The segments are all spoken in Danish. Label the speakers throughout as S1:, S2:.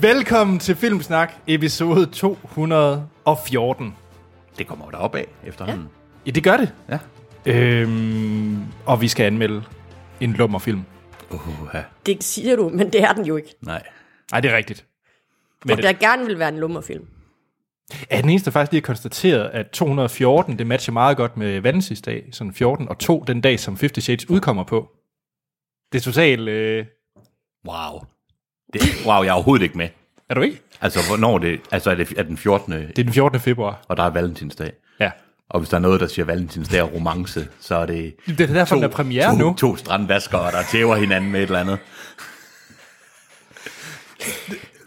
S1: Velkommen til Filmsnak, episode 214.
S2: Det kommer der op af efterhånden.
S1: Ja, det gør det.
S2: Ja.
S1: Øhm, og vi skal anmelde en lummerfilm.
S2: Uha,
S3: Det siger du, men det er den jo ikke.
S2: nej.
S1: Nej, det er rigtigt. Men
S3: Men
S1: det-
S3: der gerne vil være en lummerfilm.
S1: Er den eneste, der faktisk lige har konstateret, at 214, det matcher meget godt med Valentinsdag, sådan 14, og 2, den dag, som 50 Shades udkommer på. Det er totalt... Øh,
S2: Wow. Det, wow, jeg er overhovedet ikke med.
S1: er du ikke?
S2: Altså, hvornår det... Altså, er det er den 14.
S1: Det er den 14. februar.
S2: og der er valentinsdag.
S1: Ja.
S2: Og hvis der er noget, der siger valentinsdag og romance, så er det...
S1: Det er derfor, den er premiere
S2: to,
S1: nu.
S2: To strandvaskere, der tæver hinanden med et eller andet.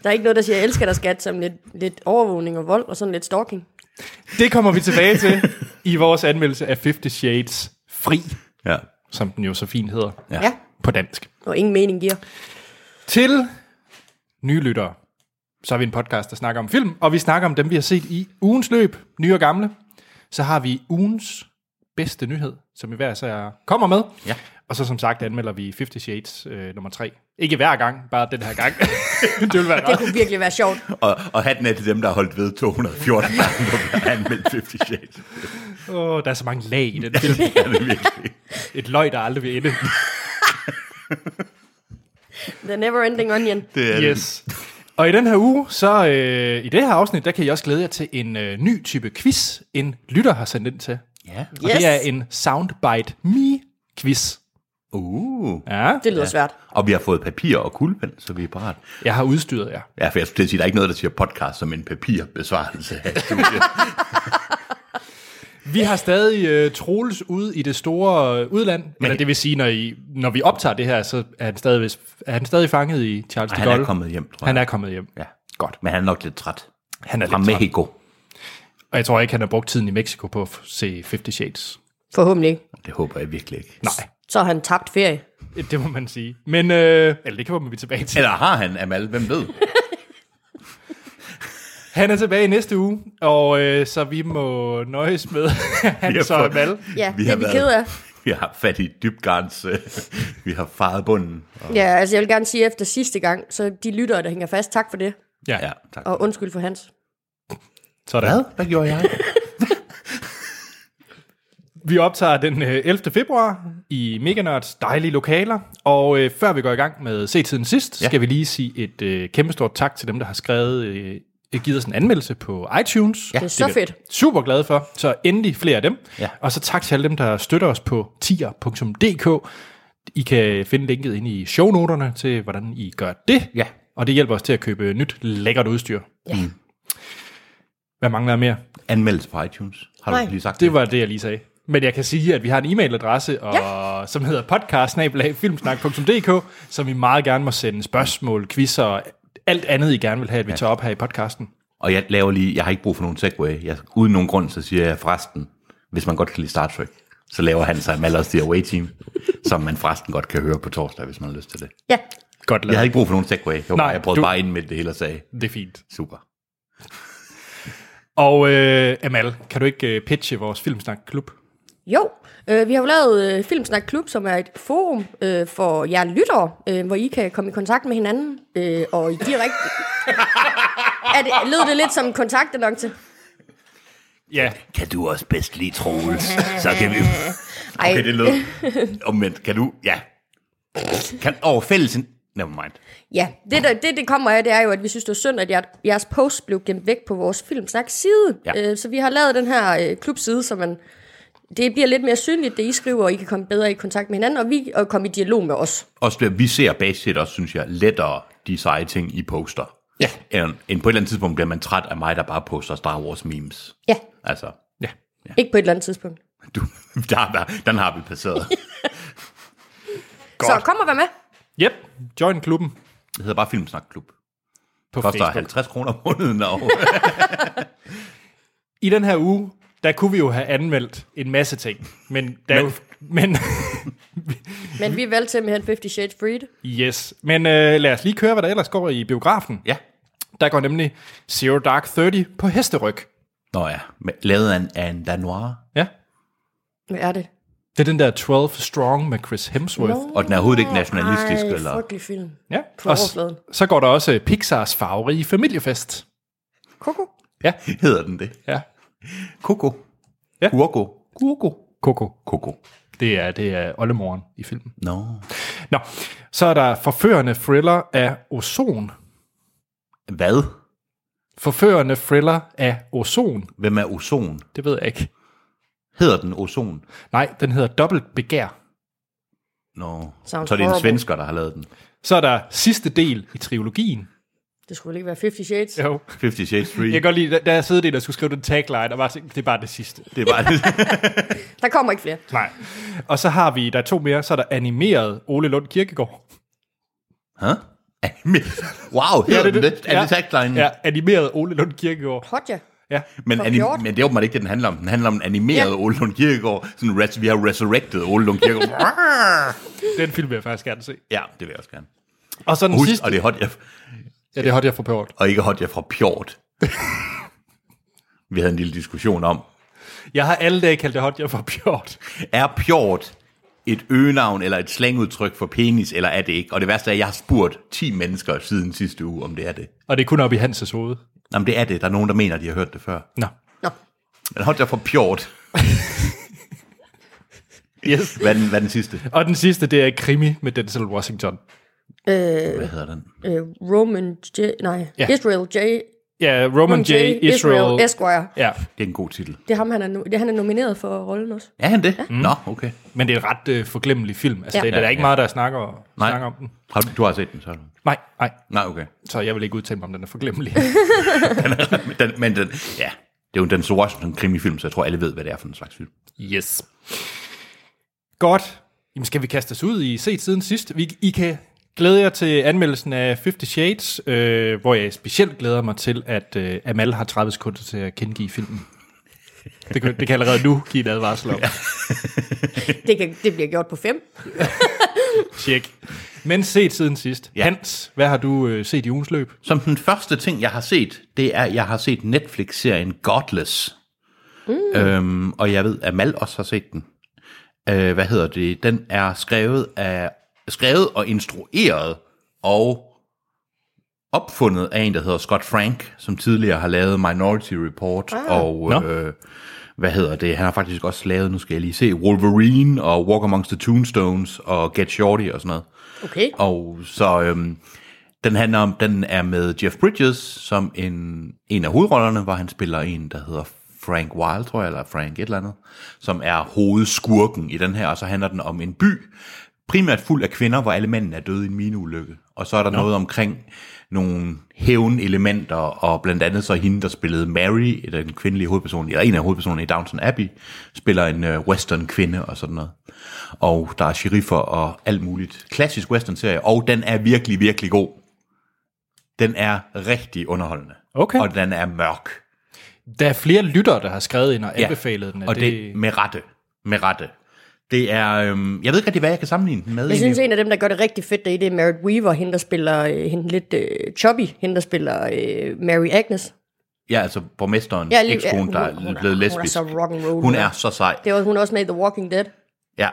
S3: Der er ikke noget, der siger, jeg elsker dig skat, som lidt, lidt overvågning og vold og sådan lidt stalking.
S1: Det kommer vi tilbage til i vores anmeldelse af 50 Shades Fri,
S2: Ja.
S1: som den jo så fint hedder
S2: Ja.
S1: på dansk.
S3: Og ingen mening giver.
S1: Til nye lyttere, så er vi en podcast, der snakker om film, og vi snakker om dem, vi har set i ugens løb, nye og gamle. Så har vi ugens bedste nyhed, som vi hver så kommer med.
S2: Ja.
S1: Og så som sagt anmelder vi 50 Shades øh, nummer 3. Ikke hver gang, bare den her gang. det vil være
S3: Det
S1: rart.
S3: kunne virkelig være sjovt.
S2: Og, og hatten er til dem, der har holdt ved 214 gange, når vi har anmeldt 50 Shades.
S1: Åh, der er så mange lag i den film.
S2: Ja, det er virkelig.
S1: Et løg, der aldrig vil ende.
S3: The never ending onion.
S2: Det er det.
S1: Yes. Og i den her uge, så øh, i det her afsnit, der kan I også glæde jer til en øh, ny type quiz, en lytter har sendt ind til.
S2: Ja.
S1: Og
S3: Yes.
S1: det er en Soundbite Me-quiz.
S2: Uh.
S1: Ja.
S3: Det lyder svært.
S2: Og vi har fået papir og kuglepen, så vi er parat.
S1: Jeg har udstyret jer.
S2: Ja, for jeg skulle til at sige, der er ikke noget, der siger podcast som en papirbesvarelse af studiet.
S1: Vi har stadig øh, Troels ude i det store øh, udland. Men Eller det vil sige, når, I, når vi optager det her, så er han stadig, er han stadig fanget i Charles de
S2: Han
S1: Gaulle.
S2: er kommet hjem, tror jeg.
S1: Han er kommet hjem.
S2: Ja.
S1: Godt.
S2: Men han er nok lidt træt.
S1: Han er
S2: Fra
S1: lidt træt.
S2: Mexico.
S1: Og jeg tror ikke, han har brugt tiden i Mexico på at f- se 50 Shades.
S3: Forhåbentlig ikke.
S2: Det håber jeg virkelig ikke.
S1: Nej,
S3: Så har han tabt ferie.
S1: det må man sige. Men, øh, eller det kommer vi tilbage til.
S2: Eller har han, Amal? Hvem ved?
S1: Han er tilbage i næste uge, og øh, så vi må nøjes med Hans og Amal.
S3: Ja, det er vi
S2: været-
S3: ked af.
S2: Vi har haft fat i dybgarns. øh, vi har faret bunden. Og,
S3: Ja, altså jeg vil gerne sige, at efter sidste gang, så de lyttere, der hænger fast, tak for det.
S1: Ja,
S2: ja, tak.
S3: Og undskyld for hans.
S1: sådan.
S2: Hvad gjorde jeg?
S1: Vi optager den øh, 11. februar i Meganørds dejlige lokaler, og øh, før vi går i gang med Se-tiden sidst, ja.
S2: Ja.
S1: skal vi lige sige et øh, kæmpestort tak til dem, der har skrevet, øh, givet os en anmeldelse på iTunes.
S3: Det er så
S1: vi
S3: fedt.
S1: Super glad for, så endelig flere af dem.
S2: Ja.
S1: Og så tak til alle dem, der støtter os på tier.dk. I kan finde linket inde i shownoterne til, hvordan I gør det.
S2: Ja.
S1: Og det hjælper os til at købe nyt lækkert udstyr. Ja. Hvad mangler jeg mere?
S2: Anmeldelse på iTunes. Har du
S3: Nej.
S2: lige sagt det?
S1: Det var det, jeg lige sagde. Men jeg kan sige, at vi har en e-mailadresse, og, ja. som hedder podcast som I meget gerne må sende spørgsmål, quizzer og alt andet, I gerne vil have, at vi tager op her i podcasten.
S2: Og jeg laver lige, jeg har ikke brug for nogen segway. Jeg, uden nogen grund, så siger jeg forresten, hvis man godt kan lide Star Trek, så laver han sig Amal også The Away Team, som man forresten godt kan høre på torsdag, hvis man har lyst til det.
S3: Ja,
S1: Godt
S2: Jeg
S1: lavet.
S2: havde ikke brug for nogen segway. Jeg, var,
S1: Nej,
S2: Nej, jeg prøvede
S1: du-
S2: du... bare ind med det hele og sagde,
S1: Det er fint.
S2: super.
S1: Og øh, Amal, kan du ikke øh, pitche vores Filmsnak-klub?
S3: Jo, øh, vi har jo lavet øh, Filmsnak Klub, som er et forum øh, for jer lyttere, øh, hvor I kan komme i kontakt med hinanden, øh, og i direkte... er det, lød det lidt som en kontaktannonce?
S1: Ja,
S2: Kan du også bedst lide Troels? Så kan vi...
S3: Ej,
S2: Okay, det lød omvendt. Kan du... Ja. Kan over fælles... Never mind.
S3: ja. Det, der, det, det kommer af, det er jo, at vi synes, det var synd, at jer, jeres post blev gemt væk på vores Filmsnak-side.
S2: Ja.
S3: Øh, så vi har lavet den her øh, klubside, så man... Det bliver lidt mere synligt, det I skriver, og I kan komme bedre i kontakt med hinanden, og vi og komme i dialog med os.
S2: Også det, vi ser basis også, synes jeg, lettere de seje ting, I poster.
S3: Ja.
S2: End, end på et eller andet tidspunkt bliver man træt af mig, der bare poster Star Wars memes.
S3: Ja,
S2: Altså,
S1: ja.
S3: ikke på et eller andet tidspunkt.
S2: du, der, der, den har vi passeret.
S3: Så kom og vær med.
S1: Yep, join klubben
S2: Det hedder bare Filmsnakklub.
S1: på
S2: Koster
S1: Facebook.
S2: 50 kroner om måneden, og
S1: I den her uge, der kunne vi jo have anmeldt en masse ting, men der men. jo... Men,
S3: Men vi valgte simpelthen 50 Shades Freed.
S1: yes. Men øh, lad os lige køre, hvad der ellers går i biografen.
S2: ja.
S1: Der går nemlig Zero Dark Thirty på hesteryg.
S2: Nå ja, med- lavet af en, af en Lanoir.
S1: Ja.
S3: Hvad er det?
S1: Det er den der 12 Strong med Chris Hemsworth. No.
S2: Og den er overhovedet ikke nationalistisk,
S3: Ej,
S2: eller?
S3: frygtelig film.
S1: Ja.
S3: På
S1: Og s-
S3: overfladen.
S1: så går der også øh, Pixars farverige familiefest.
S3: Koko?
S1: Ja,
S2: Hedder den det?
S1: ja.
S2: Koko.
S1: Ja.
S2: Kurko.
S1: Koko. Koko.
S2: Koko.
S1: Det er, det er oldemoren i filmen.
S2: Nå.
S1: Nå, så er der forførende thriller af ozon.
S2: Hvad?
S1: Forførende thriller af ozon.
S2: Hvem er ozon?
S1: Det ved jeg ikke.
S2: Hedder den ozon?
S1: Nej, den hedder Dobbelt Begær.
S2: Nå.
S3: Sounds
S2: så det er en
S3: horrible.
S2: svensker, der har lavet den.
S1: Så er der sidste del i trilogien.
S3: Det skulle vel ikke være 50 Shades?
S1: Jo.
S2: 50 Shades Free.
S1: Jeg kan godt lide, da- da jeg sidder det, der skulle skrive den tagline, og bare tænkte, det er bare det sidste.
S2: Det er bare
S3: Der kommer ikke flere.
S1: Nej. Og så har vi, der er to mere, så er der animeret Ole Lund Kirkegaard.
S2: Hä? wow, hedder ja, det, den det? Er det tagline?
S1: Ja, animeret Ole Lund Kirkegaard.
S3: Hodja.
S1: Ja.
S2: Men,
S3: For
S2: anim-
S3: fjorten.
S2: men det er åbenbart ikke det, den handler om. Den handler om en animeret
S3: Ja.
S2: ja. Ole Lund Kirkegaard. Sådan, res- vi har resurrected Ole Lund Kirkegaard.
S1: Den film vil jeg faktisk gerne se.
S2: ja, det vil jeg også gerne.
S1: Og så den
S2: Husk,
S1: sidste.
S2: og det er hot, jeg,
S1: Ja, det er hot, jeg får pært.
S2: og ikke hot, jeg fra Pjort. vi havde en lille diskussion om,
S1: Jeg har alle dage kaldt det hot, jeg får pjort.
S2: er Pjort et øgenavn eller et slangudtryk for penis, eller er det ikke? Og det værste er, at jeg har spurgt 10 mennesker siden sidste uge, om det er det.
S1: Og det er kun op i Hanses hoved.
S2: Jamen, det er det. Der er nogen, der mener, at de har hørt det før.
S1: Nå.
S3: Nå.
S2: Men hot, jeg fra Pjort. yes. Hvad er, den, hvad er den sidste?
S1: Og den sidste, det er krimi med Denzel Washington.
S2: Hvad hedder den?
S3: Øh, Roman J... Nej.
S1: Ja.
S3: Israel J...
S1: Ja, Roman J. Israel.
S3: Esquire.
S1: Ja,
S2: Det er en god titel.
S3: Det er ham, han er, no- det, er han er nomineret for rollen også.
S2: Er han det? Mm. Nå, okay.
S1: men det er en ret øh, forglemmelig film. Altså,
S3: Ja.
S1: ja. det, er der
S2: Ja,
S1: er ikke
S2: ja.
S1: meget, der snakker,
S2: Nej.
S1: snakker om den.
S2: Har du, du har set den, så?
S1: Nej, nej.
S2: Nej, okay.
S1: Så jeg vil ikke udtale mig, om den er forglemmelig.
S2: Men den, men den ja, det er jo en Denzel Washington krimifilm, så jeg tror, alle ved, hvad det er for en slags film.
S1: yes. Godt. Jamen, skal vi kaste os ud i set siden sidst? Vi, I kan glæde jer til anmeldelsen af 50 Shades, øh, hvor jeg specielt glæder mig til, at øh, Amal har 30 sekunder til at kendegive filmen. Det kan, det kan allerede nu give en advarsel om.
S3: Det, kan, det bliver gjort på fem.
S1: Tjek. Men set siden sidst. Ja.
S2: Ja.
S1: Hans, hvad har du øh, set i ugens løb?
S2: Som den første ting, jeg har set, det er, at jeg har set Netflix-serien Godless. Mm. Øhm, og jeg ved, at Mal også har set den. Øh, hvad hedder det? Den er skrevet, af, skrevet og instrueret og opfundet af en, der hedder Scott Frank, som tidligere har lavet Minority Report ah. og...
S1: Nå.
S2: Øh, hvad hedder det? Han har faktisk også lavet, nu skal jeg lige se, Wolverine og Walk Amongst the Tombstones og Get Shorty og sådan noget.
S3: Okay.
S2: Og så øhm, den handler om, den er med Jeff Bridges som en, en af hovedrollerne, hvor han spiller en, der hedder Frank Wilde, tror jeg, eller Frank et eller andet, som er hovedskurken i den her, og så handler den om en by, primært fuld af kvinder, hvor alle mændene er døde i en mineulykke. Og så er der ja. noget omkring nogle hævnelementer, og blandt andet så hende, der spillede Mary, eller den kvindelige hovedperson, eller en af hovedpersonerne i Downton Abbey, spiller en øh, western kvinde og sådan noget. Og der er sheriffer og alt muligt. Klassisk western serie, og den er virkelig, virkelig god. Den er rigtig underholdende.
S1: Okay.
S2: Og den er mørk.
S1: Der er flere lyttere, der har skrevet ind og anbefalet den. er
S2: Og det, det med rette. Med rette. Det er, øhm, jeg ved ikke rigtig, hvad jeg kan sammenligne den med.
S3: Jeg
S2: egentlig.
S3: synes, en af dem, der gør det rigtig fedt, det er, det er Merritt Weaver, hende der spiller øh, hende lidt øh, chubby, hende der spiller øh, Mary Agnes.
S2: Ja, altså borgmesteren,
S3: Ja,
S2: ja,
S3: lige-
S2: ekskone,
S3: ja,
S2: der
S3: hun- hun
S2: er
S3: er-
S2: blevet
S3: hun er
S2: lesbisk.
S3: så rock'n'roll,
S2: Hun
S3: ja.
S2: er så sej.
S3: Det var hun er også med i The Walking Dead.
S2: Ja.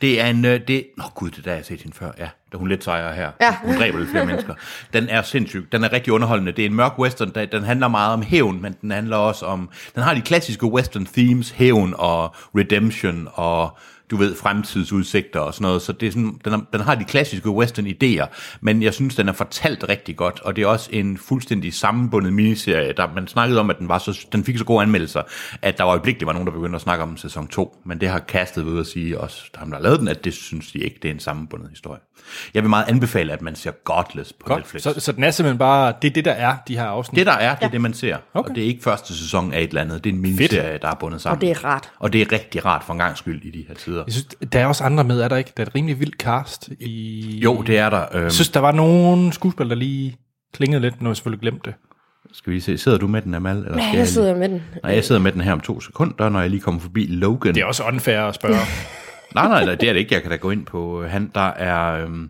S2: Det er en... øh, Det, nå gud, det der har jeg set hende før. Ja, da hun lidt sejere her.
S3: Ja.
S2: Hun dræber lidt flere mennesker. Den er sindssyg. Den er rigtig underholdende. Det er en mørk western. der- Den handler meget om hævn, men den handler også om... Den har de klassiske western themes. Hævn og redemption og du ved, fremtidsudsigter og sådan noget. Så det er sådan, den, er, den har de klassiske western idéer, men jeg synes, den er fortalt rigtig godt, og det er også en fuldstændig sammenbundet miniserie. Der, man snakkede om, at den, var så, den fik så gode anmeldelser, at der var øjeblikkeligt var nogen, der begyndte at snakke om sæson 2, men det har kastet ved at sige også, ham der har lavet den, at det synes de ikke, det er en sammenbundet historie. Jeg vil meget anbefale, at man ser Godless på Godt.
S1: Godt.
S2: Netflix.
S1: Så, så den er simpelthen bare, det er det, der er, de her afsnit.
S2: Det der er, det er det, man ser. Okay.
S1: Okay.
S2: Og det er ikke første sæson af et eller andet. Det er en miniserie, der er bundet sammen.
S3: Og det er rart.
S2: Og det er rigtig rart for en gang skyld i de her tider.
S1: Jeg synes, der er også andre med, er der ikke? Der er et rimelig vildt cast. I...
S2: Jo, det er der. Øhm,
S1: Jeg synes, der var nogle skuespillere, der lige klingede lidt, når jeg selvfølgelig glemte det.
S2: Skal vi se, sidder du med den, Amal? Eller skal
S3: Ja, jeg
S2: lige-
S3: sidder med den.
S2: Nej, jeg sidder med den her om to sekunder, når jeg lige kommer forbi Logan.
S1: Det er også unfair at spørge.
S2: Nej, nej, nej, det er det ikke. Jeg kan da gå ind på øh, han, der er... Øhm,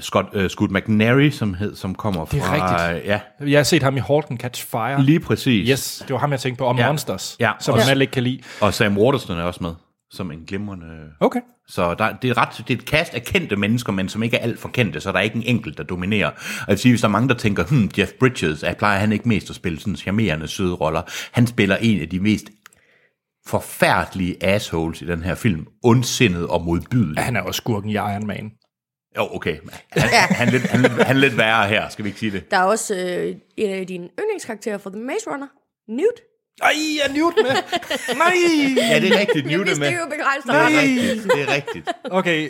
S2: Scott, øh, Scoot McNary, som, hed, som kommer fra...
S1: er rigtigt.
S2: øh, Ja,
S1: Jeg har set ham i Halton Catch Fire.
S2: lige præcis.
S1: Yes, det var ham, jeg tænkte på. Og
S2: Ja.
S1: Monsters,
S2: Ja.
S1: som
S2: Ja.
S1: man alle ikke kan lide.
S2: Og Sam Waterston er også med, som en glimrende...
S1: Okay.
S2: Så der, det, er ret, det er et kast af kendte mennesker, men som ikke er alt for kendte, så der er ikke en enkelt, der dominerer. Og jeg vil sige, hvis der er mange, der tænker, hmm, Jeff Bridges, er, plejer han ikke mest at spille sådan charmerende søde roller? Han spiller en af de mest forfærdelige assholes i den her film. Ondsindet og modbydelig.
S1: Han er også skurken i Iron Man.
S2: Jo, okay. Han, han, han, er lidt, han, er lidt- han er lidt værre her, skal vi ikke sige det?
S3: Der er også øh, en af dine yndlingskarakterer fra The Maze Runner, Newt.
S1: Ej, jeg er Newt med. Nej!
S2: Ja, det er rigtigt.
S3: Jeg
S2: Newt er
S3: vidste
S2: med.
S3: det jo
S2: Det
S3: begejstret.
S2: er
S1: Nej.
S2: rigtigt. Det er rigtigt.
S1: Okay,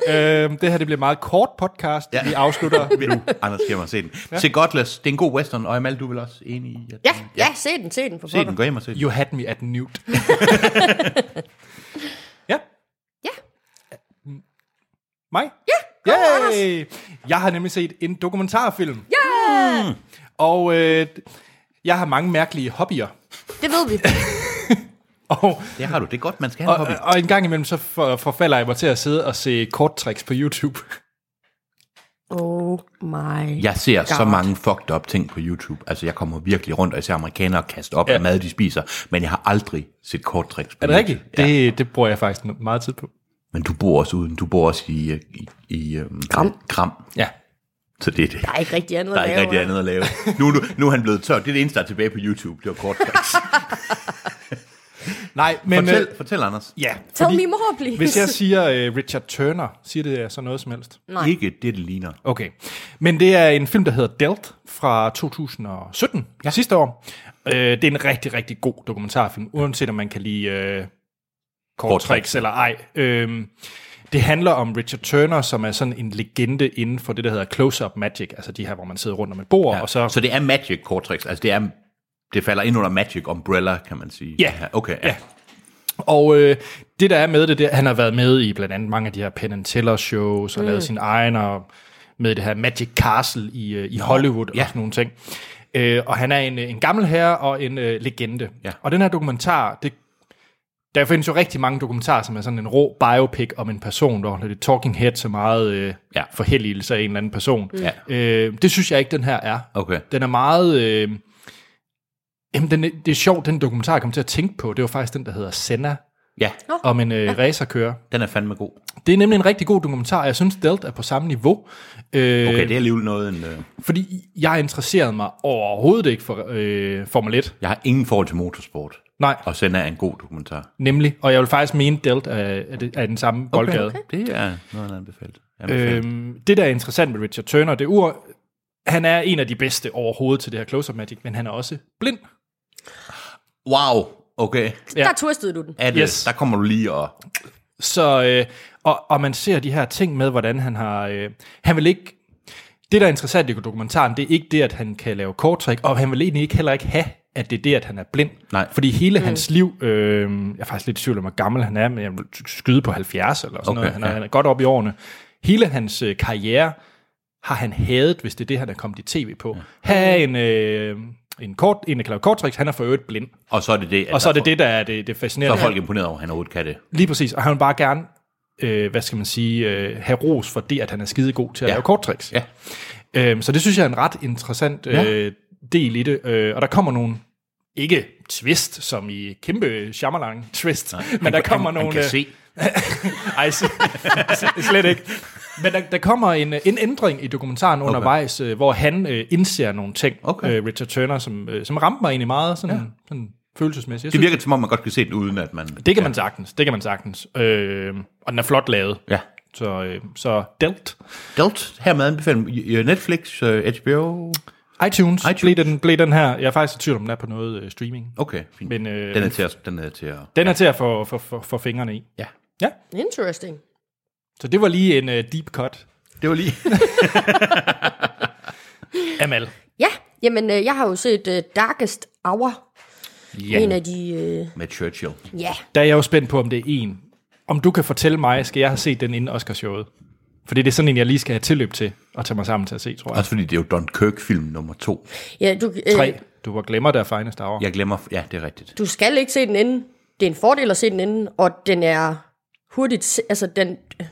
S1: øh, det her det bliver en meget kort podcast. Ja.
S2: Ja.
S1: Vi afslutter nu.
S2: Anders skal mig se den. Ja. Se Godless, det er en god western, og Amal, du er vel også enig i, at
S3: Ja, ja, se den, se den for
S2: se
S3: pokker.
S2: den, gå hjem og se den.
S1: You had me at Newt. ja,
S3: Ja,
S1: mig? Ja, yeah. Yay! Jeg har nemlig set en dokumentarfilm. Yeah! Og øh, jeg har mange mærkelige hobbyer.
S3: det ved vi.
S1: Og,
S2: Det har du, det er godt, man skal have en
S1: og,
S2: hobby.
S1: og en gang imellem, så for, forfalder jeg mig til at sidde og se korttricks på YouTube.
S3: Oh my.
S2: Jeg ser så
S3: God.
S2: mange fucked up ting på YouTube. Altså, jeg kommer virkelig rundt, og jeg ser amerikanere kaste op
S1: Ja.
S2: ja. af mad, de spiser. Men jeg har aldrig set korttricks på
S1: Er det
S2: YouTube.
S1: rigtigt? Ja. Det, det bruger jeg faktisk no- meget tid på.
S2: Men du bor også uden. Du bor også i, øh, i, i øhm,
S3: Gram.
S2: Kram.
S1: Ja.
S2: Så det er det.
S3: Der er ikke rigtig andet
S2: Der er
S3: at
S2: ikke
S3: lave.
S2: rigtig andet at lave. Nu, er du- nu er han blevet tør. Det er det eneste, der er tilbage på YouTube. Det var korttricks.
S1: Nej, men...
S2: fortæl,
S1: Øh,
S2: fortæl, Anders.
S1: ja,
S3: Tell
S1: fordi
S3: me more, please.
S1: Hvis jeg siger øh, Richard Turner, siger det jer så noget som helst?
S3: Nej.
S2: Ikke det, det ligner.
S1: Okay. Men det er en film, der hedder Delt fra 2017, ja. sidste år. Øh, det er en rigtig, rigtig god dokumentarfilm, uanset om man kan lide øh, kort tricks eller ej. Øh, det handler om Richard Turner, som er sådan en legende inden for det, der hedder close-up magic, altså de her, hvor man sidder rundt om et bord, ja. og så...
S2: så det er magic korttricks. Altså, det, er, det falder ind under magic umbrella, kan man sige.
S1: Ja.
S2: Okay, ja.
S1: Ja. Og øh, det, der er med det, det er, han har været med i blandt andet mange af de her Penn and Teller shows, og mm. lavet sin egen, og med det her Magic Castle i, øh, i Hollywood ja.
S2: ja.
S1: og sådan nogle ting. Øh, og han er en, øh, en gammel herre og en øh, legende.
S2: Ja.
S1: Og den her dokumentar, det, der findes jo rigtig mange dokumentarer, som er sådan en rå biopic om en person, der er lidt talking head, så meget øh, ja.
S2: Ja.
S1: forhelligelse af en eller anden person.
S2: Ja.
S1: Øh, det synes jeg ikke, den her er.
S2: Okay.
S1: Den er meget... Øh, jamen, den, er- det er sjovt, den dokumentar, jeg kom til at tænke på, det var faktisk den, der hedder Senna,
S2: Ja,
S1: om en øh, ja. racerkører.
S2: den er fandme god.
S1: Det er nemlig en rigtig god dokumentar, og jeg synes, Delt er på samme niveau. Øh,
S2: Okay, det er alligevel noget en... Øh,
S1: Fordi jeg interesserede mig overhovedet ikke for øh, Formel 1.
S2: jeg har ingen forhold til motorsport.
S1: Nej,
S2: Og Senna er en god dokumentar.
S1: nemlig. Og jeg vil faktisk mene, Delt er, er, det- er den samme okay, boldgade. Okay.
S2: Det er noget, han anbefaler. Øh,
S1: Øhm, det, der er interessant med Richard Turner, det er, han er en af de bedste overhovedet til det her close-up magic, men han er også blind.
S2: wow, okay.
S1: Ja.
S3: Der turstede du den.
S2: Er det,
S1: Yes.
S2: yes. Der kommer du lige og...
S1: Så, øh, og, og man ser de her ting med, hvordan han har... Øh, han vil ikke... Det, der er interessant i dokumentaren, det er ikke det, at han kan lave korttræk, og han vil egentlig ikke heller ikke have, at det er det, at han er blind.
S2: Nej.
S1: Fordi hele mm. hans liv, øh, jeg er faktisk lidt i tvivl om, hvor gammel han er, men jeg vil skyde på 70 eller sådan okay,
S2: Okay,
S1: noget. Han er,
S2: ja.
S1: han er godt op i årene. Hele hans øh, karriere har han hadet, hvis det er det, han er kommet i tv på. Ja. Have en, øh, en, kort, en, der kan lave korttræk, han er for øvrigt blind.
S2: Og så er det det, at
S1: Og så er det
S2: der,
S1: det, der er det, det
S2: så
S1: fascinerende.
S2: er folk imponeret over, at han overhovedet kan det.
S1: Lige præcis, og han vil bare gerne, øh, hvad skal man sige, øh, have ros for det, at han er skidegod til at ja.
S2: Ja.
S1: lave korttricks.
S2: Ja.
S1: Øhm, så det synes jeg er en ret interessant øh,
S2: Ja.
S1: del i det, øh, og der kommer nogle, ikke twist, som i kæmpe Shyamalan twist, Nej, men der kommer
S2: han,
S1: nogle...
S2: Han kan
S1: øh,
S2: se.
S1: Ej, s- s- slet ikke. Men der, der kommer en, øh, en ændring i dokumentaren okay. undervejs, øh, hvor han øh, indser nogle ting,
S2: Okay.
S1: øh, Richard Turner, som, øh, som ramte mig egentlig meget sådan, ja. sådan følelsesmæssigt. Jeg
S2: Det
S1: synes,
S2: virker, som om man godt kan se den, uden at man...
S1: det kan man sagtens, det kan man sagtens. Øh, og den er flot lavet.
S2: Ja.
S1: Så, øh, så Delt.
S2: Delt, hermed anbefaler Netflix, øh, HBO...
S1: iTunes,
S2: iTunes.
S1: iTunes. Blev, den, blev den her. Jeg er faktisk i tvivl om, den er på noget øh, streaming.
S2: Okay, fint.
S1: Men, øh,
S2: den er til at... Den er til at
S1: Den er til at få, få, få, få fingrene i.
S2: ja.
S1: Ja,
S3: Interesting.
S1: så det var lige en øh, deep cut.
S2: Det var lige...
S1: Amal.
S3: Ja, jamen øh, jeg har jo set øh, Darkest Hour.
S2: ja.
S3: En af de... Øh,
S2: Med Churchill.
S3: ja,
S1: Der er jeg jo spændt på, om det er en. Om du kan fortælle mig, skal jeg have set den inden Oscarshowet? Fordi det er sådan en, jeg lige skal have tilløb til at tage mig sammen til at se, tror jeg.
S2: Også fordi det er jo Don Kirk-film nummer to.
S3: ja du, øh,
S1: Tre. Du var glemmer der finest hour. Ja.
S2: Jeg glemmer... Ja, det er rigtigt.
S3: du skal ikke se den inden. Det er en fordel at se den inden, og den er hurtigt... se- Altså, den... øh,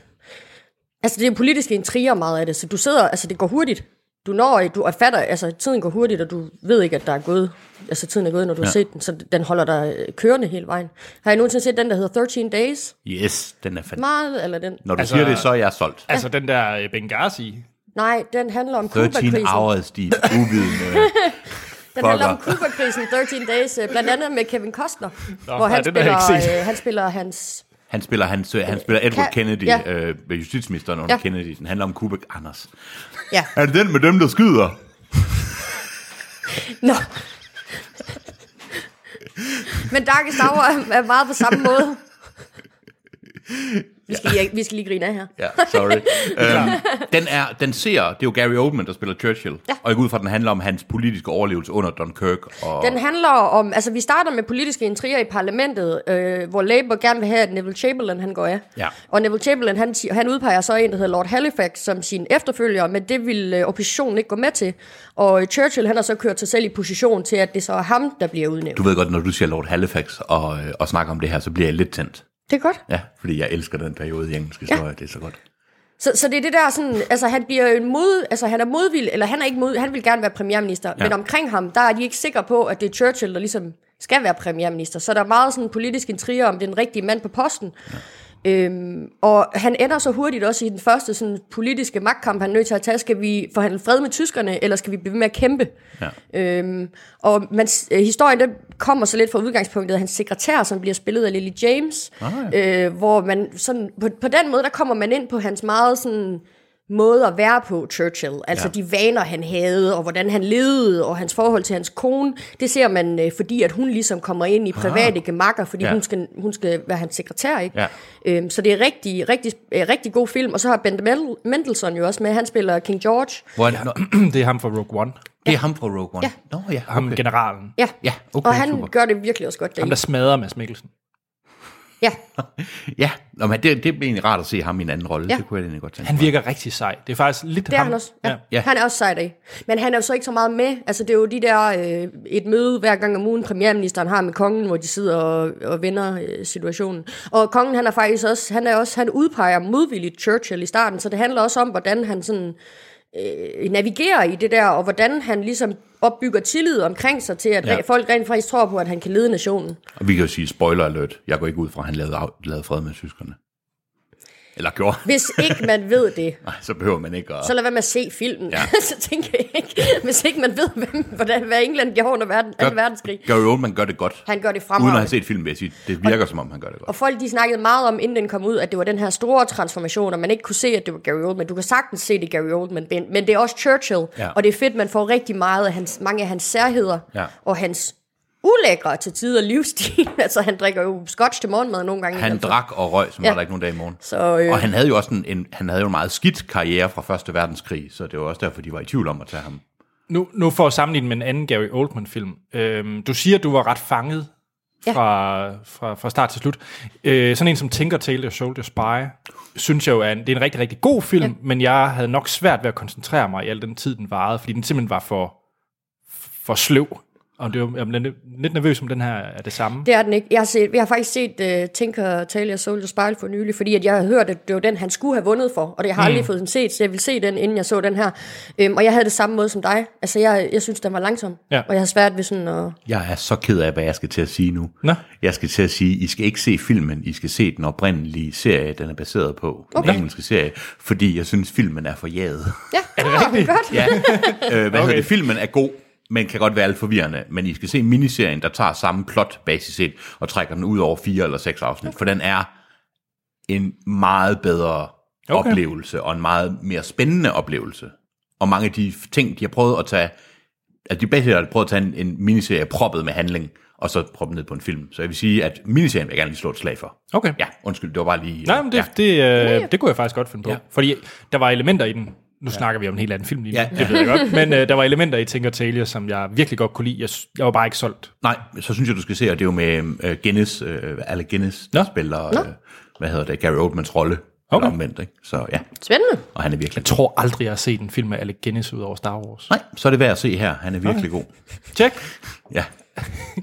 S3: Altså, det er politiske intriger meget af det, så du sidder, altså det går hurtigt. Du når, du er fatter, altså tiden går hurtigt, og du ved ikke, at der er gået, altså tiden er gået, når du ja. har set den, så den holder dig øh, kørende hele vejen. Har I nogensinde set den, der hedder 13 Days?
S2: Yes, den er fantastisk.
S3: Meget, eller den?
S2: Når du
S1: Altså-
S2: altså, siger det, så er jeg solgt.
S1: Altså den der øh, Benghazi.
S3: Nej, den handler om
S2: 13
S3: Cuba-krisen.
S2: hours, de uvidende.
S3: Den handler om
S2: Fucker.
S3: Cuba-krisen, 13 Days, øh, blandt andet med Kevin Costner, Nå, hvor
S1: nej,
S3: han
S1: den har jeg ikke
S3: spiller,
S1: set.
S3: øh, han spiller hans...
S2: Han spiller, han, sø- han spiller Edward
S3: Ka-
S2: Kennedy,
S3: ja.
S2: ja. øh, med justitsministeren under
S3: Ja.
S2: ja. Kennedy. Den handler om Kuba Anders.
S3: Ja,
S2: Er det den med dem, der skyder?
S3: nå. Men Darkest Hour er- er meget på samme måde. Vi skal, lige, vi skal lige grine af her.
S2: Ja, sorry. øhm, den, er, den ser, det er jo Gary Oldman, der spiller Churchill. Ja. Og jeg går ud fra, at den handler om hans politiske overlevelse under Dunkirk. Og
S3: Den handler om, altså vi starter med politiske intriger i parlamentet, øh, hvor Labour gerne vil have, at Neville Chamberlain han går af.
S2: Ja.
S3: Og Neville Chamberlain han, siger- han udpeger så en, der hedder Lord Halifax, som sin efterfølger, men det vil øh, oppositionen ikke gå med til. Og øh, Churchill han har så kørt sig selv i position til, at det så er ham, der bliver udnævnt.
S2: Du ved godt, når du siger Lord Halifax og, øh, og snakker om det her, så bliver jeg lidt tændt.
S3: Det er godt.
S2: Ja, fordi jeg elsker den periode i engelsk historie, ja. det er så godt.
S3: Så, så det er det der sådan, altså han bliver jo en mod, altså han er modvild, eller han er ikke mod, han vil gerne være premierminister, ja. men omkring ham, der er de ikke sikre på, at det er Churchill, der ligesom skal være premierminister. Så der er meget sådan politisk intriger om det er den rigtige mand på posten. Ja. Øhm, og han ender så hurtigt også i den første sådan, politiske magtkamp, han er nødt til at tage. Skal vi forhandle fred med tyskerne, eller skal vi blive ved med at kæmpe? Ja. Øhm, og man, s- øh, historien den kommer så lidt fra udgangspunktet af hans sekretær, som bliver spillet af Lily James. Ah, ja. øh, hvor man sådan, på, på den måde, der kommer man ind på hans meget sådan, måde at være på, Churchill. Altså ja. de vaner, han havde, og hvordan han levede, og hans forhold til hans kone. Det ser man, øh, fordi at hun ligesom kommer ind i private ah. gemakker, fordi ja.
S2: Ja.
S3: hun, skal, hun skal være hans sekretær, ikke?
S2: Ja.
S3: Øhm, så det er rigtig, rigtig, øh, rigtig god film. Og så har Ben Mendel- Mendelssohn jo også med. Han spiller King George.
S2: Hvor er det, nå,
S1: det er ham fra Rogue One.
S2: det er ham fra Rogue One. Ja. Nå ja,
S1: Ham
S2: okay.
S1: generalen.
S3: Ja,
S2: Ja, okay,
S3: og han
S2: super.
S3: gør det virkelig også godt
S1: Ham,
S3: deri.
S1: der smadrer Mads Mikkelsen.
S3: Ja,
S2: Ja, nå, men det, det blev egentlig rart at se ham i en anden rolle.
S3: Ja.
S2: Ja. Det kunne jeg egentlig godt tænke
S1: Han
S2: mig.
S1: virker rigtig sej. Det er faktisk lidt
S3: det er
S1: ham.
S3: han også. Ja. Ja.
S2: Ja.
S3: Han er også sej deri. Men han er jo så ikke så meget med. Altså, det er jo de der øh, et møde hver gang om ugen, premierministeren har med kongen, hvor de sidder og, og vender øh, situationen. Og kongen, han er faktisk også, han, er også, han udpeger modvilligt Churchill i starten, så det handler også om, hvordan han sådan øh, navigerer i det der, og hvordan han ligesom opbygger tillid omkring sig til, at ja.
S2: Ja.
S3: folk rent faktisk tror på, at han kan lede nationen.
S2: Og vi kan jo sige spoiler alert. Jeg går ikke ud fra, at han lavede, af- lavede fred med tyskerne. Eller gjorde.
S3: Hvis ikke man ved det,
S2: Nej, så behøver man ikke at...
S3: så lad være med at se filmen. Ja.
S2: Ja.
S3: så tænker jeg ikke, hvis ikke man ved, hvem, hvordan, hvad England gjorde under verden, 2. verdenskrig.
S2: Gary Oldman gør det godt.
S3: Han gør det
S2: Uden at
S3: fremragende.
S2: have set filmen, vil jeg sige, det virker som om, han gør det godt.
S3: Og folk de snakkede meget om, inden den kom ud, at det var den her store transformation, og man ikke kunne se, at det var Gary Oldman. Du kan sagtens se det er Gary Oldman, men men det er også Churchill.
S2: Ja.
S3: Og det er fedt, man får rigtig meget af hans, mange af hans særheder,
S2: Ja.
S3: og hans ulækre til tider livsstil. altså han drikker jo scotch til morgenmad nogle gange.
S2: Han drak og røg, som
S3: Ja.
S2: ja. var der ikke nogen dag i morgen.
S3: Så, øh,
S2: Og han havde jo også en, en, han havde jo en meget skidt karriere fra Første Verdenskrig, så det var også derfor, de var i tvivl om at tage ham.
S1: Nu, nu for at sammenligne med en anden Gary Oldman-film. Øhm, du siger, du var ret fanget
S3: Ja.
S1: fra, fra, fra start til slut. Øh, sådan en som Tinker Tailor Soldier Spy, synes jeg jo er en, det er en rigtig, rigtig god film, ja. men jeg havde nok svært ved at koncentrere mig i al den tid, den varede, fordi den simpelthen var for, for sløv. Og det var, jeg blev lidt- lidt nervøs om den her er det samme.
S3: Det er den ikke. Jeg har, set, jeg har faktisk set uh, Tinker Tailor Soldier Spejl for nylig, fordi at jeg havde hørt, at det var den, han skulle have vundet for, og det har jeg
S2: Mm.
S3: aldrig fået den set, så jeg ville se den, inden jeg så den her. Um, og jeg havde det samme måde som dig. Altså, jeg, jeg synes, den var langsom,
S1: Ja.
S3: og jeg har svært ved sådan at...
S2: Jeg er så ked af, hvad jeg skal til at sige nu.
S1: Nå.
S2: Jeg skal til at sige, I skal ikke se filmen, I skal se den oprindelige serie, den er baseret på. Den
S3: Okay.
S2: engelske serie, fordi jeg synes, filmen er forjaget.
S3: Ja, er det rigtigt? godt.
S2: Ja, øh,
S1: Okay.
S2: hvad okay. hedder det? Filmen er god, men kan godt være alt forvirrende. Men I skal se miniserien, der tager samme plot basis set, og trækker den ud over fire eller seks afsnit. For den er en meget bedre
S1: Okay.
S2: okay. oplevelse, og en meget mere spændende oplevelse. Og mange af de ting, de har prøvet at tage, altså de bedste har prøvet at tage en, en miniserie proppet med handling, og så proppet ned på en film. Så jeg vil sige, at miniserien vil jeg gerne lige slå et slag for.
S1: Okay.
S2: Ja, undskyld, det var bare lige...
S1: Nej, men det,
S2: ja.
S1: ja. det, øh, det kunne jeg faktisk godt finde på. Ja.
S2: Ja.
S1: Fordi der var elementer i den. Nu ja. snakker vi om en helt anden film lige nu. Ja.
S2: Ja.
S1: Det ved jeg godt. Men øh, der var elementer i Tinker Tailor, som jeg virkelig godt kunne lide. Jeg, s- jeg var bare ikke solgt.
S2: Nej, så synes jeg, du skal se, og det er jo med øh, Guinness, øh, Alec Guinness, der
S1: Nå.
S2: spiller, øh, hvad hedder det, Gary Oldmans rolle.
S1: Okay.
S2: Okay. Omvendt, ikke? Så ja,
S3: Spændende.
S2: og han er virkelig
S1: Jeg tror aldrig, jeg har set en film med Alec Guinness ud over Star Wars.
S2: Nej, så er det værd at se her. Han er virkelig okay. god.
S1: Tjek.
S2: Ja.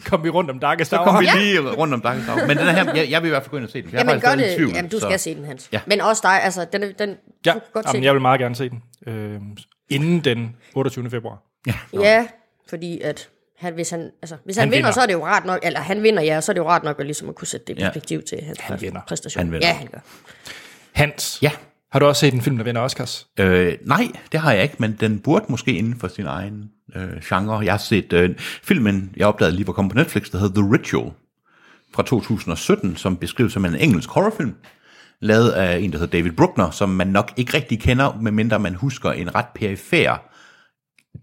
S1: Kom vi rundt om Darkest
S2: Så kom
S1: Hour.
S2: vi lige rundt om Dark Star. Men den her, jeg, jeg vil i hvert fald gå ind og se den. for Jeg er
S3: Jamen,
S2: faktisk
S3: gør
S2: stadig i
S3: det.
S2: Tvivl,
S3: Jamen, du
S2: så.
S3: skal se den, Hans. Ja.
S2: Ja.
S3: Men også dig, altså, den, den,
S1: Ja,
S3: Du kan godt se
S1: jamen, jeg vil meget gerne se den. Øh, inden den 28. februar.
S3: Ja, fordi at han, hvis han, altså, hvis han,
S1: Han
S3: han
S1: vinder.
S3: vinder, vinder, så er det jo rart nok, eller han vinder, ja, så er det jo rart nok at, ligesom at kunne sætte det i
S2: Ja.
S3: perspektiv til hans han
S1: vinder.
S3: præstation.
S2: Han vinder.
S3: Ja, han gør.
S1: Hans,
S2: Ja.
S1: har du også set en film, der vinder Oscars?
S2: Øh, nej, det har jeg ikke, men den burde måske inden for sin egen øh, genre. Jeg har set øh, filmen, jeg opdagede lige var kommet på Netflix, der hedder The Ritual fra 2017, som beskrives som en engelsk horrorfilm, lavet af en, der hedder David Bruckner, som man nok ikke rigtig kender, medmindre man husker en ret perifær,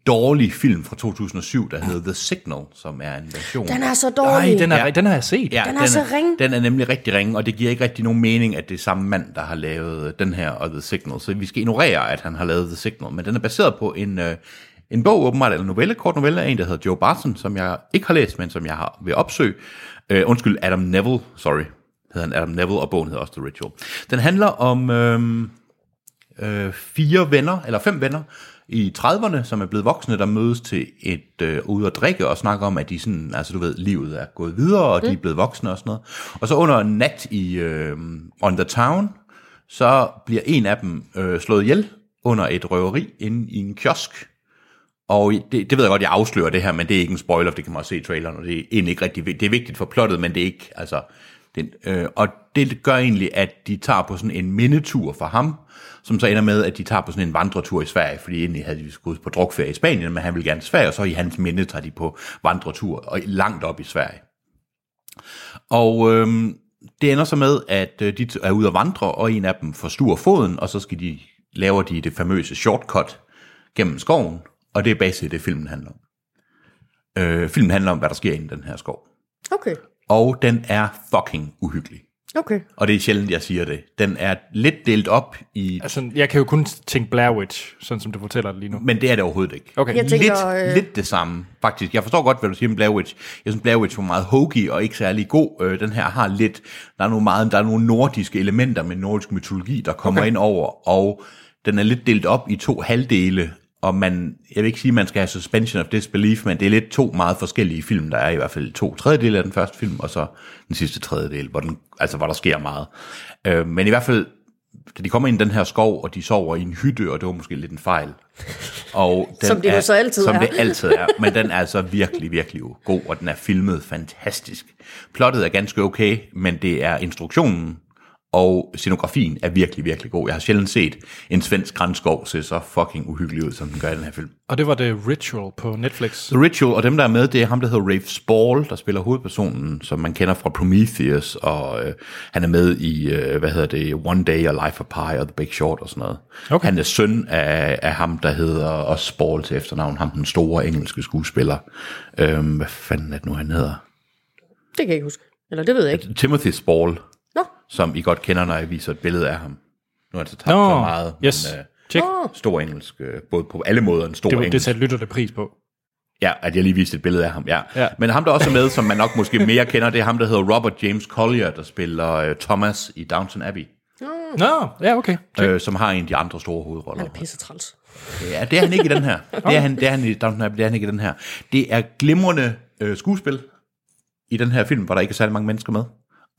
S2: dårlig film fra 2007, der hedder The Signal, som er en version.
S3: Den er så
S1: Nej,
S3: dårlig.
S1: den, er, den har jeg set.
S2: Ja,
S3: Den er så ringe.
S2: Den er nemlig rigtig ringe, og det giver ikke rigtig nogen mening, at det er samme mand, der har lavet øh, den her og The Signal. Så vi skal ignorere, at han har lavet The Signal. Men den er baseret på en, øh, en bog, åbenbart, eller en novelle, kort novelle, af en, der hedder Joe Barton, som jeg ikke har læst, men som jeg har ved opsøge. Øh, undskyld, Adam Neville, sorry. Hedder han Adam Neville, og bogen hedder også The Ritual. Den handler om... Øh, øh, fire venner, eller fem venner, i 30'erne, som er blevet voksne, der mødes til et øh, ude at drikke og snakke om, at de sådan, altså du ved, livet er gået videre, og mm. de er blevet voksne og sådan noget. Og så under en nat i øh, On The Town, så bliver en af dem øh, slået ihjel under et røveri inde i en kiosk. Og det, det ved jeg godt, jeg afslører det her, men det er ikke en spoiler, for det kan man også se i traileren, og det er egentlig ikke rigtig vigtigt. Det er vigtigt for plottet, men det er ikke, altså... Den, øh, og det gør egentlig, at de tager på sådan en mindetur for ham, som så ender med, at de tager på sådan en vandretur i Sverige, fordi egentlig havde de skulle på drukferie i Spanien, men han ville gerne til Sverige, og så i hans minde tager de på vandretur og langt op i Sverige. Og øhm, det ender så med, at øh, de t- er ude at vandre, og en af dem forstuer foden, og så skal de laver de det famøse shortcut gennem skoven, og det er baseret det, filmen handler om. Øh, filmen handler om, hvad der sker inde i den her skov.
S3: Okay,
S2: Og den er fucking uhyggelig.
S3: okay.
S2: Og det er sjældent, jeg siger det. Den er lidt delt op i...
S1: Altså, jeg kan jo kun tænke Blair Witch, sådan som du fortæller det lige nu.
S2: Men det er det overhovedet ikke.
S1: Okay.
S3: Jeg tænker,
S2: lidt,
S3: øh,
S2: lidt det samme, faktisk. Jeg forstår godt, hvad du siger om Blair Witch. Jeg synes, Blair Witch var meget hokey og ikke særlig god. Øh, den her har lidt... Der er nogle, meget, der er nogle nordiske elementer med nordisk mytologi, der kommer okay. ind over, og den er lidt delt op i to halvdele, og man, jeg vil ikke sige, at man skal have suspension of disbelief, men det er lidt to meget forskellige film, der er i hvert fald to tredjedele af den første film, og så den sidste tredjedel, hvor, den, altså, hvor der sker meget. Øh, men i hvert fald, da de kommer ind i den her skov, og de sover i en hytte, og det var måske lidt en fejl. Og den
S3: Som det jo
S2: er,
S3: så altid
S2: som
S3: er.
S2: det altid er. Men den er altså virkelig, virkelig god, og den er filmet fantastisk. Plottet er ganske okay, men det er instruktionen, og scenografien er virkelig, virkelig god. Jeg har sjældent set en svensk grænskov se så fucking uhyggelig ud, som den gør i den her film.
S1: Og det var The Ritual på Netflix.
S2: The Ritual, og dem der er med, det er ham, der hedder Rafe Spall, der spiller hovedpersonen, som man kender fra Prometheus, og øh, han er med i, øh, hvad hedder det, One Day og Life of Pi og The Big Short og sådan noget.
S1: Okay.
S2: Han er søn af, af ham, der hedder også Spall til efternavn, ham den store engelske skuespiller. Øhm, hvad fanden er det nu, han hedder?
S3: Det kan jeg ikke huske. Eller det ved jeg ikke.
S2: Timothy Spall,
S3: Nå,
S2: som I godt kender, når jeg viser et billede af ham. Nu er han så tabt
S1: Nå,
S2: så meget,
S1: yes.
S2: men øh,
S1: Tjek.
S2: stor engelsk, øh, både på alle måder en stor
S1: Det, var- det
S2: engelsk.
S1: satte lytterne pris på.
S2: Ja, at jeg lige viste et billede af ham, ja.
S1: Ja.
S2: ja. Men ham, der også er med, som man nok måske mere kender, det er ham, der hedder Robert James Collier, der spiller øh, Thomas i Downton Abbey,
S1: Nå, ja, okay.
S2: øh, som har en af de andre store hovedroller.
S3: han er pisse træls.
S2: Ja, det er han ikke i den her. Det er han, det er han i Downton Abbey, det er han ikke i den her. Det er glimrende øh, skuespil i den her film, hvor der ikke er særlig mange mennesker med.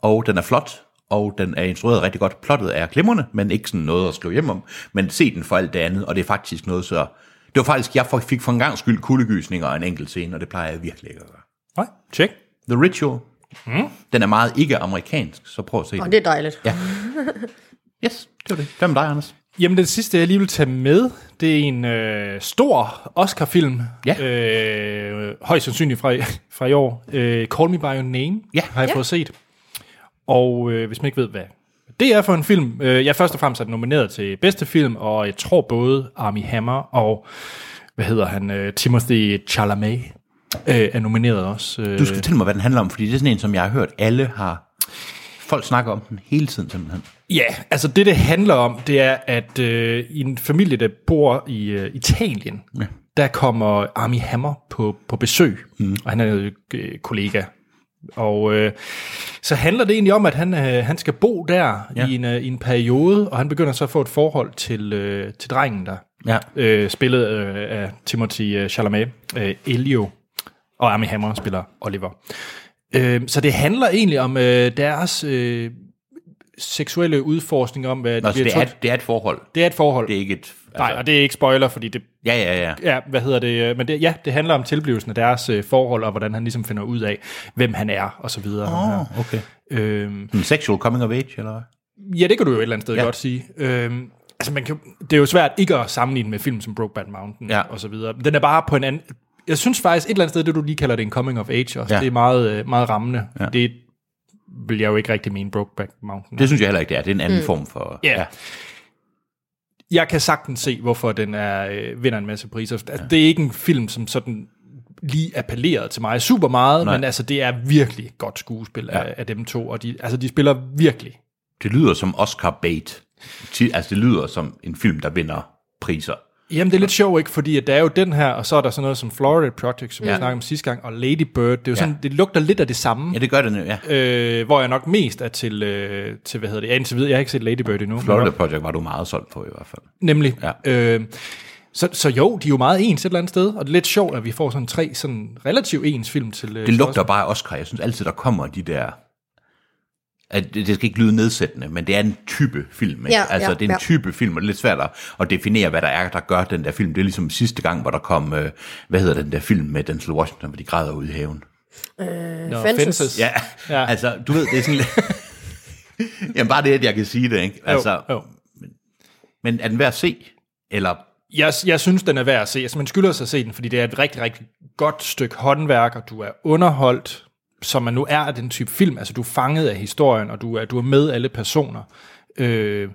S2: Og den er flot, og den er instrueret rigtig godt. Plottet er glimrende, men ikke sådan noget at skrive hjem om. Men se den for alt det andet, og det er faktisk noget så... Det var faktisk, jeg fik for en gang skyld kuldegysninger og en enkelt scene, og det plejer jeg virkelig ikke at gøre.
S1: Nej, tjek.
S2: The Ritual. Mm. Den er meget ikke amerikansk, så prøv at se
S3: Og
S2: den.
S3: det er dejligt. Ja.
S2: Yes, det var det. Hvem er dig, Anders?
S1: Jamen, den sidste, jeg lige vil tage med, det er en øh, stor Oscar-film.
S2: Ja.
S1: Øh, højst sandsynligt fra, fra i år. Øh, Call Me By Your Name
S2: Ja.
S1: har jeg fået set. Og øh, hvis man ikke ved, hvad det er for en film. Øh, jeg først og fremmest er den nomineret til bedste film, og jeg tror både Armie Hammer og, hvad hedder han, øh, Timothy Chalamet øh, er nomineret også. Øh,
S2: Du skal fortælle mig, hvad den handler om, fordi det er sådan en, som jeg har hørt, alle har... Folk snakker om den hele tiden, simpelthen.
S1: Ja, altså det, det handler om, det er, at øh, i en familie, der bor i øh, Italien, ja. der kommer Armie Hammer på, på besøg, mm. og han er jo øh, kollega. Og øh, så handler det egentlig om, at han, øh, han skal bo der ja.
S2: Ja.
S1: i, en, øh, i en periode, og han begynder så at få et forhold til, øh, til drengen der,
S2: Ja.
S1: øh, spillet øh, af Timothy øh, Chalamet, øh, Elio, og Armie Hammer spiller Oliver. Øh, så det handler egentlig om øh, deres... Øh, seksuelle udforskning om, hvad
S2: Nå, så
S1: bliver
S2: det er,
S1: trykt.
S2: et, det er et forhold.
S1: det er et forhold.
S2: Det er altså- ikke et...
S1: Nej, og det er ikke spoiler, fordi det,
S2: Ja, ja, ja.
S1: ja, hvad hedder det, øh, men det, ja, det handler om tilblivelsen af deres øh, forhold, og hvordan han ligesom finder ud af, hvem han er, og så videre. ham her.
S2: Oh, okay.
S1: Øhm,
S2: En Hmm, sexual coming of age, eller hvad?
S1: ja, det kan du jo et eller andet sted ja.
S2: Ja.
S1: godt sige. Øhm, altså, man kan, jo- det er jo svært ikke at sammenligne med film som Brokeback Mountain,
S2: Ja.
S1: og så videre. Den er bare på en anden... Jeg synes faktisk, et eller andet sted, det du lige kalder det en coming of age også, ja.
S2: Ja.
S1: det er meget, øh, meget rammende. Ja.
S2: Ja.
S1: Det vil jeg jo ikke rigtig mene Brokeback Mountain.
S2: Det synes jeg heller ikke, det er. Det er en anden mm. form for...
S1: Ja. jeg kan sagtens se, hvorfor den er, øh, vinder en masse priser. Altså, ja. Det er ikke en film, som sådan lige appellerede til mig super meget, Nej.
S2: Nej.
S1: men altså, det er virkelig godt skuespil ja. af, af dem to, og de, altså, de spiller virkelig.
S2: Det lyder som Oscar bait. Ti- Altså, det lyder som en film, der vinder priser.
S1: Jamen, det er lidt sjovt, ikke? Fordi at der er jo den her, og så er der sådan noget som Florida Project, som ja. vi snakkede om sidste gang, og Lady Bird. Det er jo sådan, det lugter lidt af det samme.
S2: Ja, det gør det nu, ja.
S1: Øh, hvor jeg nok mest er til, øh, til hvad hedder det, ja, indtil videre, jeg har ikke set Lady Bird endnu. men
S2: Florida Project var du meget solgt på i hvert fald.
S1: Nemlig. Ja.
S2: Ja.
S1: Øh, så, så jo, de er jo meget ens et eller andet sted, og det er lidt sjovt, at vi får sådan tre sådan relativt ens film til... Øh,
S2: Det lugter bare af Oscar. Jeg synes altid, der kommer de der... At det det skal ikke lyde nedsættende, men det er en type film. Ikke?
S3: Ja,
S2: altså,
S3: ja,
S2: det er en
S3: ja.
S2: type film, og det er lidt svært at, at definere, hvad der er, der gør den der film. Det er ligesom sidste gang, hvor der kom, øh, hvad hedder den der film med Denzel Washington, hvor de græder ude i haven.
S1: Nå,
S3: Fences.
S1: Fences.
S2: Ja,
S1: Ja.
S2: ja. altså, du ved, det er sådan lidt... Jamen, bare det, at jeg kan sige det, ikke? Altså,
S1: Jo, jo.
S2: Men er den værd at se? Eller...
S1: Jeg, jeg synes, den er værd at se. Altså, man skylder sig at se den, fordi det er et rigtig, rigtig godt stykke håndværk, og du er underholdt, som man nu er af den type film. Altså, du er fanget af historien, og du er, du er med alle personer. Øh,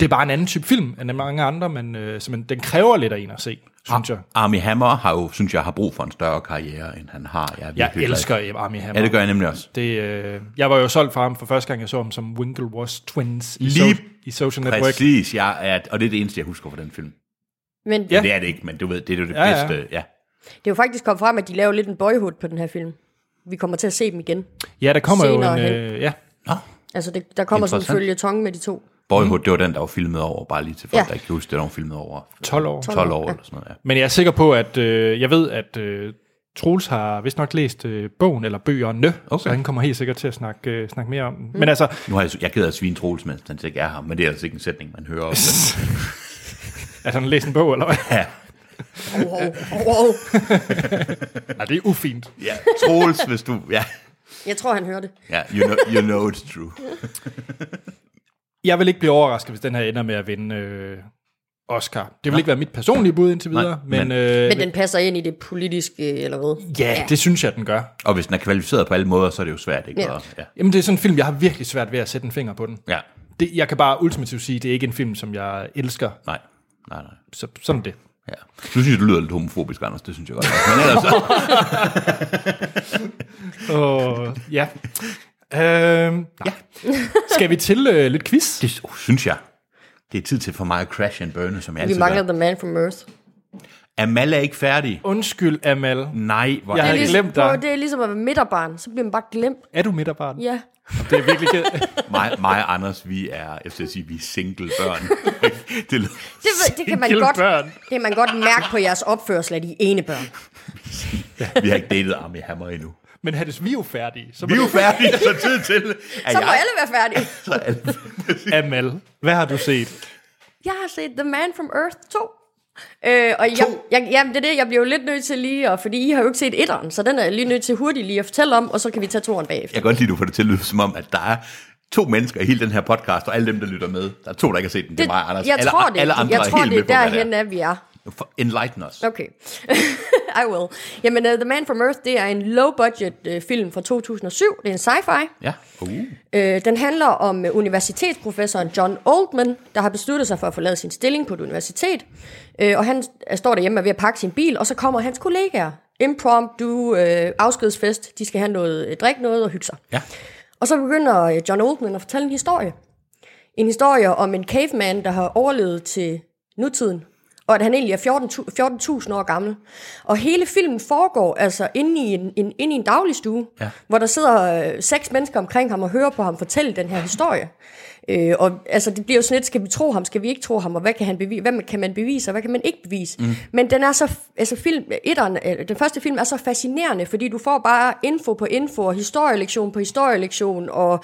S1: det er bare en anden type film, end mange andre, men øh, så man, den kræver lidt af en at
S2: Ah.
S1: se, synes jeg.
S2: Armie Hammer har jo, synes jeg, har brug for en større karriere, end han har. Jeg, er
S1: Jeg
S2: virkelig glad.
S1: elsker øh, Armie Hammer.
S2: Ja, det gør jeg nemlig også.
S1: Det, øh, jeg var jo solgt for ham for første gang, jeg så ham som Winklevoss Twins i,
S2: Lige
S1: so- i Social Network.
S2: Præcis, jeg er, og det er det eneste, jeg husker fra den film.
S3: Men
S1: Ja.
S3: ja.
S2: Det er det ikke, men du ved, det er jo det
S1: Ja, ja.
S2: ja, bedste. Ja.
S3: det er jo faktisk kommet frem, at de laver lidt en boyhood på den her film. Vi kommer til at se dem igen.
S1: Ja, der kommer jo
S3: Senere
S1: en...
S3: hen.
S1: Øh, ja.
S2: Nå,
S3: Altså, det, der kommer sådan en
S2: Interessant.
S3: følge tong med de to.
S2: Boyhood, det var den, der var filmet over, bare lige til folk,
S3: Ja.
S2: ja. der ikke kan huske, det der var filmet over
S1: 12 år.
S2: 12 år eller sådan noget. Ja.
S1: Men jeg er sikker på, at... Øh, jeg ved, at øh, Troels har vist nok læst øh, bogen, eller bøgerne, okay.
S2: Okay.
S1: så han kommer helt sikkert til at snakke, øh, snakke mere om den. Mm. Men altså,
S2: Nu har jeg, jeg gider at svine Troels, mens den ikke er her, men det er altså ikke en sætning, man hører. ofte.
S1: at han har læst en bog, eller hvad?
S2: ja.
S3: Oh, oh, oh, oh.
S1: Nej, det er ufint.
S2: ja, Troels, hvis du... Ja,
S3: Jeg tror, han hører det.
S2: ja you, know, you know it's true.
S1: Jeg vil ikke blive overrasket, hvis den her ender med at vinde øh, Oscar. Det vil ikke være mit personlige bud indtil videre,
S2: Nej,
S1: men,
S2: men-
S1: øh,
S3: Men den passer ind i det politiske, eller hvad?
S1: ja, det synes jeg, den gør.
S2: Og hvis den er kvalificeret på alle måder, så er det jo svært, ikke?
S3: Ja.
S2: Og, ja.
S1: Jamen, det er sådan en film, jeg har virkelig svært ved at sætte en finger på den.
S2: ja.
S1: det, jeg kan bare ultimativt sige, det er ikke en film, som jeg elsker.
S2: Nej, nej, nej.
S1: Så, sådan er det.
S2: Ja. Du synes, du lyder lidt homofobisk, Anders. Det synes jeg godt. Men ellers, så-
S1: Og, ja. Øhm, ja. Skal vi til øh, lidt quiz?
S2: det uh, synes jeg. Det er tid til for mig at crash and burne, som jeg
S3: Vi
S2: altid
S3: mangler
S2: gør.
S3: The Man from Earth.
S2: Amal er ikke færdig.
S1: Undskyld, Amal.
S2: Nej, hvor
S1: Jeg
S2: er
S1: havde
S2: det
S1: glemt dig.
S3: Prøv, det er ligesom at være midterbarn, så bliver man bare glemt.
S1: Er du midterbarn?
S3: Ja.
S1: Det er virkelig ked.
S2: mig, mig og Anders, vi er, jeg skal sige, vi er single børn. det lyder
S3: Det, ved- det kan man
S1: Single
S3: godt,
S1: børn.
S3: det kan man godt mærke på jeres opførsel af de ene børn.
S2: vi har ikke datet Armie Hammer endnu.
S1: Men Hannes, vi er jo færdige. Så
S2: Vi er jo færdige, så tid til, at
S3: Så må
S2: jeg
S3: alle være færdige.
S2: så er alle
S1: færdige. Amal, hvad har du set?
S3: Jeg har set The Man from Earth 2. Øh, og jeg, jeg, jamen, det er det, jeg bliver jo lidt nødt til lige, og fordi I har jo ikke set etteren, så den er jeg lige nødt til hurtigt lige at fortælle om, og så kan vi tage toeren bagefter.
S2: Jeg kan godt lide, at du får det til at lyde som om, at der er to mennesker i hele den her podcast, og alle dem, der lytter med. Der er to, der ikke har set den. Det, er mig og Anders.
S3: jeg
S2: alle,
S3: tror det.
S2: alle andre
S3: jeg
S2: er
S3: tror,
S2: helt
S3: det
S2: med
S3: er
S2: på, hvad det
S3: derhen, at vi er.
S2: er. For- Enlighten us.
S3: Okay. I will. Jamen, uh, The Man from Earth, det er en low-budget uh, film fra 2007. Det er en sci-fi.
S2: Ja. Uh.
S3: Øh, den handler om øh, universitetsprofessoren John Oldman, der har besluttet sig for at forlade sin stilling på et universitet. Øh, og han øh, står derhjemme og er ved at pakke sin bil, og så kommer hans kollegaer. Impromptu, øh, afskedsfest, de skal have noget, øh, drikke noget og hygge sig.
S2: Ja.
S3: Og så begynder øh, John Oldman at fortælle en historie. En historie om en caveman, der har overlevet til nutiden, og at han egentlig er 14.000 14.000 år gammel. Og hele filmen foregår altså inde i en, en, inde i en dagligstue, ja. hvor der sidder øh, seks mennesker omkring ham og hører på ham fortælle den her historie. Øh, og altså, det bliver jo sådan lidt, skal vi tro ham, skal vi ikke tro ham, og hvad kan, han bevise, hvad kan man bevise, og hvad kan man ikke bevise. Mm. Men den er så, altså film, etteren, øh, den første film er så fascinerende, fordi du får bare info på info, og historielektion på historielektion, og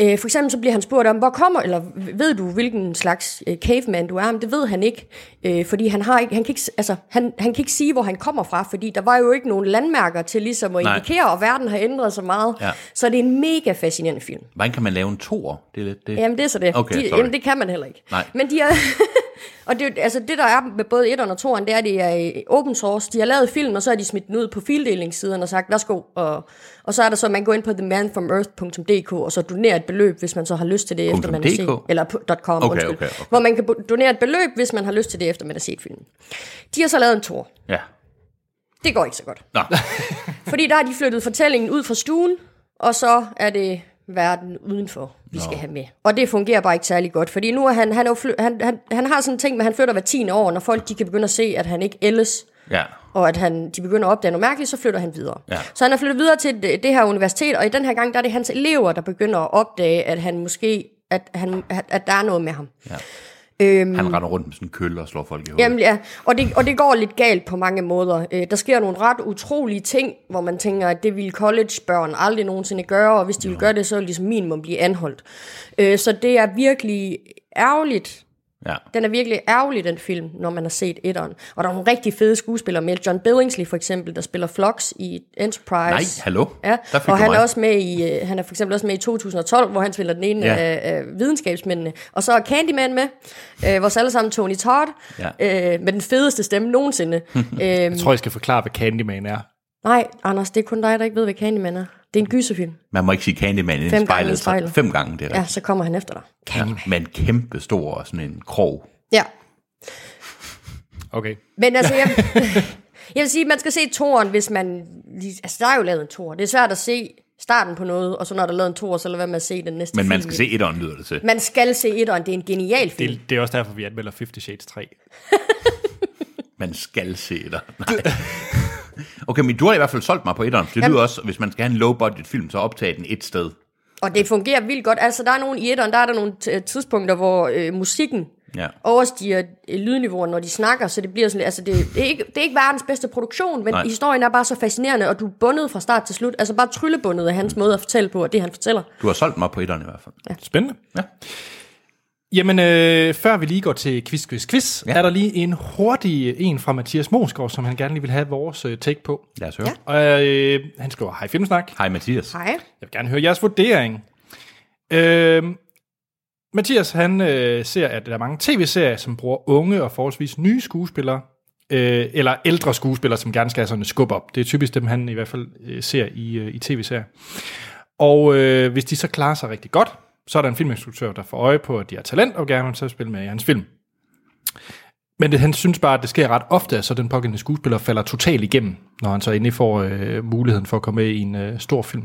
S3: Øh, for eksempel så bliver han spurgt om, hvor kommer, eller ved du, hvilken slags øh, caveman du er? Men det ved han ikke, øh, fordi han, har ikke, han, kan ikke, s- altså, han, han kan ikke sige, hvor han kommer fra, fordi der var jo ikke nogen landmærker til ligesom at
S2: Nej.
S3: indikere, og verden har ændret sig meget.
S2: Ja.
S3: Så det er en mega fascinerende film.
S2: Hvordan kan man lave en toer? Det er lidt det.
S3: Jamen, det er så det.
S2: Okay,
S3: de,
S2: sorry.
S3: jamen, det kan man heller ikke.
S2: Nej.
S3: Men de er... og det, er jo- altså, det, der er med både 1 og 2'eren, det er, at det er øh, open source. De har lavet film, og så har de smidt den ud på fildelingssiderne og sagt, værsgo. Og, og så er der så, at man går ind på themanfromearth.dk, og så donerer et beløb, hvis man så har lyst til det, efter man har
S2: .dk?
S3: set. Eller på- .com,
S2: Okay,
S3: undskyld.
S2: okay, okay.
S3: Hvor man kan bo- donere et beløb, hvis man har lyst til det, efter man har set filmen. De har så lavet en tor.
S2: Ja.
S3: Det går ikke så godt.
S2: Nå.
S3: Fordi der har de flyttet fortællingen ud fra stuen, og så er det verden udenfor, vi skal have med. Og det fungerer bare ikke særlig godt, fordi nu er han, han, er jo fly, han, han, han har sådan en ting med, at han flytter hver 10. år, når folk de kan begynde at se, at han ikke ældes,
S2: ja.
S3: og at han, de begynder at opdage noget mærkeligt, så flytter han videre.
S2: Ja.
S3: Så han er flyttet videre til det, det her universitet, og i den her gang, der er det hans elever, der begynder at opdage, at han måske, at, han, at, at der er noget med ham.
S2: Han render rundt med sådan en kølle og slår folk i hovedet.
S3: Jamen ja, og det, og det går lidt galt på mange måder. Øh, der sker nogle ret utrolige ting, hvor man tænker, at det ville college-børn aldrig nogensinde gøre, og hvis de ville gøre det, så ville de som minimum blive anholdt. Øh, så det er virkelig ærgerligt.
S2: Ja.
S3: Den er virkelig ærgerlig, den film, når man har set etteren. Og der er nogle rigtig fede skuespillere med. John Billingsley for eksempel, der spiller Flox i Enterprise.
S2: Nej, hallo.
S3: Ja,
S2: Der fik
S3: og
S2: du
S3: han
S2: mig.
S3: er, også med i, øh, han er for eksempel også med i 2012, hvor han spiller den ene
S2: Ja.
S3: ja. af, af videnskabsmændene. Og så er Candyman med, øh, vores alle sammen Tony Todd,
S2: Ja.
S3: øh, med den fedeste stemme nogensinde.
S2: Hm.
S3: øhm,
S1: Jeg tror, jeg skal forklare, hvad Candyman er.
S3: nej, Anders, det er kun dig, der ikke ved, hvad Candyman er. Det er en gyserfilm.
S2: Man må ikke sige Candyman inden
S3: Fem gange
S2: spejlet.
S3: i
S2: så-
S3: spejlet.
S2: Fem gange, det er
S3: Ja,
S2: rigtigt.
S3: så kommer han efter dig.
S2: Ja. Men kæmpe stor og sådan en krog.
S3: Ja,
S1: Okay.
S3: men altså, jeg, jeg vil sige, at man skal se toren, hvis man... lige- Altså, der er jo lavet en tor. Det er svært at se starten på noget, og så når der er lavet en tor, så lad være med at se den næste
S2: Men man
S3: film.
S2: skal se et ånd, lyder det til.
S3: Man skal se etteren, det er en genial film.
S1: Det, det er også derfor, vi anmelder 50 Shades 3.
S2: Man skal se dig. Nej. Okay, men du har i hvert fald solgt mig på etteren. Det lyder også, hvis man skal have en low-budget film, så optag den et sted.
S3: Og det fungerer vildt godt. Altså, der er nogle i etteren, der er der nogle t- tidspunkter, hvor øh, musikken
S2: Ja.
S3: overstiger øh, lydniveauet, når de snakker, så det bliver sådan lidt- altså det, det, er ikke, det er ikke verdens bedste produktion, men
S2: Nej.
S3: Nej. historien er bare så fascinerende, og du er bundet fra start til slut, altså bare tryllebundet af hans måde at fortælle på, og det han fortæller.
S2: Du har solgt mig på etteren i hvert fald. Ja.
S1: Spændende.
S2: Ja.
S1: Jamen, øh, før vi lige går til quiz, quiz, quiz,
S2: Ja.
S1: ja. er der lige en hurtig en fra Mathias Mosgaard, som han gerne lige vil have vores øh, take på.
S2: Lad os høre. Ja.
S3: Ja.
S1: Og øh, han skriver, hej Filmsnak,
S2: Hej Mathias.
S3: Hej.
S1: jeg vil gerne høre jeres vurdering. Øh, Mathias, han øh, ser, at der er mange tv-serier, som bruger unge og forholdsvis nye skuespillere, øh, eller ældre skuespillere, som gerne skal have sådan et skub op. Det er typisk dem, han i hvert fald øh, ser i, øh, i tv-serier. Og øh, hvis de så klarer sig rigtig godt, så er der en filminstruktør, der får øje på, at de har talent og gerne vil så spille med i hans film. Men det, han synes bare, at det sker ret ofte, at så den pågældende skuespiller falder totalt igennem, når han så endelig får øh, muligheden for at komme med i en øh, stor film.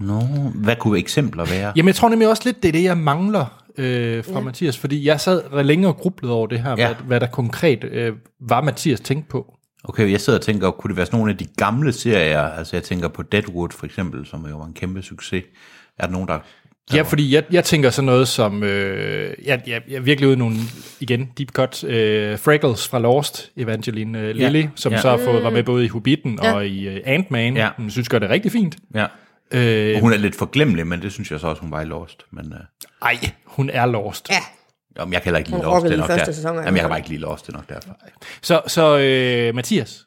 S2: Nå, hvad kunne eksempler være?
S1: Jamen, jeg tror nemlig også lidt, det er det, jeg mangler øh, fra ja. Mathias, fordi jeg sad ret længe og grublede over det her,
S2: Ja.
S1: ja. hvad, hvad der konkret øh, var Mathias tænkt på.
S2: Okay, jeg sidder og tænker, kunne det være sådan nogle af de gamle serier? Altså jeg tænker på Deadwood for eksempel, som jo var en kæmpe succes. Er der nogen, der...
S1: Ja, fordi jeg, jeg tænker sådan noget som, øh, jeg, jeg, jeg er virkelig ude i nogle, igen, deep cut, øh, Fraggles fra Lost, Evangeline øh, Lilly,
S2: Ja.
S1: ja. som
S2: Ja.
S1: ja. så har fået, var med både i Hobbiten ja. og i øh, Ant-Man.
S2: Ja.
S1: Ja. Hun synes, gør det rigtig fint.
S2: Ja.
S1: Øh,
S2: Og hun er lidt forglemmelig, men det synes jeg så også, hun var i Lost. Men, øh,
S1: ej, hun er lost.
S3: Ja,
S2: jamen, jeg kan heller ikke lide
S3: Hun
S2: Lost.
S3: rockede
S2: Det er
S3: i
S2: nok
S3: første
S2: der.
S3: sæson af
S2: Jamen, jeg kan
S3: Lost.
S2: bare ikke lide Lost, det er nok derfor.
S1: Så, så øh, Mathias,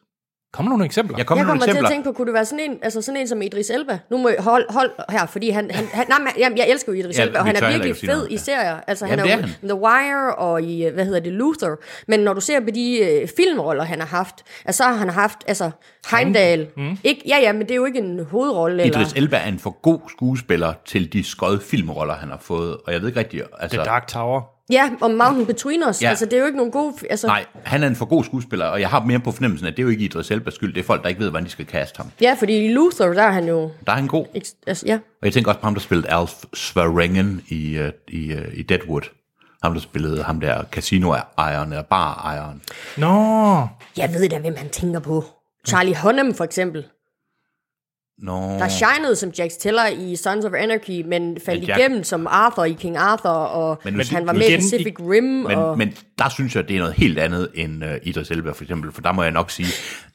S1: kom nogle eksempler.
S2: Jeg kommer
S3: jeg
S2: med nogle
S3: kommer til
S2: eksempler.
S3: at tænke på, kunne det være sådan en, altså sådan en som Idris Elba? Nu må jeg hold, hold her, fordi han, han, han nej, men, jamen, jeg elsker jo Idris
S2: Ja,
S3: Elba, og
S2: vi
S3: han
S2: tør
S3: er
S2: heller
S3: virkelig
S2: ikke sige
S3: fed
S2: noget,
S3: i
S2: ja.
S3: serier. Altså,
S2: Jamen,
S3: han
S2: det
S3: er
S2: er
S3: jo
S2: han.
S3: The Wire og i, øh, hvad hedder det, Luther. Men når du ser på de øh, filmroller, han har haft, altså, så har han haft, altså, Heimdall. Mm. Ikke, ja, ja, men det er jo ikke en hovedrolle.
S2: Idris
S3: eller,
S2: Elba er en for god skuespiller til de skøde filmroller, han har fået. Og jeg ved ikke rigtig... Altså,
S1: The Dark Tower.
S3: ja, og Mountain Between Us.
S2: Ja.
S3: Ja. Altså, det er jo ikke nogen gode... Altså,
S2: Nej, han er en for god skuespiller, og jeg har mere på fornemmelsen, at det er jo ikke Idris Elbas skyld. Det er folk, der ikke ved, hvordan de skal kaste ham.
S3: Ja, fordi i Luther, der er han jo...
S2: Der er han god.
S3: ikke- Altså, ja.
S2: Og jeg tænker også på ham, der spillede Alf Svarengen i, øh, i, øh, i Deadwood. Ham, der spillede ham der casino-ejeren, eller bar-ejeren.
S1: Nå,
S3: Jeg ved da, hvem han tænker på. Charlie Hunnam, for eksempel.
S2: Nå,
S3: der shinede som Jack Teller i Sons of Anarchy, men faldt
S2: Men Jack-
S3: igennem som Arthur i King Arthur, og
S2: Men
S3: men
S2: nu sig-
S3: han var
S2: nu
S3: med i
S1: igen
S3: Pacific Rim.
S2: men,
S3: og,
S2: men der synes jeg, det er noget helt andet end øh, Idris Elba, for eksempel. For der må jeg nok sige,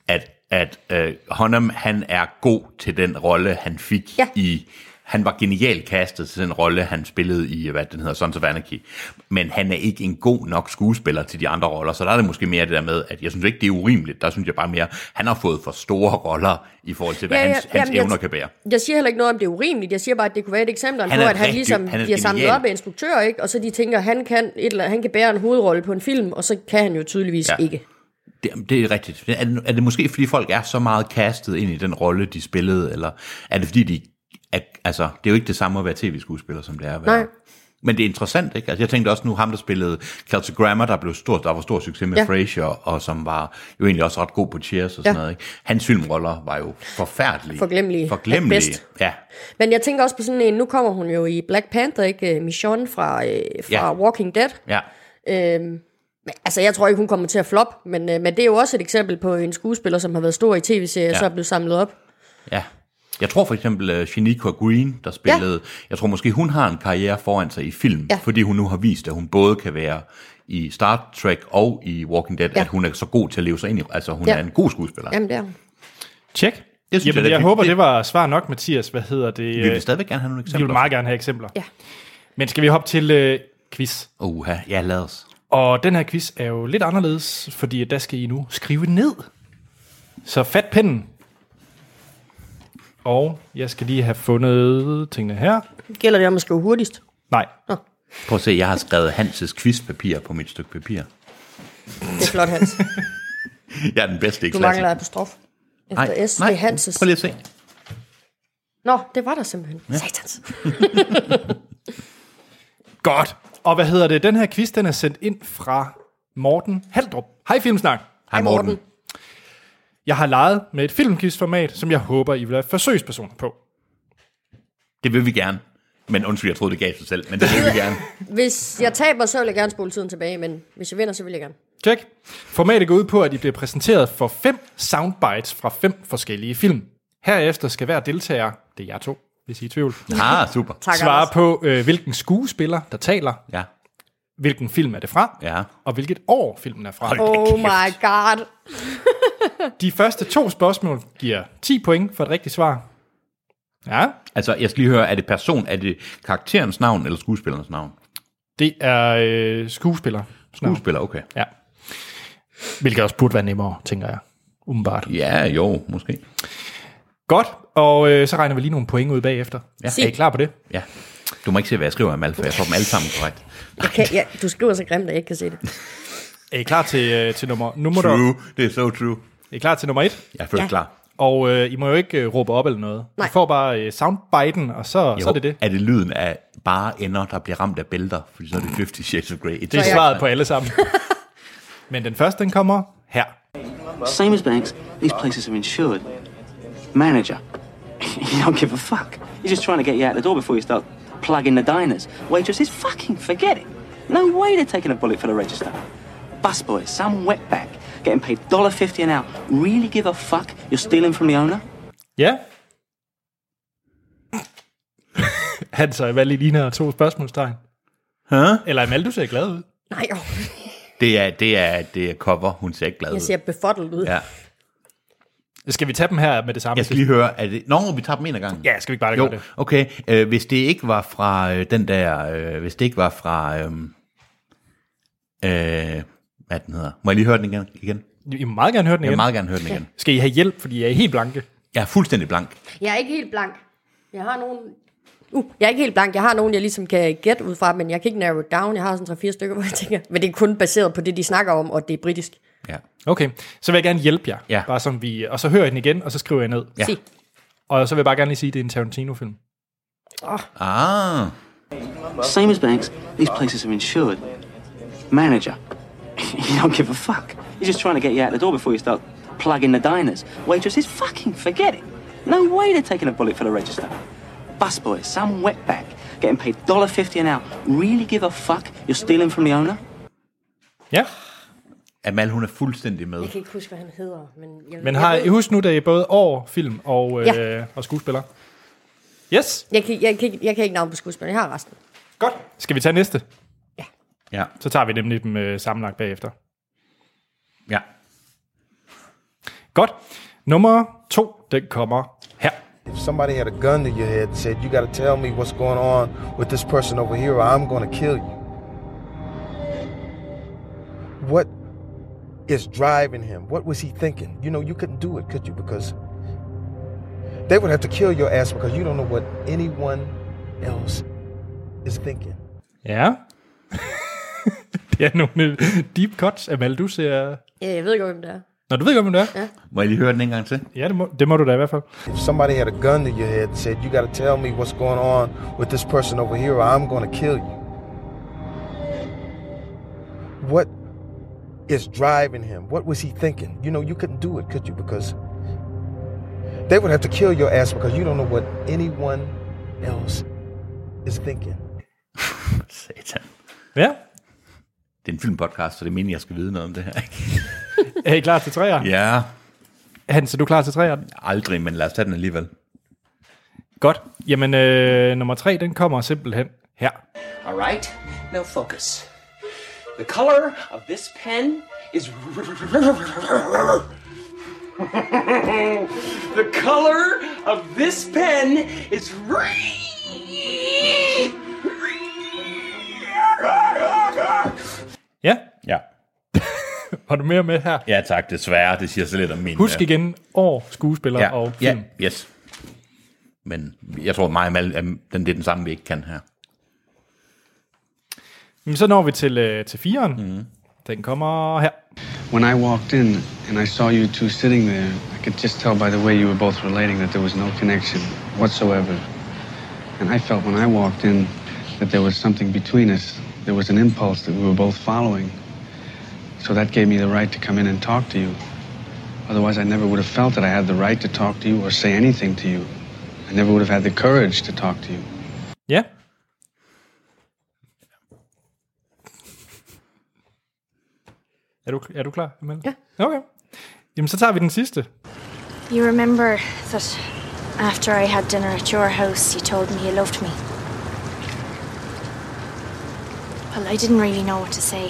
S2: at, at øh, Hunnam, han er god til den rolle, han fik
S3: Ja.
S2: i... Han var genial castet til den rolle, han spillede i, øh, hvad den hedder, Sons of Anarchy. Men han er ikke en god nok skuespiller til de andre roller, så der er det måske mere det der med, at jeg synes ikke, det er urimeligt. Der synes jeg bare mere, han har fået for store roller i forhold til, hvad ja, ja, hans, hans
S3: jamen,
S2: evner
S3: jeg,
S2: kan bære.
S3: Jeg siger heller ikke noget om det er urimeligt. Jeg siger bare, at det kunne være et eksempel på,
S2: Han er
S3: at han
S2: rigtig-
S3: ligesom
S2: han
S3: han
S2: er
S3: bliver samlet
S2: genial.
S3: op af instruktører, ikke? og så de tænker, han kan, et eller, han kan bære en hovedrolle på en film, og så kan han jo tydeligvis
S2: Ja.
S3: ja. ikke.
S2: Det, det er rigtigt. Er det, er det måske, fordi folk er så meget castet ind i den rolle, de spillede, eller er det fordi, de... Er, altså, det er jo ikke det samme at være tv-skuespiller, som det er at være...
S3: Nej.
S2: Men det er interessant, ikke? Altså, jeg tænkte også nu, ham der spillede Kelsey Grammer, der blev stor, der var stor succes med ja.
S3: Ja.
S2: Frasier, og som var jo egentlig også ret god på Cheers og sådan ja.
S3: Ja.
S2: noget, ikke? Hans filmroller var jo forfærdelige.
S3: Forglemmelige. At
S2: Forglemmelige,
S3: bedst.
S2: ja.
S3: Men jeg tænker også på sådan en, nu kommer hun jo i Black Panther, ikke? Øh, Michonne fra, øh, fra
S2: Ja.
S3: ja. Walking Dead.
S2: ja.
S3: Øhm, men, altså, jeg tror ikke, hun kommer til at flop, men, øh, men det er jo også et eksempel på en skuespiller, som har været stor i tv-serier,
S2: Ja.
S3: ja. så er blevet samlet op.
S2: Ja. Jeg tror for eksempel uh, Shaniqua Green, der spillede, ja. jeg tror måske hun har en karriere foran sig i film, ja.
S3: Ja.
S2: fordi hun nu har vist, at hun både kan være i Star Trek og i Walking Dead, ja.
S3: Ja.
S2: at hun er så god til at leve sig ind i, altså hun ja.
S3: Ja.
S2: er en god skuespiller. Ja.
S3: Jamen, det er hun.
S1: Tjek.
S2: Det synes jeg,
S1: Jamen,
S2: det
S1: jeg, jeg
S2: er fint.
S1: håber,
S2: Det-
S1: det var svar nok, Mathias. Hvad hedder det? Øh,
S2: Vi vil stadigvæk gerne have nogle
S1: vi vil
S2: eksempler.
S1: meget gerne have eksempler.
S3: Ja.
S1: Men skal vi hoppe til øh, quiz?
S2: Oha, ja lad os.
S1: Og den her quiz er jo lidt anderledes, fordi at der skal I nu skrive ned. Så fat pinden. Og jeg skal lige have fundet tingene her.
S3: Gælder det om at skrive hurtigst?
S1: Nej,
S2: Prøv at se, jeg har skrevet Hanses quizpapir på mit stykke papir.
S3: Det er flot, Hans.
S2: Jeg er den bedste i
S3: Du
S2: klassen.
S3: mangler apostrof. Efter nej, S, nej. det er Hanses.
S2: Prøv lige at se.
S3: Nå, det var der simpelthen. Ja. Satans.
S1: Godt. Og hvad hedder det? Den her quiz, den er sendt ind fra Morten Haldrup. Hej Filmsnak.
S2: Hej Morten.
S3: Morten.
S2: Morten.
S1: Jeg har leget med et filmquizformat, som jeg håber, I vil være forsøgspersoner på.
S2: Det vil vi gerne. Men undskyld, jeg troede, det gav sig selv, men det vil vi gerne.
S3: Hvis jeg taber, så vil jeg gerne spole tiden tilbage, men hvis jeg vinder, så vil jeg gerne.
S1: Tjek. Formatet går ud på, at I bliver præsenteret for fem soundbites fra fem forskellige film. Herefter skal hver deltager, det er jer to, hvis I er i tvivl,
S2: Ah, super.
S3: Tak,
S1: svare
S3: Anders.
S1: på, øh, hvilken skuespiller, der taler,
S2: Ja,
S1: hvilken film er det fra,
S2: ja.
S1: og hvilket år filmen er fra.
S2: Hold
S3: Oh
S2: Kæft.
S3: my god.
S1: De første to spørgsmål giver 10 point for et rigtigt svar. Ja,
S2: Altså, jeg skal lige høre, er det person, er det karakterens navn eller skuespillerens navn?
S1: det er øh, skuespiller.
S2: Skuespiller, okay.
S1: Ja. Hvilket også burde være nemmere, tænker jeg. Umiddelbart.
S2: Ja, jo, måske.
S1: Godt, og øh, så regner vi lige nogle point ud bagefter. Ja. Er I
S3: Sig.
S1: klar på det?
S2: Ja. Du må ikke se, hvad jeg skriver, Amal, for jeg får dem alle sammen korrekt.
S3: Jeg kan, ja, du skriver så grimt, at jeg ikke kan se det.
S1: Er I klar til, øh, til nummer, nummer
S2: True, det er så so true.
S1: Er I klar til nummer et?
S2: Jeg er først ja.
S3: Ja.
S2: klar.
S1: Og øh, I må jo ikke øh, råbe op eller noget.
S3: Nej.
S1: I får bare øh, soundbiten, og så, så er det det.
S2: Er det lyden af bare ender, der bliver ramt af bælter? Fordi så er det 50 Shades of Grey.
S1: Det er svaret på alle sammen. Men den første, den kommer her.
S4: Same as banks, these places are insured. Manager. you don't give a fuck. He's just trying to get you out the door before you start plugging the diners. Waitresses, fucking forget it. No way they're taking a bullet for the register. Busboy, some wetback, getting paid $1.50 an hour. Really give a fuck? You're stealing from the owner?
S1: Ja. Han så hvad lige ligner to spørgsmålstegn.
S2: Huh?
S1: Eller Amal, du ser glad ud.
S3: Nej, oh.
S2: Det er, det er, det er cover, hun ser ikke glad ud.
S3: jeg ser befottet ud.
S2: Ja.
S1: Skal vi tage dem her med det samme?
S2: Jeg skal lige høre, er det... Nå, vi tager dem en af gangen.
S1: Ja, skal vi ikke bare
S2: Jo,
S1: gøre det?
S2: okay. Øh, hvis det ikke var fra øh, den der, øh, hvis det ikke var fra, øh, øh, hvad den hedder. Må jeg lige høre den igen? igen?
S1: I må meget gerne høre den
S2: Jeg vil
S1: igen.
S2: meget gerne høre den igen.
S1: Skal I have hjælp, fordi I er helt blanke?
S2: Jeg er fuldstændig blank.
S3: Jeg er ikke helt blank. Jeg har nogen... Uh, jeg er ikke helt blank. Jeg har nogen, jeg ligesom kan gætte ud fra, men jeg kan ikke narrow it down. Jeg har sådan 3-4 stykker, hvor jeg tænker... Men det er kun baseret på det, de snakker om, og det er britisk.
S2: Ja.
S1: Okay, så vil jeg gerne hjælpe jer.
S2: Ja.
S1: Bare som vi, og så hører I den igen, og så skriver jeg ned.
S2: Ja.
S3: Sig.
S1: Og så vil jeg bare gerne lige sige, at det er en Tarantino-film.
S2: Ah,
S4: Same as banks, these places are insured. Manager. you don't give a fuck. He's just trying to get you out the door before you start plugging the diners. Waitresses, fucking forget it. No way they're taking a bullet for the register. Busboy, some wetback, getting paid $1.50 an hour. Really give a fuck? You're stealing from the owner?
S1: Ja,
S2: Amal, hun er fuldstændig med.
S3: Jeg kan ikke huske, hvad han hedder, men... Jeg,
S1: men
S3: jeg
S1: har
S3: ved-
S1: I husk nu, det er både år, film og, ja. øh, og skuespiller. Yes,
S3: Jeg kan, jeg, kan, ikke- jeg kan ikke navne på skuespilleren. Jeg har resten.
S1: godt. Skal vi tage næste?
S2: Ja,
S1: Så tager vi nemlig dem øh, sammenlagt bagefter.
S2: ja.
S1: Godt. Nummer to, den kommer her.
S5: If somebody had a gun to your head and said, You got to tell me what's going on with this person over here, or I'm going to kill you. What is driving him? What was he thinking? You know, you couldn't do it, could you? Because they would have to kill your ass because you don't know what anyone else is thinking.
S1: Ja. det er nogle øh, deep cuts. Amal, du ser...
S3: Ja, jeg ved ikke, hvem det er.
S1: Nå, du ved godt, hvem det er.
S2: Må jeg lige høre den en gang til?
S1: Ja, det må, det må du da i hvert fald.
S5: If somebody had a gun to your head and said, You got to tell me what's going on with this person over here, or I'm going to kill you. What is driving him? What was he thinking? You know, you couldn't do it, could you? Because they would have to kill your ass because you don't know what anyone else is thinking.
S2: Satan.
S1: Ja.
S2: Det er en filmpodcast, så det mener jeg skal vide noget om det her. ikke?
S1: Er I klar til træer?
S2: ja,
S1: Hans, er du klar til træer?
S2: aldrig, men lad os tage den alligevel.
S1: Godt. Jamen, øh, nummer tre, den kommer simpelthen her.
S6: All right, now focus. The color of this pen is. the color of this pen is.
S1: Ja.
S2: Ja.
S1: Har du mere med her?
S2: ja, tak, desværre. Det siger så lidt om min...
S1: Husk
S2: øh,
S1: igen år, skuespiller
S2: ja,
S1: og film.
S2: ja, yes. Men jeg tror meget, at den det er den samme, vi ikke kan her.
S1: Men så når vi til, øh, til firen. Mm. Den kommer her.
S7: When I walked in and I saw you two sitting there, I could just tell by the way you were both relating that there was no connection whatsoever. And I felt when I walked in that there was something between us. There was an impulse that we were both following. So that gave me the right to come in and talk to you. Otherwise, I never would have felt that I had the right to talk to you or say anything to you. I never would have had the courage to talk to you.
S1: Ja. Er du, er du klar, Amal?
S3: Ja.
S1: Okay. Jamen, så tager vi den sidste.
S8: You remember that after I had dinner at your house, you told me you loved me. Well, I didn't really know what to say.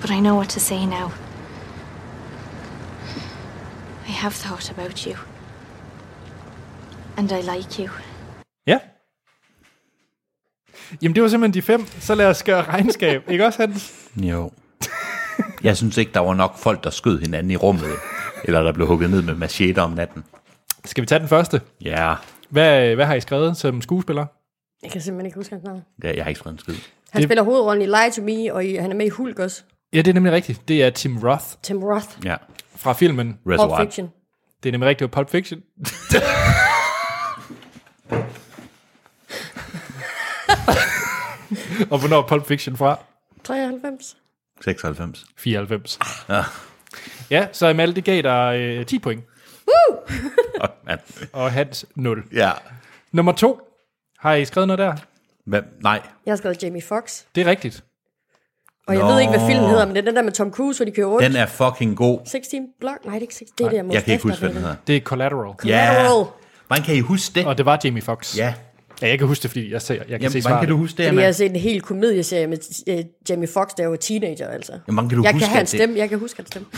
S8: But I know what to say now. I have thought about you. And I like you.
S1: Ja. Jamen, det var simpelthen de fem. Så lad os gøre regnskab. ikke også, Hans?
S2: Jo. Jeg synes ikke, der var nok folk, der skød hinanden i rummet, eller der blev hugget ned med machete om natten.
S1: Skal vi tage den første?
S2: Ja,
S1: Hvad, hvad har I skrevet som skuespiller?
S3: Jeg kan simpelthen ikke huske hans navn.
S2: ja jeg har ikke skrevet en skid.
S3: Han
S1: Det-
S3: det... spiller hovedrollen i Lie to Me, og i, han er med i Hulk også.
S1: Ja, det er nemlig rigtigt. Det er Tim Roth
S3: Tim Roth.
S2: Ja,
S1: fra filmen.
S3: Pulp
S2: Reservoir.
S3: Fiction.
S1: Det er nemlig rigtigt, det var Pulp Fiction. Og hvornår er Pulp Fiction fra?
S3: 93.
S2: 96.
S1: 94. Ja, så Amal, det gav dig øh, 10 point,
S2: Oh, man.
S1: og Hans 0.
S2: Ja.
S1: Nummer 2. Har I skrevet noget der?
S2: Hvem? Nej.
S3: Jeg har skrevet Jamie Foxx.
S1: Det er rigtigt.
S3: Og jeg
S2: Nå.
S3: ved ikke, hvad filmen hedder, men det er den der med Tom Cruise, hvor de kører rundt.
S2: Den er fucking god.
S3: 16 Block? Nej, det er ikke 16. Det er det, jeg må
S2: Jeg kan ikke huske, hvad den hedder.
S1: Det er Collateral.
S2: Ja.
S3: Collateral.
S2: Hvordan kan I huske det?
S1: Og det var Jamie Foxx.
S2: Ja.
S1: ja jeg kan huske det, fordi jeg, ser, jeg kan
S2: Jamen,
S1: se
S2: hvordan
S1: svaret.
S2: kan du huske det,
S3: Fordi jeg har
S2: Amal?
S3: set en hel komedieserie med øh, Jamie Foxx, da jeg var teenager, altså.
S2: Jamen, kan du
S3: jeg
S2: huske,
S3: kan
S2: at
S3: hans
S2: det-
S3: stemme, jeg kan huske hans stemme.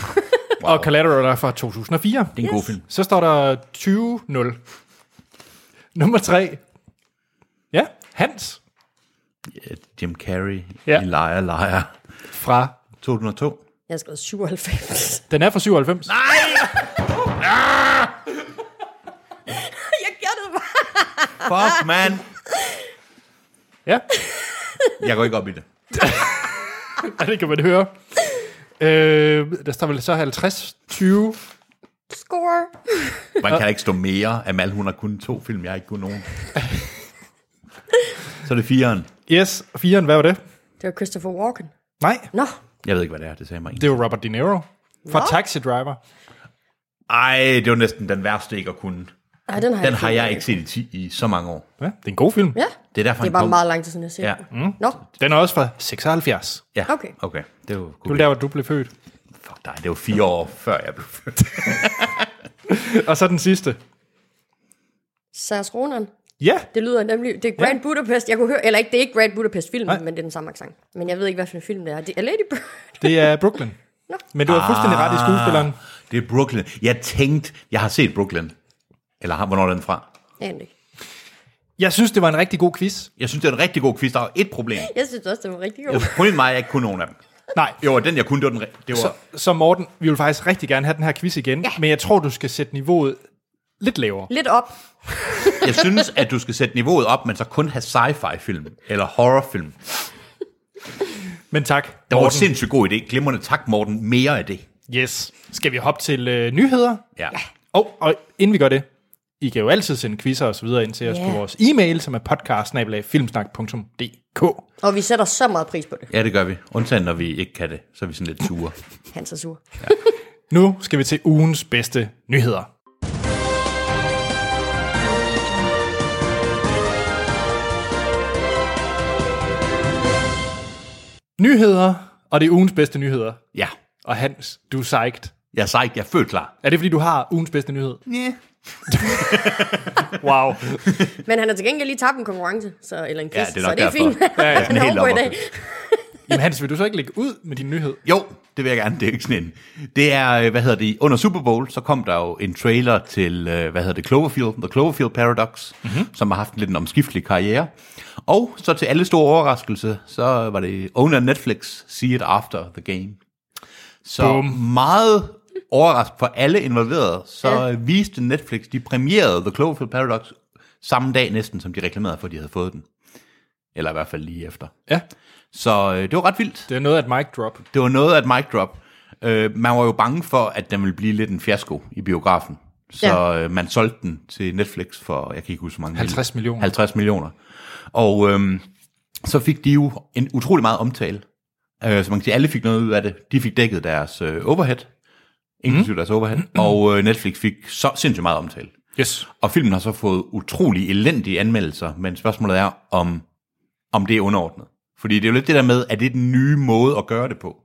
S1: Og Collateral er fra 2004.
S2: Det er en god film.
S1: Så står der 20-0. Nummer 3. Ja, Hans
S2: Ja, Øh, Jim Carrey
S1: Ja.
S2: i Liar Liar
S1: fra...
S2: 2002.
S3: Jeg har skrevet 97.
S1: Den er fra 97. Nej!
S3: jeg gættede bare.
S2: Fuck, man.
S1: Ja,
S2: Jeg går ikke op i det.
S1: og det kan man høre. Øh, der står vel så 50, 20...
S3: Score.
S2: Man kan ikke stå mere. Amal, hun har kun to film, jeg har ikke kun nogen. Så er det fireren.
S1: Yes, 4'eren, hvad var det?
S3: Det var Christopher Walken.
S1: Nej,
S3: Nå,
S2: Jeg ved ikke, hvad det er, det sagde mig ikke.
S1: det var Robert De Niro fra Taxi Driver.
S2: Ej, det var næsten den værste ikke at kunne.
S3: Ej, den har
S2: Den
S3: jeg,
S2: har jeg ikke set i, ti, i så mange år.
S1: Ja, det er en god film.
S3: Ja,
S2: Det er derfor,
S3: det
S2: han
S3: er bare
S2: kom-
S3: meget lang tid siden, jeg ser
S2: Ja.
S3: ja. mm. Nå,
S1: Den er også fra 76.
S2: Ja,
S3: Okay.
S2: okay. Det var,
S1: Det var
S2: cool.
S1: der, hvor du blev født.
S2: Fuck dig, det var fire år før jeg blev født.
S1: Og så den sidste.
S3: Sars Ronan.
S1: Ja,
S3: Det lyder nemlig, det er Grand ja. Budapest, jeg kunne høre, eller ikke, det er ikke Grand Budapest film, men det er den samme accent. Men jeg ved ikke, hvad for en film det er. Det er Lady Bird.
S1: det er Brooklyn. Men du har fuldstændig ret i skuespilleren.
S2: Det er Brooklyn. Jeg tænkte, jeg har set Brooklyn. Eller har- hvornår er den fra?
S3: Aner ikke.
S1: Jeg synes, det var en rigtig god quiz.
S2: Jeg synes, det er en rigtig god quiz. Der er jo et problem.
S3: Jeg synes også, det var rigtig
S2: Jeg
S3: godt.
S2: Problemet mig, at jeg ikke kunne nogen af dem.
S1: Nej,
S2: Jo, den jeg kunne, det var den re- det var,
S1: så, så Morten, vi vil faktisk rigtig gerne have den her quiz igen, ja. men jeg tror, du skal sætte niveauet lidt lavere.
S3: Lidt op.
S2: Jeg synes, at du skal sætte niveauet op, men så kun have sci-fi-film eller horrorfilm.
S1: Men tak,
S2: Det var en
S1: Morten.
S2: sindssygt god idé. Glimrende tak, Morten. Mere af det.
S1: Yes. Skal vi hoppe til øh, nyheder?
S2: Ja.
S1: Og, og inden vi gør det, I kan jo altid sende quizzer og så videre ind til os
S3: Ja.
S1: på vores e-mail, som er podcast-filmsnak.dk.
S3: Og vi sætter så meget pris på det.
S2: ja, det gør vi. Undtagen, når vi ikke kan det, så er vi sådan lidt sure.
S3: Han er så sur.
S1: Nu skal vi til ugens bedste nyheder. Nyheder, og det er ugens bedste nyheder.
S2: Ja.
S1: Og Hans, du er psyched.
S2: Jeg er sejt. Jeg er født klar.
S1: Er det, fordi du har ugens bedste nyhed?
S2: Yeah.
S1: Wow.
S3: Men han har til gengæld lige tabt en konkurrence, så, eller en quiz,
S2: Ja, det er nok
S3: så det er
S2: derfor.
S3: fint.
S2: Ja, ja.
S3: Han er
S2: Helt
S3: ovenpå i
S2: oppe.
S3: dag.
S1: Jamen Hans, vil du så ikke lægge ud med din nyhed?
S2: Jo, det vil jeg gerne. Det er ikke sådan en. Det er, øh, hvad hedder det, under Super Bowl, så kom der jo en trailer til, øh, hvad hedder det, Cloverfield, The Cloverfield Paradox, mm-hmm. som har haft en lidt en omskiftelig karriere. Og så til alle store overraskelse, så var det owner Netflix, See It After The Game. Så
S1: Bum.
S2: meget overraskende for alle involverede, så ja. viste Netflix, de premierede The Cloverfield Paradox samme dag næsten, som de reklamerede for, at de havde fået den. Eller i hvert fald lige efter.
S1: Ja.
S2: Så øh, det var ret vildt.
S1: Det er noget af et mic drop.
S2: Det var noget af et mic drop. Øh, man var jo bange for, at den ville blive lidt en fiasko i biografen. Så
S3: Ja.
S2: ja. øh, man solgte den til Netflix for, jeg kan ikke huske, hvor mange
S1: 50 millioner.
S2: 50 millioner. Og øh, så fik de jo en utrolig meget omtale. Øh, så man kan sige, alle fik noget ud af det. De fik dækket deres øh, overhead, inklusive mm. deres overhead, og øh, Netflix fik så sindssygt meget omtale.
S1: Yes.
S2: Og filmen har så fået utrolig elendige anmeldelser, men spørgsmålet er, om, om det er underordnet. Fordi det er jo lidt det der med, er det den nye måde at gøre det på?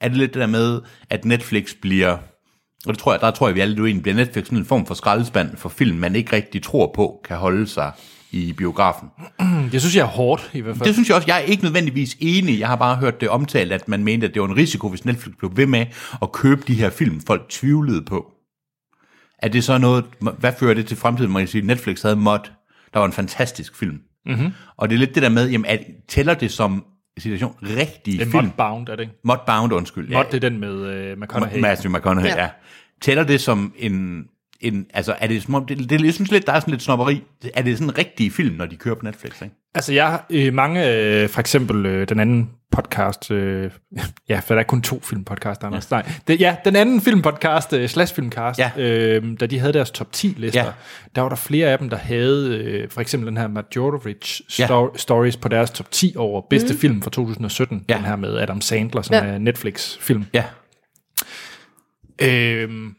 S2: Er det lidt det der med, at Netflix bliver, og det tror jeg, der tror jeg, vi alle er enige, bliver Netflix sådan en form for skraldespand for film, man ikke rigtig tror på, kan holde sig i biografen.
S1: Jeg synes, jeg er hårdt i hvert fald.
S2: Det synes jeg også, jeg er ikke nødvendigvis enig. Jeg har bare hørt det omtalt, at man mente, at det var en risiko, hvis Netflix blev ved med at købe de her film, folk tvivlede på. Er det så noget, hvad fører det til fremtiden? Man kan sige, Netflix havde Mod, der var en fantastisk film.
S1: Mhm.
S2: Mm-hmm. Og det er lidt det der med, jamen, at, tæller det som situation rigtige
S1: Det er
S2: film?
S1: Mudbound, er det ikke?
S2: Modbound, undskyld.
S1: Mud, det er den med øh, McConaughey.
S2: Matthew McConaughey,
S3: Ja.
S2: ja. ja. Tæller det som en, en altså er det som om, det, det, jeg synes lidt, der er sådan lidt snopperi. Er det sådan en rigtig film, når de kører på Netflix, ikke?
S1: Altså, jeg øh, mange, øh, for eksempel øh, den anden podcast, øh, ja, for der er kun to filmpodcast, Anders. Ja. Nej, det, ja, den anden filmpodcast, øh, slash filmcast, ja.
S2: Ja.
S1: øh, da de havde deres top 10 lister, ja.
S2: Ja.
S1: der var der flere af dem, der havde øh, for eksempel den her Majorowitz
S2: Ja.
S1: sto- Stories på deres top 10 over bedste mm. film fra 2017, ja.
S2: Ja.
S1: den her med Adam Sandler, som ja.
S3: Ja.
S1: er Netflix-film.
S2: Ja.
S1: Øhm,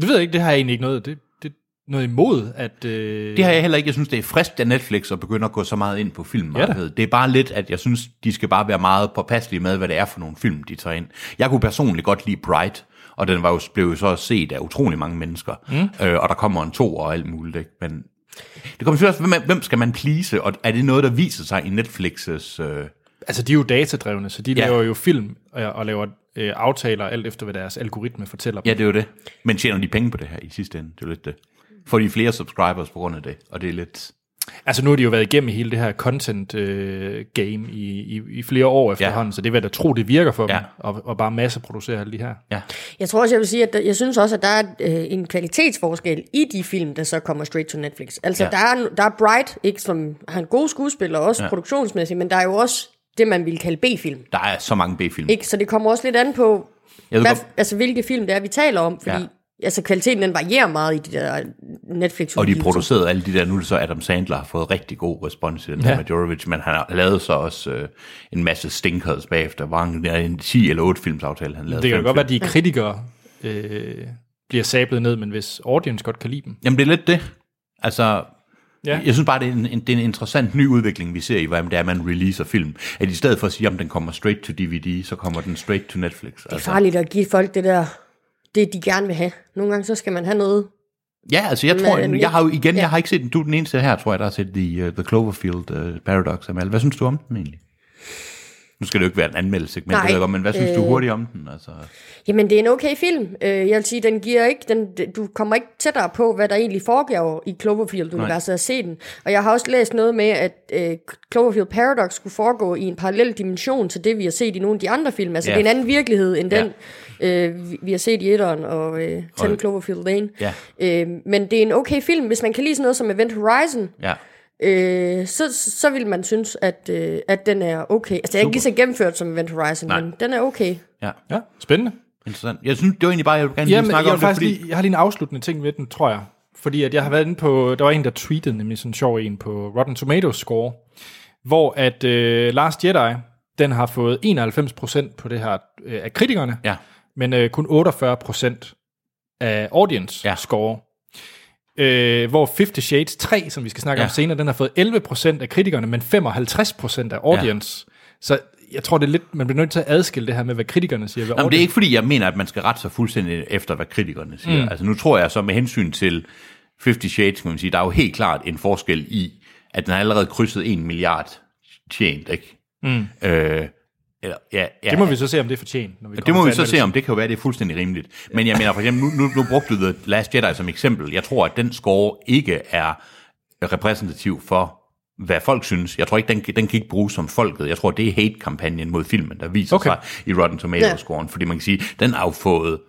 S1: det ved jeg ikke, det har jeg egentlig ikke noget, det, det noget imod, at... Øh,
S2: Det har jeg heller ikke. Jeg synes, det er frisk af Netflix at begynde at gå så meget ind på filmmarkedet.
S1: Ja
S2: det er bare lidt, at jeg synes, de skal bare være meget påpasselige med, hvad det er for nogle film, de tager ind. Jeg kunne personligt godt lide Bright, og den var jo, blev jo så set af utrolig mange mennesker. Mm. Øh, og der kommer en to og alt muligt, ikke? Men det kommer selvfølgelig også, hvem, er- hvem skal man please? Og er det noget, der viser sig i Netflix's... Øh,
S1: Altså, de er jo datadrevne, så de ja.
S2: Ja.
S1: laver jo film og, og laver øh, aftaler alt efter, hvad deres algoritme fortæller dem.
S2: ja, det er jo det. Men tjener de penge på det her i sidste ende? Det er jo lidt det. Får de flere subscribers på grund af det? Og det er lidt...
S1: Altså, nu har de jo været igennem hele det her content øh, game i, i, i flere år efterhånden, så det vil jeg da tro, det virker for ja.
S2: Ja.
S1: dem, og, og bare masseproducere alle de her.
S2: Ja.
S3: Jeg tror også, jeg vil sige, at der, jeg synes også, at der er øh, en kvalitetsforskel i de film, der så kommer straight to Netflix. Altså, ja.
S2: Ja.
S3: der, er, der er Bright, ikke, som har en god skuespiller, også ja. produktionsmæssigt, men der er jo også det, man ville kalde B-film.
S2: Der er så mange B-film.
S3: Ikke? Så det kommer også lidt an på,
S2: Jeg ved
S3: hvad,
S2: godt-
S3: altså, hvilke film det er, vi taler om, fordi
S2: Ja.
S3: altså, kvaliteten den varierer meget i de der netflix
S2: Og de producerede alle de der, nu er det så Adam Sandler har fået rigtig god respons i den
S1: Ja.
S2: ja. Majorovic, men han har lavet så også øh, en masse stinkers bagefter, var en, en 10 eller 8 filmsaftale, han lavede.
S1: Det kan
S2: Fem
S1: godt være,
S2: film.
S1: at de kritikere øh, bliver sablet ned, men hvis audience godt kan lide dem.
S2: Jamen det er lidt det. Altså,
S1: Ja.
S2: ja. jeg synes bare, det er, en, en, det er en interessant ny udvikling, vi ser i, hvordan det er, man releaser film. At i stedet for at sige, om den kommer straight to DVD, så kommer den straight to Netflix. Altså,
S3: Det er farligt at give folk det der, det de gerne vil have. Nogle gange, så skal man have noget.
S2: Ja, altså jeg tror,
S3: Men- øh,
S2: jeg har jo igen,
S3: Ja.
S2: jeg har ikke set den. Du er den øh, eneste her, tror jeg, der har set The, uh, the Cloverfield uh, Paradox. Amal. Hvad synes du om den egentlig? Nu skal det jo ikke være en anmeldelse, men,
S3: Nej.
S2: Nej, godt, men hvad synes øh... du hurtigt om den? Altså,
S3: Jamen, det er en okay film. Øh, jeg vil sige, den giver ikke, den, d- du kommer ikke tættere på, hvad der egentlig foregår i Cloverfield-universet at se den. Og jeg har også læst noget med, at øh, Cloverfield Paradox skulle foregå i en parallel dimension til det, vi har set i nogle af de andre film. Altså,
S2: Ja.
S3: det er en anden virkelighed end den, øh, vi, vi har set i Etteren og øh, 10
S2: Og-
S3: Cloverfield Lane.
S2: Ja.
S3: Øh, men det er en okay film. Hvis man kan lide sådan noget som Event Horizon,
S2: ja.
S3: øh, så, så vil man synes, at, øh, at den er okay. Altså, det er ikke lige så gennemført som Event Horizon,
S2: Nej.
S3: Nej. men den er okay.
S2: ja,
S1: Ja, spændende.
S2: interessant. Jeg synes, det var egentlig bare, jeg ville gerne lige
S1: Jamen,
S2: snakke
S1: jeg,
S2: om
S1: om
S2: det,
S1: faktisk
S2: fordi...
S1: lige, jeg har lige en afsluttende ting ved den, tror jeg. Fordi at jeg har været inde på, der var en, der tweetede nemlig sådan en sjov en på Rotten Tomatoes score, hvor at øh, Last Jedi, den har fået 91% på det her øh, af kritikerne,
S2: Ja,
S1: men øh, kun 48% af audience
S2: Ja.
S1: ja. score. Øh, hvor 50 Shades 3, som vi skal snakke
S2: Ja.
S1: ja. om senere, den har fået 11% af kritikerne, men 55% af audience. Ja. Så jeg tror, det er lidt, man bliver nødt til at adskille det her med, hvad kritikerne siger. Hvad
S2: Nå, men det
S1: audience-
S2: er ikke fordi, jeg mener, at man skal rette sig fuldstændig efter, hvad kritikerne siger. Mm. Altså nu tror jeg så med hensyn til 50 Shades, kan man sige, der er jo helt klart en forskel i, at den har allerede krydset 1 milliard tjent, ikke? Mm. Øh, eller, ja, ja,
S1: det må vi så se, om det er fortjent. Når vi
S2: det
S1: kommer
S2: må
S1: til
S2: vi så se,
S1: anmeldelsen.
S2: om det kan jo være, det er fuldstændig rimeligt. Men jeg mener for eksempel, nu, nu, nu brugte du The Last Jedi som eksempel. Jeg tror, at den score ikke er repræsentativ for, hvad folk synes. Jeg tror ikke, den, den kan ikke bruges som folket. Jeg tror, det er hate-kampagnen mod filmen, der viser okay.
S1: Okay.
S2: sig i Rotten Tomatoes-scoren. Fordi man kan sige, den har jo fået...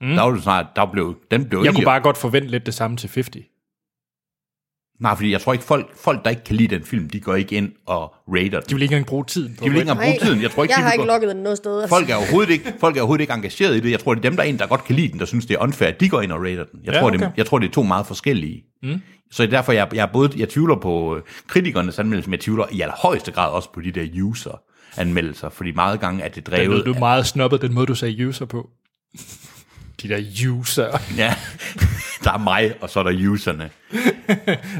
S2: Mm. Der var det snart, der blev, den blev
S1: Jeg
S2: egentlig-
S1: kunne bare godt forvente lidt det samme til 50.
S2: Nej, fordi jeg tror ikke, folk, folk, der ikke kan lide den film, de går ikke ind og rater den.
S1: De vil ikke engang bruge tiden på
S2: de vil ikke
S1: det.
S2: engang bruge tiden. Jeg tror ikke,
S3: jeg
S2: de
S3: har
S2: vil
S3: ikke
S2: gå-
S3: lukket den noget sted. altså.
S2: Folk er, overhovedet ikke, folk er overhovedet ikke engageret i det. Jeg tror, det er dem, der er en, der godt kan lide den, der synes, det er unfair, at de går ind og rater den. Jeg, ja,
S1: Ja,
S2: tror, det,
S1: okay.
S2: jeg tror, det er to meget forskellige. Mm. Så det er derfor, jeg, jeg, er både, jeg tvivler på øh, kritikernes anmeldelser, men jeg tvivler i allerhøjeste grad også på de der user-anmeldelser, fordi meget gange er det
S1: Den
S2: drevet...
S1: lød du meget snobbet, den måde, du sagde user på. De der user.
S2: ja, der er mig, og så er der userne.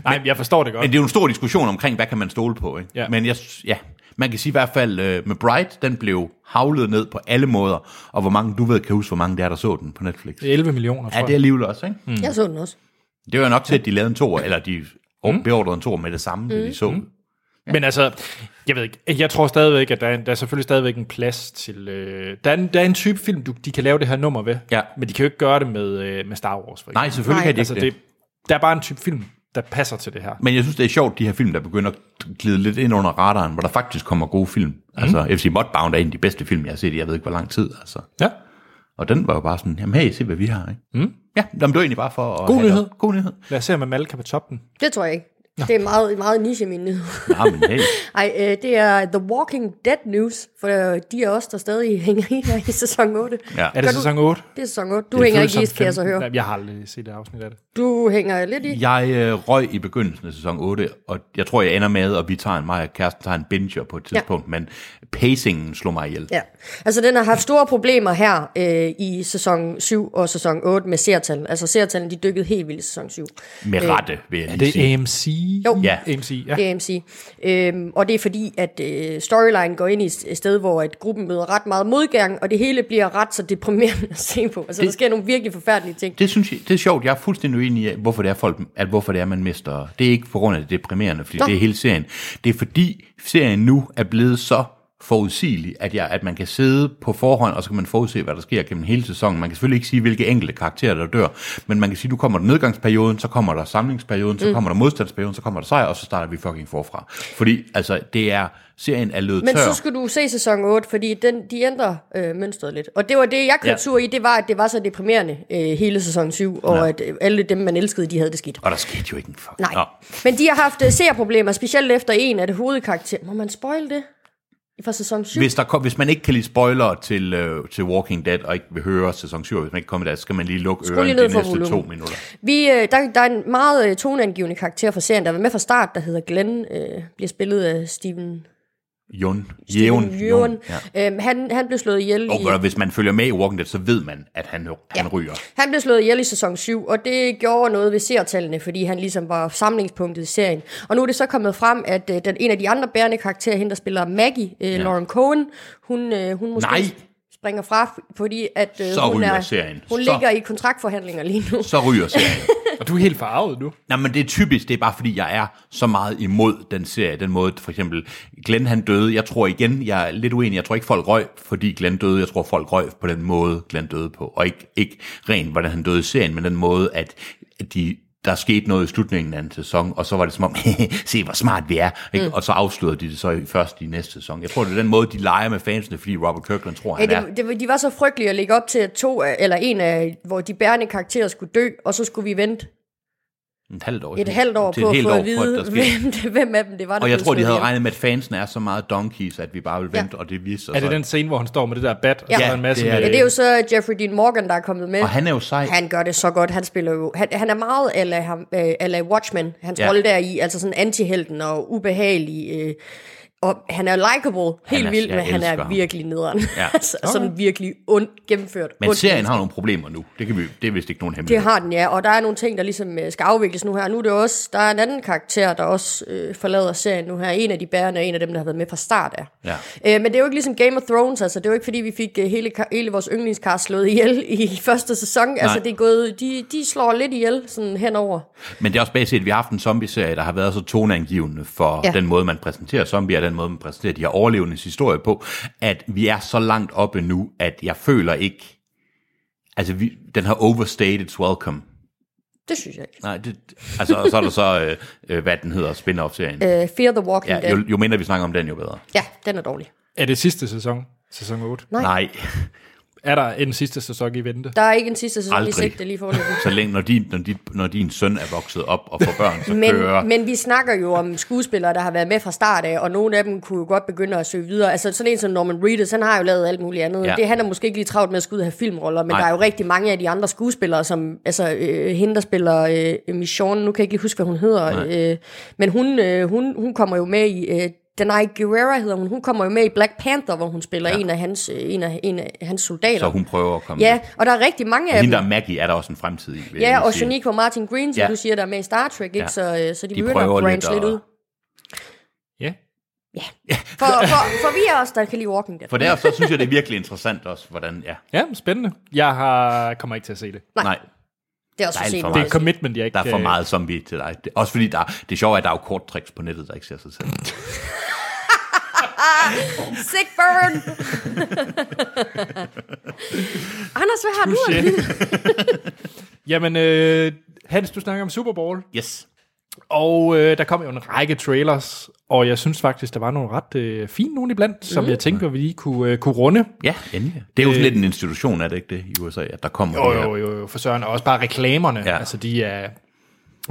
S1: Nej, men jeg forstår det godt.
S2: Men det er jo en stor diskussion omkring, hvad kan man stole på, ikke?
S1: Ja.
S2: Men jeg, ja, man kan sige i hvert fald, øh, med Bright, den blev havlet ned på alle måder, og hvor mange, du ved, kan huske, hvor mange der er, der så den på Netflix.
S1: Det er 11 millioner,
S2: Ja,
S1: tror
S2: det er
S1: jeg.
S2: alligevel også, ikke?
S3: Jeg så den også.
S2: Det var nok til, at de lavede en to, eller de mm. beordrede en to med det samme, mm. det de så. Mm.
S1: Men altså, jeg ved ikke, jeg tror stadigvæk, at der er, en- der er selvfølgelig stadigvæk en plads til... Øh, der, er en, der er en type film, du, de kan lave det her nummer ved,
S2: Ja.
S1: men de kan jo ikke gøre det med, øh, med Star Wars, for eksempel.
S2: Nej, selvfølgelig Nej.
S3: Nej.
S2: kan de ikke
S1: altså,
S2: altså, det.
S1: det, der er bare en type film, der passer til det her.
S2: Men jeg synes, det er sjovt, de her film, der begynder at glide lidt ind under radaren, hvor der faktisk kommer gode film. Mm. Altså, FC Mudbound er en af de bedste film, jeg har set i, jeg ved ikke, hvor lang tid. Altså.
S1: Ja.
S2: Og den var jo bare sådan, jamen hey, se hvad vi har, ikke? Mm. Ja, jamen, det var egentlig bare for at
S1: God
S2: have det
S1: nyhed.
S2: op. God nyhed.
S1: Lad os se, om Malka på toppen.
S3: Det tror jeg ikke. Det er meget, meget niche min nyhed.
S2: Ja, men hey.
S3: Ej, øh, det er The Walking Dead News, for øh, de er også der stadig hænger i her i sæson 8.
S2: Ja.
S1: Er det
S3: du-
S1: sæson 8?
S3: Det er sæson 8. Du det hænger ikke i, kan jeg så høre.
S1: Nej, jeg har aldrig set det afsnit af det.
S3: Du hænger lidt i.
S2: Jeg øh, røg i begyndelsen af sæson 8, og jeg tror, jeg ender med, at vi tager en, mig og kæresten tager en binger på et tidspunkt, ja. men pacingen slog mig ihjel.
S3: Ja, altså den har haft store problemer her øh, i sæson 7 og sæson 8 med seertal. Altså seertallene, de dykkede helt vildt i sæson 7.
S2: Med rette, vil jeg lige
S1: Er det
S2: sige.
S1: AMC?
S3: Jo.
S2: Ja.
S1: AMC, ja.
S3: Det er MC. Øhm, og det er fordi, at øh, storyline går ind i et sted, hvor at gruppen møder ret meget modgang, og det hele bliver ret så deprimerende at se på. Altså, det, der sker nogle virkelig forfærdelige ting.
S2: Det synes jeg, det er sjovt. Jeg er fuldstændig uenig i, hvorfor det er, folk, at hvorfor det er, man mister. Det er ikke på grund af det deprimerende, fordi Nå.
S3: Nå.
S2: det er hele serien. Det er fordi serien nu er blevet så forudsigelig, at, jeg, at man kan sidde på forhånd, og så kan man forudse, hvad der sker gennem hele sæsonen. Man kan selvfølgelig ikke sige, hvilke enkelte karakterer, der dør, men man kan sige, nu kommer der nedgangsperioden, så kommer der samlingsperioden, så mm. kommer der modstandsperioden, så kommer der sejr, og så starter vi fucking forfra. Fordi altså, det er, serien er løbet
S3: Men
S2: tør.
S3: så skulle du se sæson 8, fordi den, de ændrer øh, mønstret lidt. Og det var det, jeg kørte
S2: Ja.
S3: ja. sur i, det var, at det var så deprimerende øh, hele sæson 7, og ja. at øh, alle dem, man elskede, de havde det skidt.
S2: Og der skete jo ikke en fuck.
S3: Nej.
S2: Nå.
S3: Men de har haft øh, seerproblemer, specielt efter en af det hovedkarakter. Må man spoil det? Fra sæson 7?
S2: Hvis, der kom, hvis man ikke kan lide spoiler til, øh, til Walking Dead, og ikke vil høre sæson 7, og hvis man ikke kommer der, så skal man lige lukke
S3: Skru lige
S2: ørerne
S3: ned
S2: de
S3: for
S2: næste to
S3: volumen.
S2: minutter.
S3: Vi, øh, der, der er en meget øh, toneangivende karakter fra serien, der var med fra start, der hedder Glenn, øh, bliver spillet af Steven
S2: Jon.
S3: Steven
S2: Jævn.
S3: Yeun.
S2: Ja. Oh,
S3: Øhm, han, han blev slået ihjel i,
S2: Og hvis man følger med i Walking Dead, så ved man, at han, han
S3: Ja.
S2: ryger.
S3: han blev slået ihjel i sæson 7, og det gjorde noget ved seertallene, fordi han ligesom var samlingspunktet i serien. Og nu er det så kommet frem, at øh, den, en af de andre bærende karakterer, hende der spiller Maggie, øh, Lauren Cohen, hun, øh, hun måske
S2: Nej.
S3: springer fra, fordi at, øh,
S2: Så
S3: hun,
S2: ryger
S3: er,
S2: serien.
S3: hun
S2: Så-
S3: ligger i kontraktforhandlinger lige nu.
S2: Så ryger serien.
S1: Og du er helt farvet nu.
S2: Nej, men det er typisk, det er bare fordi, jeg er så meget imod den serie, den måde, for eksempel, Glenn han døde, jeg tror igen, jeg er lidt uenig, jeg tror ikke folk røg, fordi Glenn døde, jeg tror folk røg på den måde, Glenn døde på, og ikke, ikke rent, hvordan han døde i serien, men den måde, at at de, der skete noget i slutningen af en sæson, og så var det som om, se hvor smart vi er, ikke? Mm. og så afslørede de det så i- først i næste sæson. Jeg tror, det er den måde, de leger med fansene, fordi Robert Kirkland tror,
S3: Ja,
S2: han er
S3: det, det, var- de var så frygtelige at lægge op til, at to af, eller en af, hvor de bærende karakterer skulle dø, og så skulle vi vente
S2: et halvt år.
S3: et halvt år
S2: til
S3: på
S2: et
S3: at
S2: helt
S3: få
S2: år,
S3: at
S2: for, at der
S3: vide,
S2: sker.
S3: hvem, det- hvem af dem det var, der
S2: Og jeg
S3: blev
S2: tror, de
S3: slået
S2: havde
S3: ihjel.
S2: regnet med, at fansen er så meget donkeys, at vi bare vil vente, ja.
S3: Ja.
S2: og det viser sig.
S1: Er det
S2: så-
S1: den scene, hvor han står med det der bat, og
S3: Ja.
S1: så er der en masse...
S2: Det er
S1: med-
S3: Ja, det er jo så øh, Jeffrey Dean Morgan, der er kommet med.
S2: Og han er jo sej.
S3: Han gør det så godt. Han spiller jo... Han, han er meget ala, ham, øh, ala Watchmen. Hans
S2: Ja.
S3: ja. rolle der i, altså sådan antihelten og ubehagelig. Øh, og han er likable, helt
S2: er-
S3: vildt,
S2: jeg
S3: men han er
S2: elsker ham.
S3: virkelig nederen.
S2: Ja.
S3: Ja. altså, Sådan virkelig ond, gennemført.
S2: Men
S3: ond
S2: serien har nogle problemer nu. Det, kan vi, det er vist ikke nogen hemmelighed.
S3: Det har den, ja, og der er nogle ting, der ligesom øh, skal afvikles nu her. Nu er det også, der er en anden karakter, der også øh, forlader serien nu her. En af de bærende, og en af dem, der har været med fra start af.
S2: Ja.
S3: Øh, men det er jo ikke ligesom Game of Thrones, altså. Det er jo ikke, fordi vi fik øh, hele, ka- hele vores yndlingskar slået ihjel i første sæson. Nej. Altså, det er gået, de, de slår lidt ihjel sådan henover.
S2: Men det er også basisk, at vi har haft en zombie-serie, der har været så toneangivende for ja.
S3: Ja.
S2: den måde, man præsenterer zombier, og den måde, man præsenterer de her overlevendes historie på, at vi er så langt oppe nu, at jeg føler ikke... Altså, vi, den har overstayed its welcome.
S3: Det synes jeg ikke.
S2: Nej, det, altså, og så er der så, øh, øh, hvad den hedder, spin-off-serien.
S3: Øh, Fear the Walking
S2: ja,
S3: Dead.
S2: jo, jo mindre vi snakker om den, jo bedre.
S3: Ja, den er dårlig.
S1: Er det sidste sæson? Sæson 8?
S3: Nej.
S2: Nej,
S1: Er der en sidste sæson i vente?
S3: Der er ikke en sidste sæson i
S2: Aldrig.
S3: sigte lige forløbet.
S2: så længe, når din, når, din, når din søn er vokset op og får børn, så kører...
S3: Men, men vi snakker jo om skuespillere, der har været med fra start af, og nogle af dem kunne jo godt begynde at søge videre. Altså sådan en som Norman Reedus, han har jo lavet alt muligt andet.
S2: Ja.
S3: Ja. Det, han er måske ikke lige travlt med at skulle ud og have filmroller, men
S2: Nej.
S3: Nej. der er jo rigtig mange af de andre skuespillere, som, altså øh, hende, der spiller øh, Michonne, nu kan jeg ikke lige huske, hvad hun hedder, øh, men hun, øh, hun, hun kommer jo med i... Øh, Denai Guerrera hedder hun. Hun kommer jo med i Black Panther, hvor hun spiller ja. en, af hans, øh, en, af, en af hans soldater.
S2: Så hun prøver at komme
S3: Ja, og der er rigtig mange af
S2: Hende,
S3: dem.
S2: der er Maggie, er der også en fremtid i. vil jeg
S3: Ja,
S2: lige
S3: og
S2: sige.
S3: Shaniqua Martin Green, som
S2: Ja.
S3: ja. du siger, der er med i Star Trek, ikke?
S2: Ja.
S3: Ja. Så, øh, så de,
S2: De
S3: de begynder
S2: prøver
S3: at
S2: lidt
S3: branche lidt,
S2: at-
S3: ud.
S1: Ja.
S3: For, for, for vi er også, der kan lide Walking Dead.
S2: For derfor så synes jeg, det er virkelig interessant også, hvordan... Ja,
S1: Ja, spændende. Jeg har... kommer ikke til at se det.
S2: nej,
S3: Nej.
S2: nej
S3: Det er også
S2: der er
S3: for
S2: alt
S3: sent.
S2: for
S1: Det
S2: meget.
S1: er et commitment, jeg ikke... øh,
S2: der er for meget zombie til dig. Det, også fordi, der, det sjove er, at der er jo kort tricks på nettet, der ikke ser sig selv.
S3: Sick burn! Anders, hvad har du? at vide?
S1: Jamen, øh, Hans, du snakker om Super Bowl,
S2: Yes.
S1: og øh, der kom jo en række trailers, og jeg synes faktisk, der var nogle ret øh, fine nogle iblandt,
S3: Mm.
S1: som jeg tænker, vi lige kunne, øh, kunne runde.
S2: Ja, endelig. Det er jo sådan lidt en institution, er det ikke det, i USA, at der kommer
S1: Øh. Jo,
S2: det her.
S1: jo, jo, jo, for Søren, og også bare reklamerne,
S2: Ja.
S1: ja. altså de er,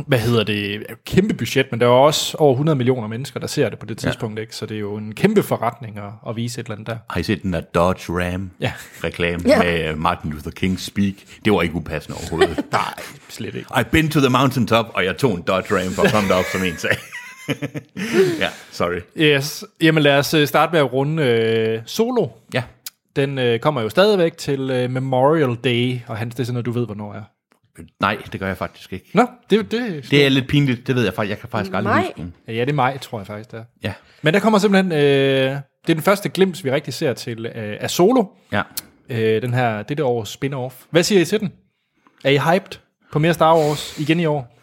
S1: hvad hedder det, kæmpe budget, men der er jo også over 100 millioner mennesker, der ser det på det tidspunkt, ja. ikke? så det er jo en kæmpe forretning at, at vise et eller andet der.
S2: Har I set den der Dodge Ram
S1: Ja.
S2: reklame ja.
S3: Ja.
S2: med øh, Martin Luther King speak? Det var ikke upassende overhovedet.
S1: Nej, slet ikke.
S2: I've been to the mountaintop, og jeg tog en Dodge Ram for at komme derop, som en sagde. ja, sorry.
S1: Yes, jamen lad os øh, starte med at runde øh, Solo.
S2: Ja,
S1: Den øh, kommer jo stadigvæk til øh, Memorial Day, og Hans, det er sådan noget, du ved, hvornår er.
S2: nej, det gør jeg faktisk ikke.
S1: Nå, det, det,
S2: Det er lidt pinligt, det ved jeg faktisk. Jeg kan faktisk aldrig
S3: Nej.
S2: huske den.
S1: Ja, det er maj, tror jeg faktisk, det er.
S2: Ja,
S1: Men der kommer simpelthen, øh, det er den første glimt, vi rigtig ser til øh, af Solo,
S2: ja.
S1: øh, den her, det der års spin-off. Hvad siger I til den? Er I hyped på mere Star Wars igen i år?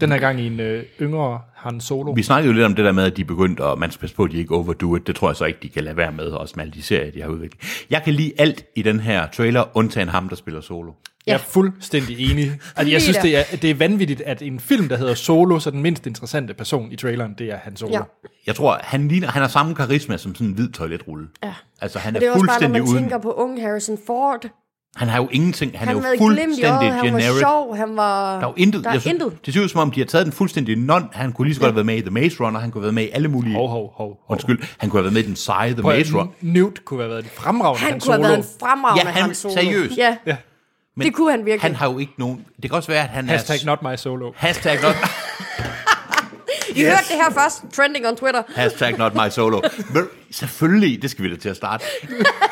S1: Den her gang i en øh, yngre Han Solo.
S2: Vi snakkede jo lidt om det der med, at de begyndte, og man skal passe på, at de ikke overdo it. Det tror jeg så ikke, de kan lade være med, også med alle de serier, de har udviklet. Jeg kan lide alt i den her trailer, undtagen ham, der spiller solo.
S1: Jeg er fuldstændig enig. Altså, jeg synes, det er, det er vanvittigt, at en film, der hedder Solo, så den mindst interessante person i traileren, det er Han Solo.
S3: Ja.
S1: Ja.
S2: Jeg tror, han, ligner, han har samme karisma som sådan en hvid toiletrulle. Ja. Altså, han er,
S3: Det er
S2: er
S3: også bare, når
S2: fuldstændig
S3: man
S2: uden...
S3: tænker på unge Harrison Ford. Han,
S2: Han har jo ingenting. Han,
S3: han
S2: er
S3: havde
S2: jo
S3: et glimt i
S2: fuldstændig
S3: øjet, han var
S2: generic.
S3: sjov, han var...
S2: Der er jo intet.
S3: Der er
S2: jeg synes,
S3: intet.
S2: Det ser ud som om, de har taget den fuldstændig non. Han kunne lige så godt have været med i The Maze Runner. Han kunne have været med i alle mulige...
S1: Hov, hov, hov. hov.
S2: Undskyld. Han kunne have været med i den seje The Maze Runner.
S1: Newt kunne have været en fremragende
S3: Han
S1: Han,
S3: kunne
S1: Solo.
S3: have været en fremragende
S2: Ja, han-
S3: Han Solo.
S2: seriøst.
S3: Ja,
S2: Men
S3: det kunne han virkelig.
S2: Han har jo ikke nogen... Det kan også være, at han
S1: Hashtag
S2: er...
S1: not my solo.
S2: Hashtag not...
S3: I hørte det her først, trending on Twitter.
S2: Hashtag not my solo. Men selvfølgelig, det skal vi da til at starte.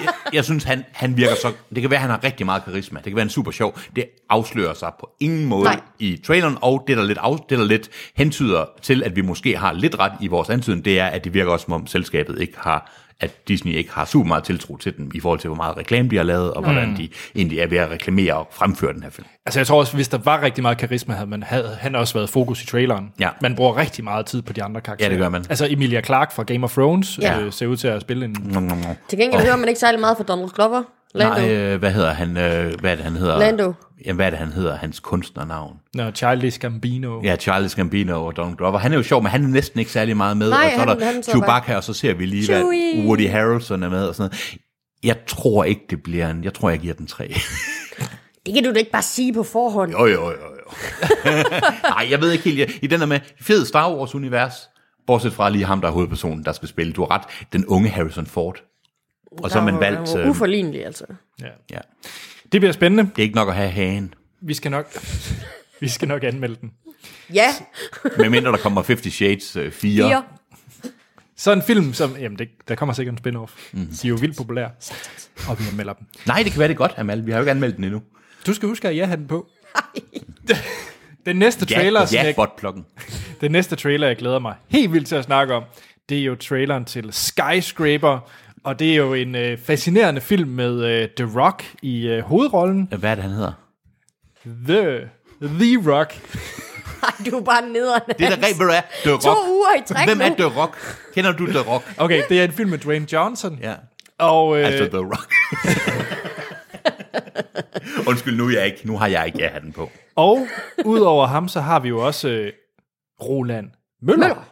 S2: Jeg, jeg synes, han, han virker så... Det kan være, han har rigtig meget karisma. Det kan være, han er super sjov. Det afslører sig på ingen måde Nej.
S3: Nej.
S2: i traileren, og det der, lidt af, det, der lidt hentyder til, at vi måske har lidt ret i vores antydning, det er, at det virker også, som om selskabet ikke har at Disney ikke har super meget tiltro til dem, i forhold til, hvor meget reklame de har lavet, og hvordan
S3: Mm.
S2: de egentlig er ved at reklamere og fremføre den her film.
S1: Altså jeg tror også, hvis der var rigtig meget karisma, havde, man, havde han også været fokus i traileren.
S2: Ja.
S1: Man bruger rigtig meget tid på de andre karakterer.
S2: Ja, det gør man.
S1: Altså Emilia Clark fra Game of Thrones
S3: Ja.
S1: ja. øh, ser ud til at spille en...
S2: Nom, nom, nom.
S3: Til gengæld hører man ikke særlig meget fra Donald Glover. Lando.
S2: Nej, øh, hvad hedder han? Øh, hvad er det, han hedder?
S3: Lando.
S2: Jamen, hvad er det, han hedder? Hans kunstnernavn.
S1: Når Childish Gambino.
S2: Ja, Charles Gambino og Donald Glover. Han er jo sjov, men han er næsten ikke særlig meget med.
S3: Nej,
S2: og så er
S3: han-
S2: der
S3: han så
S2: Chewbacca, og så ser vi lige, hvad
S3: Chewie.
S2: Woody Harrelson er med og sådan noget. Jeg tror ikke, det bliver en... Jeg tror, jeg giver den tre.
S3: Det kan du da ikke bare sige på forhånd.
S2: jo, jo, jo, jo. Nej, jeg ved ikke helt. Jeg, I den der med fed Star Wars-univers, bortset fra lige ham, der er hovedpersonen, der skal spille. Du har ret, den unge Harrison Ford. Og så har man valgt...
S3: Øh...
S2: Øh,
S3: Uforlignelig, altså.
S2: ja.
S1: Det bliver spændende.
S2: Det er ikke nok at have hagen.
S1: Vi skal nok... Vi skal nok anmelde den.
S3: Ja,
S2: Medmindre der kommer 50 Shades øh, 4.
S3: fire.
S1: Så en film, som... Jamen, det, der kommer sikkert en spin-off.
S2: Mhm.
S1: Mm. De er jo vildt populære. Og vi anmelder dem.
S2: Nej, det kan være det er godt, Amal. Vi har jo ikke anmeldt den endnu.
S1: Du skal huske at jeg havde den på. den næste trailer, som
S2: ja,
S1: jeg,
S2: botplukken.
S1: den næste trailer, jeg glæder mig helt vildt til at snakke om, det er jo traileren til Skyscraper, og det er jo en øh, fascinerende film med øh, The Rock i øh, hovedrollen.
S2: Hvad er det, han hedder?
S1: The, The Rock.
S3: Ej, du er bare nederen.
S2: Det er da rent, ved du hvad? The Rock.
S3: To uger i træk
S2: Hvem
S3: nu.
S2: er The Rock? Kender du The Rock?
S1: Okay, det er en film med Dwayne Johnson.
S2: Ja.
S1: Og, øh,
S2: Altså The Rock. Undskyld, nu, er jeg ikke, nu har jeg ikke jeg har den på.
S1: og udover ham, så har vi jo også øh, Roland Møller, Møller.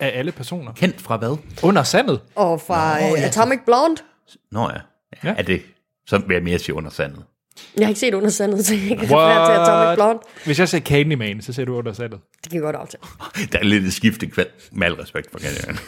S1: Af alle personer.
S2: Kendt fra hvad?
S1: Under sandet.
S3: Og fra Nå, ja. øh, Atomic Blonde.
S2: Nå ja.
S1: Ja.
S2: ja. Er det, så vil jeg mere sige under sandet.
S3: Jeg har ikke set under sandet, så jeg kan ikke referere til Atomic Blonde.
S1: Hvis jeg siger Candyman, så ser du under sandet.
S3: Det kan jeg godt aftale.
S2: Der er lidt et skift i kvæld, med al respekt for Kanadian.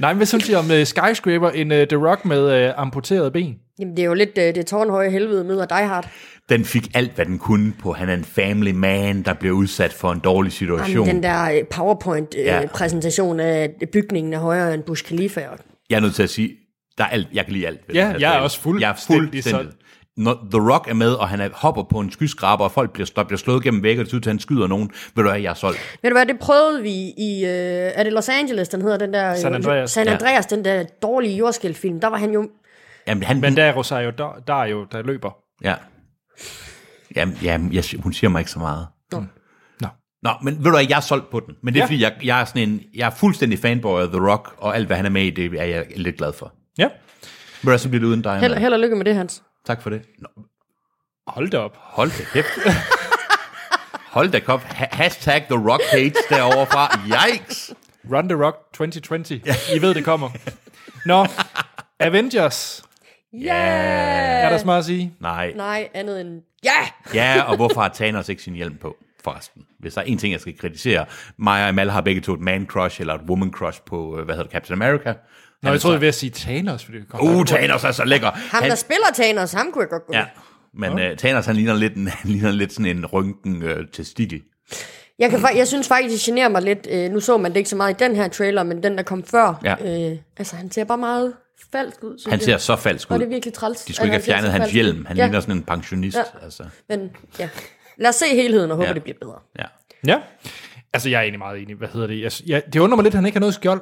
S1: Nej, men hvad synes I om uh, Skyscraper, en uh, The Rock med uh, amputeret ben?
S3: Jamen, det er jo lidt øh, det tårnhøje helvede møder Die Hard.
S2: Den fik alt, hvad den kunne på. Han er en family man, der bliver udsat for en dårlig situation.
S3: Jamen, den der øh,
S2: Ja.
S3: PowerPoint-præsentation af bygningen er højere end Bush Khalifa. og-
S2: Jeg er nødt til at sige, der er alt, jeg kan lide alt. ved
S1: Ja,
S2: den her
S1: jeg er
S2: trailer.
S1: også
S2: Jeg er
S1: fuldstændig
S2: fuldstændig. Når The Rock er med, og han er, hopper på en skyskraber, og folk bliver, der bliver slået gennem vægge, og det ser ud til, at han skyder nogen. Ved du hvad, jeg er solgt.
S3: Ved du hvad, det prøvede vi i, øh, er det Los Angeles, den hedder den der... øh,
S1: San Andreas.
S3: San
S2: Ja.
S3: Andreas, den der dårlige jordskældfilm. Der var han jo...
S2: Jamen, han,
S1: Men der er Rosario der, der er jo, der løber.
S2: Ja. Jamen, jamen jeg, hun siger mig ikke så meget.
S1: Mm. Nå.
S2: Nå, men ved du hvad, jeg er solgt på den. Men
S1: Ja.
S2: det er ja. fordi, jeg, jeg, er sådan en, jeg er fuldstændig fanboy af The Rock, og alt, hvad han er med i, det er jeg lidt glad for.
S1: Ja,
S2: Ved du hvad, så bliver det uden dig.
S3: Held,
S2: Anna.
S3: held og lykke med det, Hans.
S2: Tak for det. Nå,
S1: hold da op.
S2: Hold da kæft. Hold da kop. Ha- hashtag The Rock hates derovre fra. Yikes.
S1: Run the Rock 2020. I ved, det kommer. Nå, Avengers.
S3: Yeah!
S1: Er der så meget at sige?
S2: Nej.
S3: Nej, andet end... Ja!
S2: Ja, og hvorfor har Thanos ikke sin hjelm på, forresten? Hvis der er en ting, jeg skal kritisere. Mig og Amal har begge to et man-crush eller et woman-crush på, øh, hvad hedder det, Captain America.
S1: Nå, jeg troede, jeg var ved at sige Thanos, fordi det kom.
S2: Altså- Uh, Thanos er så lækker.
S3: Ham, der spiller Thanos, ham kunne jeg godt gå med.
S2: ja. Men uh, Thanos, han ligner lidt, en, han ligner lidt sådan en røntgen øh, testikel.
S3: Jeg, kan, fa- jeg synes faktisk, det generer mig lidt. Øh, nu så man det ikke så meget i den her trailer, men den, der kom før.
S2: Ja.
S3: Øh, altså, han ser bare meget falsk ud. synes
S2: Han
S3: jeg.
S2: ser så falsk
S3: Og det er
S2: ud.
S3: virkelig træls.
S2: De skulle ikke
S3: at
S2: have
S3: ser
S2: fjernet
S3: så
S2: hans
S3: falsk ud.
S2: hjelm. Han
S3: ja,
S2: ligner sådan en pensionist.
S3: Ja.
S2: Altså.
S3: Men ja, lad os se helheden og håbe,
S2: Ja.
S3: det bliver bedre.
S2: Ja.
S1: Ja. Altså, jeg er egentlig meget enig. Hvad hedder det? Jeg, jeg, det undrer mig lidt, at han ikke har noget skjold.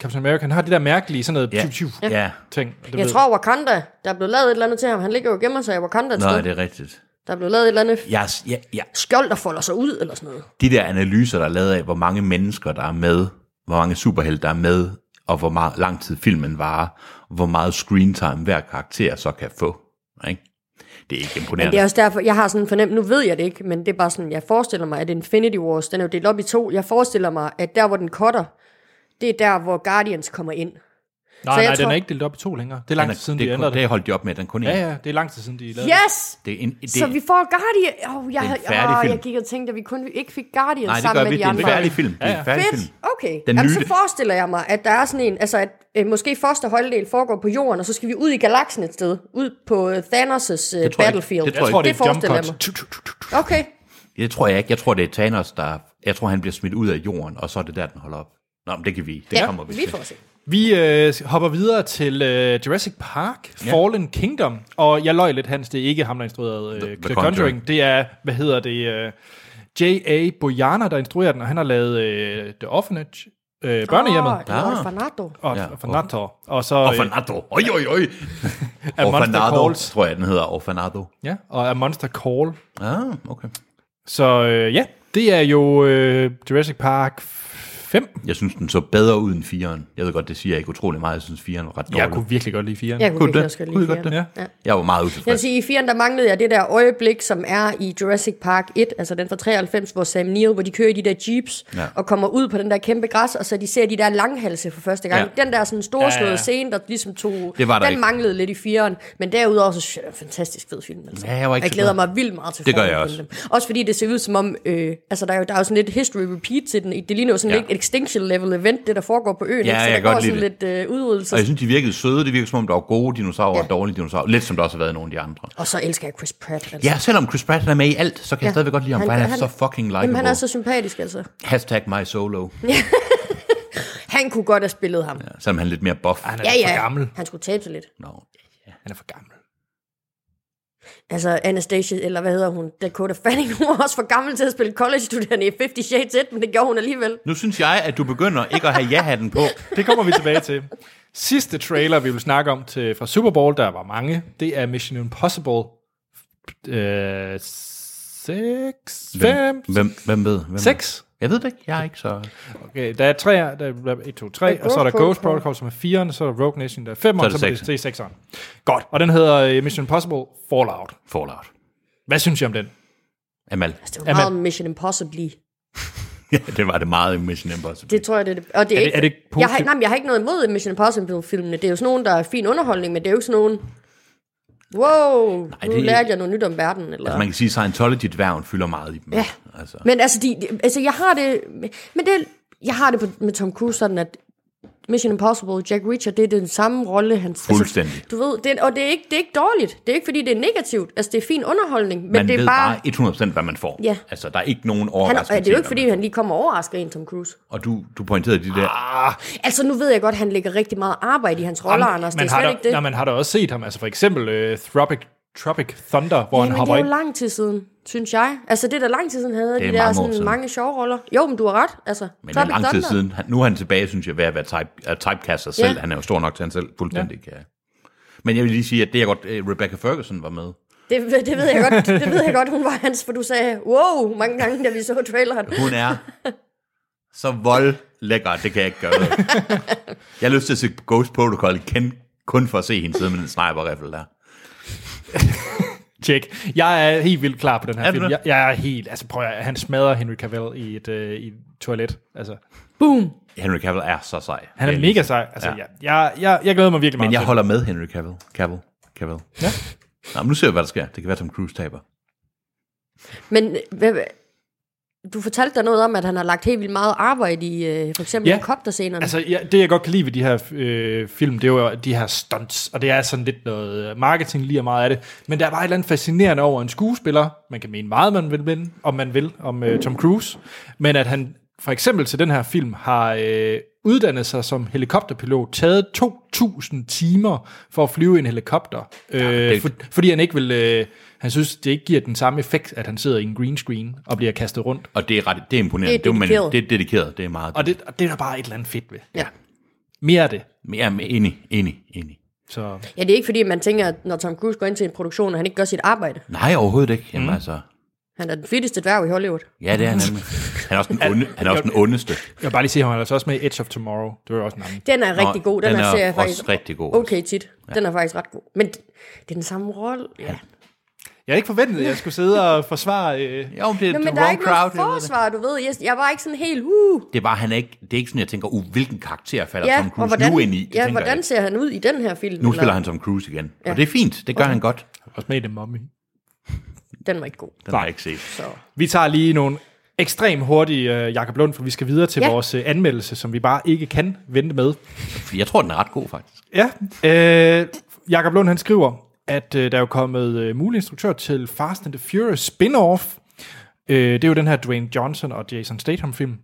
S1: Captain America, han har det der mærkelige sådan noget
S2: Ja.
S1: tyv, tyv
S2: ja.
S1: ting. Det
S3: Jeg
S1: ved-
S3: tror, Wakanda, der er blevet lavet et eller andet til ham. Han ligger jo og gemmer sig i Wakanda et
S2: Nå,
S3: sted.
S2: det er rigtigt.
S3: Der er blevet lavet et eller andet
S2: Jeg, jeg, jeg,
S3: skjold, der folder sig ud, eller sådan noget.
S2: de der analyser, der er lavet af, hvor mange mennesker, der er med, hvor mange superhelte, der er med, og hvor meget, lang tid filmen varer, og hvor meget screen time hver karakter så kan få. Ikke? Det er ikke
S3: Men det er
S2: imponerende.
S3: også derfor, jeg har sådan fornemt, nu ved jeg det ikke, men det er bare sådan, jeg forestiller mig, at Infinity Wars, den er jo delt op i to. Jeg forestiller mig, at der, hvor den cutter, det er der, hvor Guardians kommer ind.
S1: nej,
S3: så jeg
S1: nej, den
S3: tror-
S1: er ikke delt op i to længere. Det er
S2: Den
S1: lang
S2: er-
S1: tid siden,
S2: det,
S1: de
S2: er kun-
S1: ændrede det.
S2: det holdt de op med, den kun
S1: Ja, ja, det er lang tid siden, de lavede det.
S3: Yes!
S2: Det er en, det,
S3: Så vi får Guardian. Oh, jeg,
S2: en
S3: havde-
S2: færdig
S3: åh,
S2: film.
S3: jeg gik og tænkte, at vi kun ikke fik Guardians
S2: nej, det
S3: sammen
S2: gør
S3: med
S2: vi.
S3: de
S2: Det er en
S3: andre.
S2: færdig film. Det er
S1: Ja,
S2: en færdig
S3: Fedt,
S2: film.
S3: okay.
S2: Den
S3: Jamen,
S2: nye-
S3: så forestiller jeg mig, at der er sådan en, altså at øh, måske første holddel foregår på jorden, og så skal vi ud i galaksen et sted, ud på øh, Thanos' øh,
S2: Det tror jeg ikke.
S3: battlefield.
S2: Det tror
S1: Jeg tror, det,
S3: det
S1: er et jump
S3: forestiller jeg
S1: cut.
S3: mig. Okay,
S2: Det tror jeg ikke. Jeg tror, det er Thanos, der... Jeg tror, han bliver smidt ud af jorden, og så er det der, den holder op. Nå, men det kan vi. Det
S3: ja,
S2: kommer vi,
S3: vi
S2: til.
S3: får se.
S1: Vi øh, hopper videre til øh, Jurassic Park, ja. Fallen Kingdom, og jeg løj lidt, Hans, det er ikke ham, der instruerede øh, The,
S2: The
S1: The Conjuring.
S2: Conjuring.
S1: det er, hvad hedder det, øh, J.A. Boyana, der instruerer den, og han har lavet øh, The Orphanage, øh, børnehjemmet.
S3: Åh,
S2: Ah.
S3: det var et Fernando.
S1: Og,
S2: Ja,
S1: ja,
S2: og-
S1: og Fanato. Og så øh,
S2: Orfanado. Oj, oj, oj.
S1: A Monster
S2: Orfanado,
S1: Calls.
S2: tror jeg, den hedder. Orfanado.
S1: Ja, og A Monster Call.
S2: Ah, okay.
S1: Så øh, ja, det er jo øh, Jurassic Park 5.
S2: Jeg synes, den så bedre ud end 4'eren. Jeg ved godt, det siger jeg ikke utrolig meget. Jeg synes, 4'eren var ret dårlig.
S1: Jeg kunne virkelig godt lide 4'eren.
S3: Jeg kunne
S2: Kunne
S3: virkelig
S2: det?
S3: også godt
S2: Kunne I
S3: lide
S2: godt
S3: fireren.
S1: Ja.
S3: Ja.
S2: jeg var meget
S3: Jeg vil
S2: utilfreds.
S3: sige, i 4'eren, der manglede jeg det der øjeblik, som er i Jurassic Park 1, altså den fra 93, hvor Sam Neill, hvor de kører i de der jeeps,
S2: Ja.
S3: ja. og kommer ud på den der kæmpe græs, og så de ser de der langhalse for første gang.
S2: Ja.
S3: Ja. Den der sådan storslåede
S1: Ja,
S3: ja,
S1: ja.
S3: ja. scene, der ligesom tog,
S2: Det var der
S3: den
S2: ikke.
S3: manglede lidt i 4'eren, men derudover så synes jeg, det er en fantastisk fed film. Altså.
S2: Ja, jeg var ikke
S3: jeg
S2: så
S3: glæder
S2: glad.
S3: mig vildt meget til
S2: Det gør
S3: formen
S2: jeg
S3: på
S2: også.
S3: Dem. Også fordi det ser ud som om, øh, altså der er, jo, der er jo sådan lidt history repeat til den. Det ligner jo sådan
S2: Ja.
S3: ja. lidt et extinction level event, det der foregår på øen.
S2: Ja,
S3: ikke? så
S2: jeg
S3: der
S2: kan godt
S3: går sådan
S2: lide
S3: lidt øh, udryddelse.
S2: Og jeg synes, de virkede søde. Det virkede, som om der var gode dinosaurer ja.
S3: Ja.
S2: og dårlige dinosaurer. Lidt som der også har været i nogle af de andre.
S3: Og så elsker jeg Chris Pratt. Altså.
S2: Ja, selvom Chris Pratt han er med i alt, så kan ja. jeg stadigvæk godt lide ham, for han er så fucking
S3: Jamen, han
S2: likeable.
S3: er så sympatisk, altså.
S2: Hashtag my solo.
S3: Han kunne godt have spillet ham. Ja,
S2: Selvom han er lidt mere buff.
S1: Han er
S3: ja.
S1: ja,
S3: ja.
S1: for gammel.
S3: Han skulle tabe sig lidt.
S2: No.
S1: Han er for gammel.
S3: Altså, Anastasia, eller hvad hedder hun, Dakota Fanning, hun var også for gammel til at spille college-studerende i 50 Shades 1, men det gjorde hun alligevel. Altså,
S2: Nu synes jeg, at du begynder ikke at have ja-hatten på.
S1: Det kommer vi tilbage til. Sidste trailer, vi vil snakke om til, fra Super Bowl, der var mange, det er Mission Impossible øh, 6, 5,
S2: Hvem, hvem ved? Hvem
S1: 6.
S2: Jeg ved det ikke. Jeg er ikke så...
S1: Okay, der er tre, der er 1, 2, 3,
S3: er
S1: og så er der
S3: Ghost
S1: Ghost
S3: Protocol.
S1: Protocol, som er 4'eren, så er der Rogue Nation, der er 5, og
S2: det
S1: så er det-
S2: sekseren.
S1: det er 6'eren. Godt, og den hedder øh, Mission Impossible Fallout.
S2: Fallout.
S1: Hvad synes I om den?
S2: Amal.
S3: Altså, det var
S1: Jamen-
S3: meget Mission Impossible.
S2: Ja, det var det meget altså. i Mission Impossible.
S3: Det tror jeg, det er det. Og det er,
S1: Er det- er det ikke
S3: jeg har,
S1: positivt?
S3: nej, men jeg har ikke noget imod Mission Impossible-filmene. Det er jo sådan nogen, der er fin underholdning, men det er jo ikke sådan nogen... Wow, nej, nu
S2: det-
S3: lærte jeg noget nyt om verden. Eller...
S2: Altså, man kan sige, at Scientology-dværgen fylder meget i dem.
S3: Ja.
S2: Altså,
S3: Men altså, de, de- altså jeg har det... Men det, jeg har det på, med Tom Cruise sådan, at Mission Impossible, Jack Reacher, det er den samme rolle, han...
S2: Fuldstændig.
S3: Altså, du ved, det, er- og det er, ikke, det er ikke dårligt. Det er ikke, fordi det er negativt. Altså, det er fin underholdning, men
S2: man
S3: det er
S2: ved
S3: bare...
S2: bare 100% hvad man får.
S3: Ja.
S2: Altså, der er ikke nogen
S3: Han,
S2: overraskelse.
S3: og det
S2: i,
S3: er jo
S2: hvad
S3: ikke, fordi
S2: man-
S3: han lige kommer og overrasker en, Tom Cruise.
S2: Og du, du pointerede de der... Ah,
S3: Altså, nu ved jeg godt, han lægger rigtig meget arbejde i hans roller,
S1: Jamen,
S3: Anders. Det
S1: man
S3: er
S1: har
S3: slet
S1: da,
S3: ikke det.
S1: Nå, man har da også set ham, altså for eksempel øh, Tropic, Tropic Thunder, hvor han
S3: Jamen,
S1: hopper
S3: det er
S1: ind.
S3: jo lang tid siden, synes jeg. Altså, det er da lang tid siden, han havde
S2: Det er
S3: de der
S2: mange år
S3: sådan,
S2: siden.
S3: mange sjove roller. Jo, men du har ret. Altså,
S2: men det er
S3: Tropic
S2: lang tid
S3: Thunder.
S2: siden. Han, nu er han tilbage, synes jeg, ved at være type, uh, typecast sig
S3: Ja.
S2: selv. Han er jo stor nok til, at han selv fuldstændig ja. kan... Men jeg vil lige sige, at det er godt, øh, Rebecca Ferguson var med.
S3: Det, ved- det, ved jeg godt, det ved jeg godt, hun var hans, for du sagde, wow, mange gange, da vi så traileren.
S2: Hun er så vold lækker, det kan jeg ikke gøre ved. Jeg har lyst til at se Ghost Protocol igen, kun for at se hende sidde med den sniper-riffel der.
S1: Tjek. Jeg er helt vildt klar på den her
S2: Er du
S1: film.
S2: det?
S1: Jeg, jeg er helt, altså prøv at, han smadrer Henry Cavill i et, øh, i et toilet. Altså,
S2: Henry Cavill er så sej.
S1: han er mega sej. Altså, ja. jeg, jeg, jeg, jeg glæder mig virkelig meget
S2: Men jeg
S1: til
S2: holder med Henry Cavill. Cavill. Cavill. Ja. Nå, men nu ser vi, hvad der sker. Det kan være, Tom Cruise taber.
S3: Men hvad, hvad- du fortalte dig noget om, at han har lagt helt vildt meget arbejde i øh, for eksempel
S1: Ja.
S3: ja. helikopterscenerne. Altså,
S1: Altså, ja, det jeg godt kan lide ved de her øh, film, det er jo de her stunts, og det er sådan lidt noget øh, marketing lige meget af det, men der er bare et eller andet fascinerende over en skuespiller, man kan mene meget, man vil mene, om man vil, om øh, Tom Cruise, men at han for eksempel til den her film har øh, uddannet sig som helikopterpilot, taget 2.000 timer for at flyve en helikopter, øh,
S2: det-
S1: for, fordi han ikke vil, øh, han synes, det ikke giver den samme effekt, at han sidder i en green screen og bliver kastet rundt.
S2: Og det er, ret, det er imponerende.
S3: Det er
S2: jo- men
S3: dedikeret.
S2: det er dedikeret. Det er meget.
S1: Og det, og det er der bare et eller andet fedt ved.
S3: ja.
S1: Mere af det.
S2: Ja, men enig, enig, enig.
S1: Så
S3: ja, det er ikke fordi, man tænker, at når Tom Cruise går ind til en produktion, at han ikke gør sit arbejde.
S2: Nej, overhovedet ikke. Jamen, mm. altså,
S3: Han er den flitteste dværg i Hollywood.
S2: ja, det er han nemlig. Han er også den, onde, han er også den ondeste.
S1: Jeg vil bare lige sige, at han er altså også med i Edge of Tomorrow. Det var jo også en anden.
S3: Den er
S2: Nå,
S3: rigtig god. Den,
S2: den
S3: her
S2: er
S3: serie
S2: også rigtig god.
S3: Okay tit. Ja. Den er faktisk ret god. Men det er den samme rolle. Ja.
S1: Jeg havde ikke forventet, at jeg skulle sidde og forsvare... Øh.
S2: Jo, men det er
S3: Nå,
S2: the
S3: men der er
S2: wrong
S3: ikke
S2: crowd.
S3: noget
S2: jeg ved det.
S3: forsvar, du ved. Jeg, jeg var ikke sådan helt, uh,
S2: Det er bare, han er ikke, det er ikke sådan, jeg tænker, uh, hvilken karakter falder
S3: ja,
S2: Tom
S3: og
S2: Cruise
S3: hvordan,
S2: nu ind i? Det
S3: ja,
S2: tænker jeg
S3: hvordan
S2: ikke.
S3: ser han ud i den her film?
S2: Nu spiller han Tom Cruise igen. Ja. Og det er fint, det gør okay. han godt.
S1: Også med i The Mummy.
S3: Den var ikke god.
S2: Den har jeg ikke set.
S3: Så.
S1: Vi tager lige nogle ekstremt hurtige, øh, Jakob Lund, for vi skal videre til ja.
S3: Ja.
S1: vores øh, anmeldelse, som vi bare ikke kan vente med.
S2: Jeg tror, den er ret god, faktisk.
S1: Ja, øh, Jakob Lund han skriver, at øh, der er jo kommet øh, mulig instruktør til Fast and the Furious spin-off. Øh, det er jo den her Dwayne Johnson og Jason Statham film.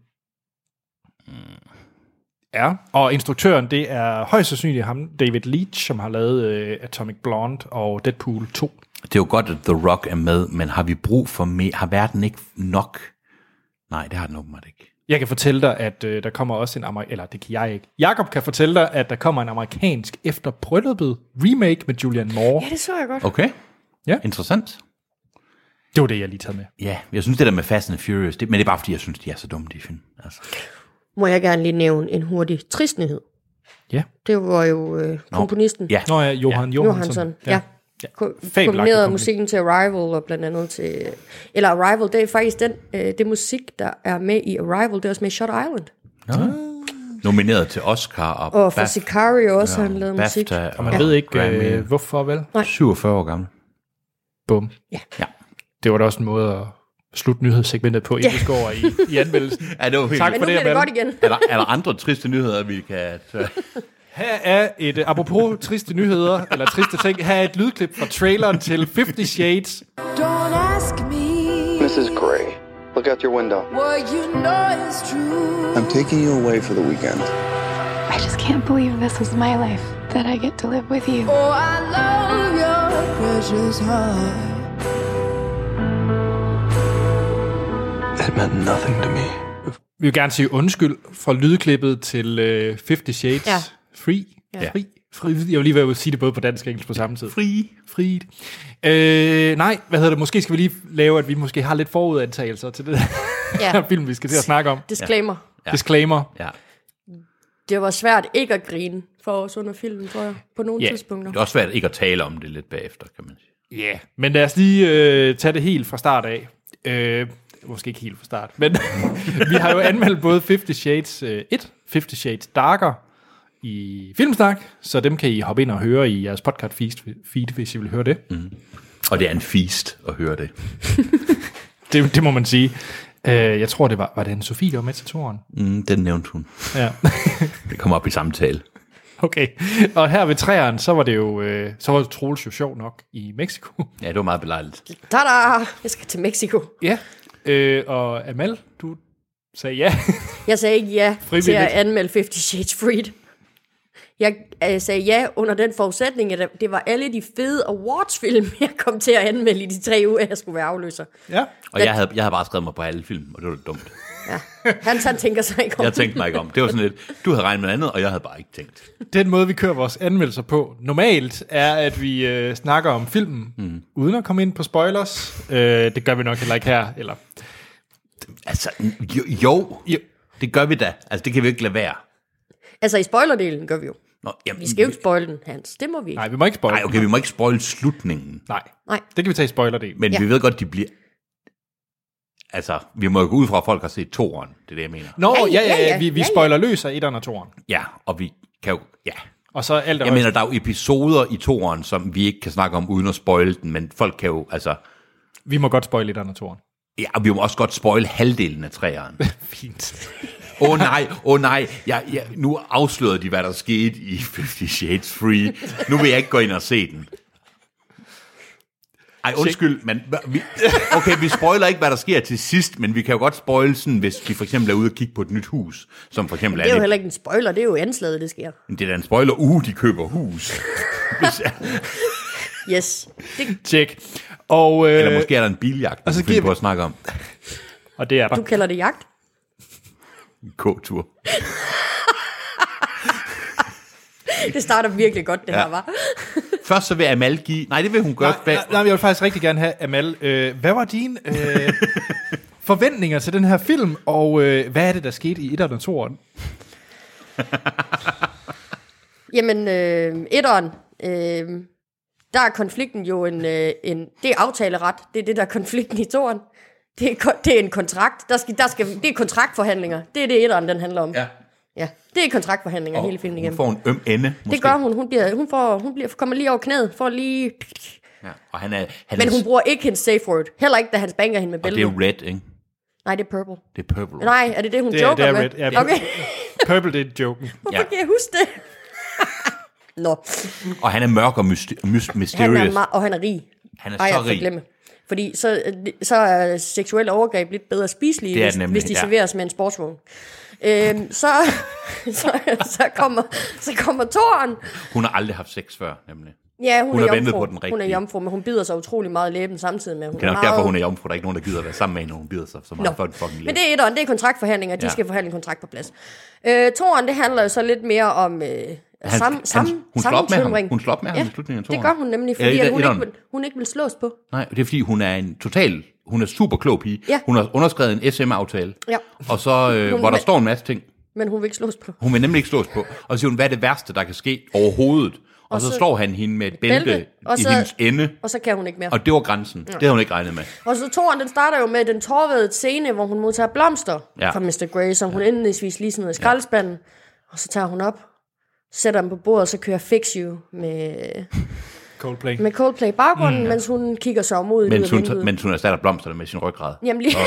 S1: Ja, og instruktøren det er højst sandsynligt ham, David Leitch, som har lavet øh, Atomic Blonde og Deadpool 2.
S2: Det er jo godt, at The Rock er med, men har vi brug for mere? Har verden ikke nok? Nej, det har den åbenbart ikke.
S1: Jeg kan fortælle dig, at øh, der kommer også en amerikansk... Eller det kan jeg ikke. Jakob kan fortælle dig, at der kommer en amerikansk efter brylluppet remake med Julian Moore.
S3: Ja, det så jeg godt.
S2: Okay.
S1: Ja.
S2: Interessant.
S1: Det var det, jeg lige taget med.
S2: Ja, jeg synes det der med Fast and Furious, det, men det er bare fordi, jeg synes, de er så dumme, de film. Altså.
S3: Må jeg gerne lige nævne en hurtig trist nyhed.
S1: Ja.
S3: Det var jo øh, komponisten
S2: Ja.
S1: Nå ja, Johan ja. Johansson.
S3: Johansson. Ja. ja.
S1: Fabelagtig
S3: Kombinerede
S1: komponist.
S3: musikken til Arrival og blandt andet til... Eller Arrival, det er faktisk den, øh, det musik, der er med i Arrival, det er også med i Shot Island.
S2: Nomineret til Oscar og,
S3: Og for
S2: BAF-
S3: Sicario også, har han lavet musik.
S2: BAFTA. Og
S1: Og man ja. ved ikke, øh, hvorfor vel.
S3: Nej.
S2: 47 år gammel.
S1: Bum.
S3: Ja.
S2: Ja.
S1: Det var da også en måde at slutte nyhedssegmentet på, inden vi skal over i, i anmeldelsen.
S2: Ja, det var helt
S1: Tak
S3: Men
S1: for
S3: nu
S1: det,
S3: bliver
S1: Amanda.
S3: det godt igen.
S2: er, der, er der andre triste nyheder, vi kan... tage?
S1: Her er et, øh, apropos triste nyheder, eller triste ting, her er et lydklip fra traileren til 50 Shades.
S9: Don't ask me.
S10: Mrs. Gray, look out your window.
S9: What you know is true.
S10: I'm taking you away for the weekend.
S8: I just can't believe this is my life, that I get to live with you.
S9: Oh, I love your precious heart.
S10: That meant nothing to me.
S1: Vi vil gerne sige undskyld for lydklippet til øh, 50 Shades ja.
S3: Ja.
S1: Free. Ja.
S3: Ja.
S1: Free. Free. Jeg vil lige ved at sige det både på dansk og engelsk på samme tid. Free. Free. Øh, nej, hvad hedder det? Måske skal vi lige lave, at vi måske har lidt forudantagelser til det
S3: Ja.
S1: her film, vi skal til at snakke om.
S3: Disclaimer.
S1: Ja. Disclaimer.
S2: ja.
S3: Det var svært ikke at grine for os under filmen, tror jeg, på nogle
S2: Ja.
S3: yeah. tidspunkter.
S2: Det er også svært ikke at tale om det lidt bagefter, kan man sige.
S1: Ja, yeah. men lad os lige øh, tage det helt fra start af. Øh, måske ikke helt fra start, men vi har jo anmeldt både 50 Shades øh, 1, 50 Shades Darker i Filmsnak, så dem kan I hoppe ind og høre i jeres podcast feed, feed hvis I vil høre det. Mm.
S2: Og det er en feast at høre det.
S1: Det, det må man sige. Øh, jeg tror, det var, var det en Sofie, der var med til toren?
S2: Mm, den nævnte hun.
S1: Ja.
S2: Det kommer op i samtale.
S1: okay. Og her ved træeren, så var det jo, øh, så var Troels jo sjov nok i Mexico.
S2: Ja, det var meget belejligt.
S3: Tada! Jeg skal til Mexico.
S1: ja. Øh, og Amal, du sagde ja.
S3: Jeg sagde ikke ja til
S1: Frivilligt.
S3: at anmelde 50 Shades Freed. Jeg øh, sagde ja under den forudsætning, at det var alle de fede awards-film, jeg kom til at anmelde i de tre uger, at jeg skulle være afløser.
S1: ja.
S2: Og jeg havde, jeg havde bare skrevet mig på alle film, og det var lidt dumt.
S3: Han, han tænker sig ikke om.
S2: Jeg tænkte mig ikke om. Det var sådan lidt, du havde regnet med andet, og jeg havde bare ikke tænkt.
S1: den måde, vi kører vores anmeldelser på normalt, er, at vi øh, snakker om filmen, mm. uden at komme ind på spoilers. Øh, det gør vi nok heller ikke her. Eller,
S2: Altså, jo, jo,
S1: jo,
S2: det gør vi da. Altså, det kan vi ikke lade være.
S3: Altså i spoilerdelen gør vi jo.
S2: Nå, jamen,
S3: Vi skal jo ikke spoil den, Hans. Det må vi ikke.
S1: nej, vi må ikke spoil.
S2: Nej, okay, vi må ikke spoil slutningen.
S1: nej.
S3: Nej.
S1: det kan vi tage i spoilerdelen.
S2: Men ja.
S3: Ja.
S2: vi ved godt, de bliver... Altså, vi må jo gå ud fra, at folk har set toeren. Det er det, jeg mener.
S1: Nå,
S3: Ja,
S1: ja, ja,
S3: ja,
S1: ja,
S3: ja,
S1: vi, vi
S3: ja, ja.
S1: spoiler løs af etteren og toeren.
S2: Ja, og vi kan jo... Ja.
S1: Og så alt
S2: Jeg mener, der er jo episoder i toeren, som vi ikke kan snakke om uden at spoil den, men folk kan jo... Altså,
S1: vi må godt spoil etteren og toeren.
S2: ja, og vi må også godt spoil halvdelen af træeren.
S1: Fint.
S2: Åh oh, nej, åh oh, nej, jeg, jeg, nu afslørede de, hvad der skete i 50 Shades Free. Nu vil jeg ikke gå ind og se den. Ej, undskyld, men hva- vi, okay, vi spoiler ikke, hvad der sker til sidst, men vi kan jo godt spoil sådan, hvis vi for eksempel er ude og kigge på et nyt hus, som for eksempel
S3: Det er jo
S2: er,
S3: heller ikke en spoiler, det er jo anslaget, det sker.
S2: det, det er da en spoiler, uh, de køber hus. Hvis jeg,
S3: Yes. Det,
S1: Tjek. Og, øh,
S2: eller måske er der en biljagt,
S1: så
S2: vi
S1: giver
S2: finder på
S1: vi-
S2: at snakke om.
S1: og det er der.
S3: du kalder det jagt?
S2: En K-tur.
S3: Det starter virkelig godt, det ja. her, var.
S2: Først så vil Amal give, nej, det vil hun gøre.
S1: Nej, nej, nej, jeg vil faktisk rigtig gerne have, Amal, øh, hvad var dine øh, forventninger til den her film, og øh, hvad er det, der skete i etteren og toeren?
S3: Jamen, øh, etteren, øh, der er konflikten jo en, øh, en... Det er aftaleret, det er det, der er konflikten i toren. Det er, kon- det er en kontrakt. Der skal, der skal, det er kontraktforhandlinger. Det er det, etteren den handler om.
S2: Ja.
S3: ja. Det er kontraktforhandlinger hele filmen
S2: Hun
S3: igennem.
S2: får en øm ende, måske.
S3: Det gør hun. Hun, bliver, hun, får, hun bliver, kommer lige over knæet, får lige...
S2: Ja, og han er, han
S3: Men
S2: er,
S3: hun bruger ikke hendes safe word. Heller ikke, da han banker hende med
S2: og det er
S3: bæltet.
S2: red, ikke?
S3: Nej, det er purple.
S2: Det er purple.
S3: Nej, er det det, hun
S1: Det er-
S3: joker
S1: det er
S3: med?
S1: red. Ja,
S3: okay.
S1: Purple, det er joken.
S3: Hvorfor kan jeg huske det? Nå.
S2: Og han er mørk og myster- myst- mysterious.
S3: Han er meget, og han er rig.
S2: Han er
S3: Ej,
S2: så
S3: jeg får
S2: rig.
S3: glemme. Fordi så, så er seksuelle overgreb lidt bedre spiselige,
S2: Det er det
S3: hvis,
S2: nemlig,
S3: hvis de
S2: ja.
S3: serveres med en sportsvogn. Øhm, så, så, så, kommer, så kommer toren,
S2: Hun har aldrig haft sex før, nemlig.
S3: Ja, hun,
S2: Hun
S3: er
S2: har ventet på
S3: jomfru.
S2: den
S3: Hun er
S2: rigtige.
S3: jomfru, men hun bider sig utrolig meget i læben samtidig med, at hun
S2: Det er nok
S3: meget...
S2: derfor, hun er jomfru. Der er ikke nogen, der gider at være sammen med hende, når hun bider sig så meget for en fucking
S3: Men
S2: læb.
S3: det er etteren, det er kontraktforhandlinger, de
S2: Ja.
S3: skal forhandle en kontrakt på plads. Øh, toeren, det handler jo så lidt mere om øh,
S2: Han-
S3: sam,
S2: han-
S3: sam,
S2: hun slår op med ham.
S3: sammentømring.
S2: Hun slår op med ham i slutningen af
S3: det gør
S2: toeren.
S3: hun nemlig,
S2: Ja,
S3: fordi
S2: i
S3: at
S2: den-
S3: hun, ikke,
S2: etteren.
S3: vil- hun ikke vil slås på.
S2: Nej, det er fordi, hun er en total... Hun er super klog pige.
S3: Ja.
S2: Hun har underskrevet en SM-aftale.
S3: Ja.
S2: Og så, øh,
S3: Hun
S2: hvor der
S3: vil-
S2: står en masse ting.
S3: Men hun vil ikke slås på.
S2: Hun vil nemlig ikke slås på. Og så siger hun, hvad er det værste, der kan ske overhovedet? Og,
S3: Og
S2: og så,
S3: så-
S2: så slår han hende med et bælte,
S3: Bælte, og
S2: i
S3: så-
S2: hendes ende.
S3: Og så kan hun ikke mere.
S2: Og det var grænsen. Det havde hun ikke regnet med.
S3: Og så toren, den starter jo med den tårvede scene, hvor hun modtager blomster ja.
S2: Ja.
S3: fra Mr. Grey, som hun ja. indledningsvis lige smider i skraldespanden. Og så tager hun op, sætter dem på bordet, og så kører Fix You med,
S1: Coldplay.
S3: med Coldplay i baggrunden, mm. mens hun kigger sig om ud.
S2: Mens hun,
S3: men...
S2: mens hun erstatter blomsterne med sin ryggrad.
S3: Jamen lige.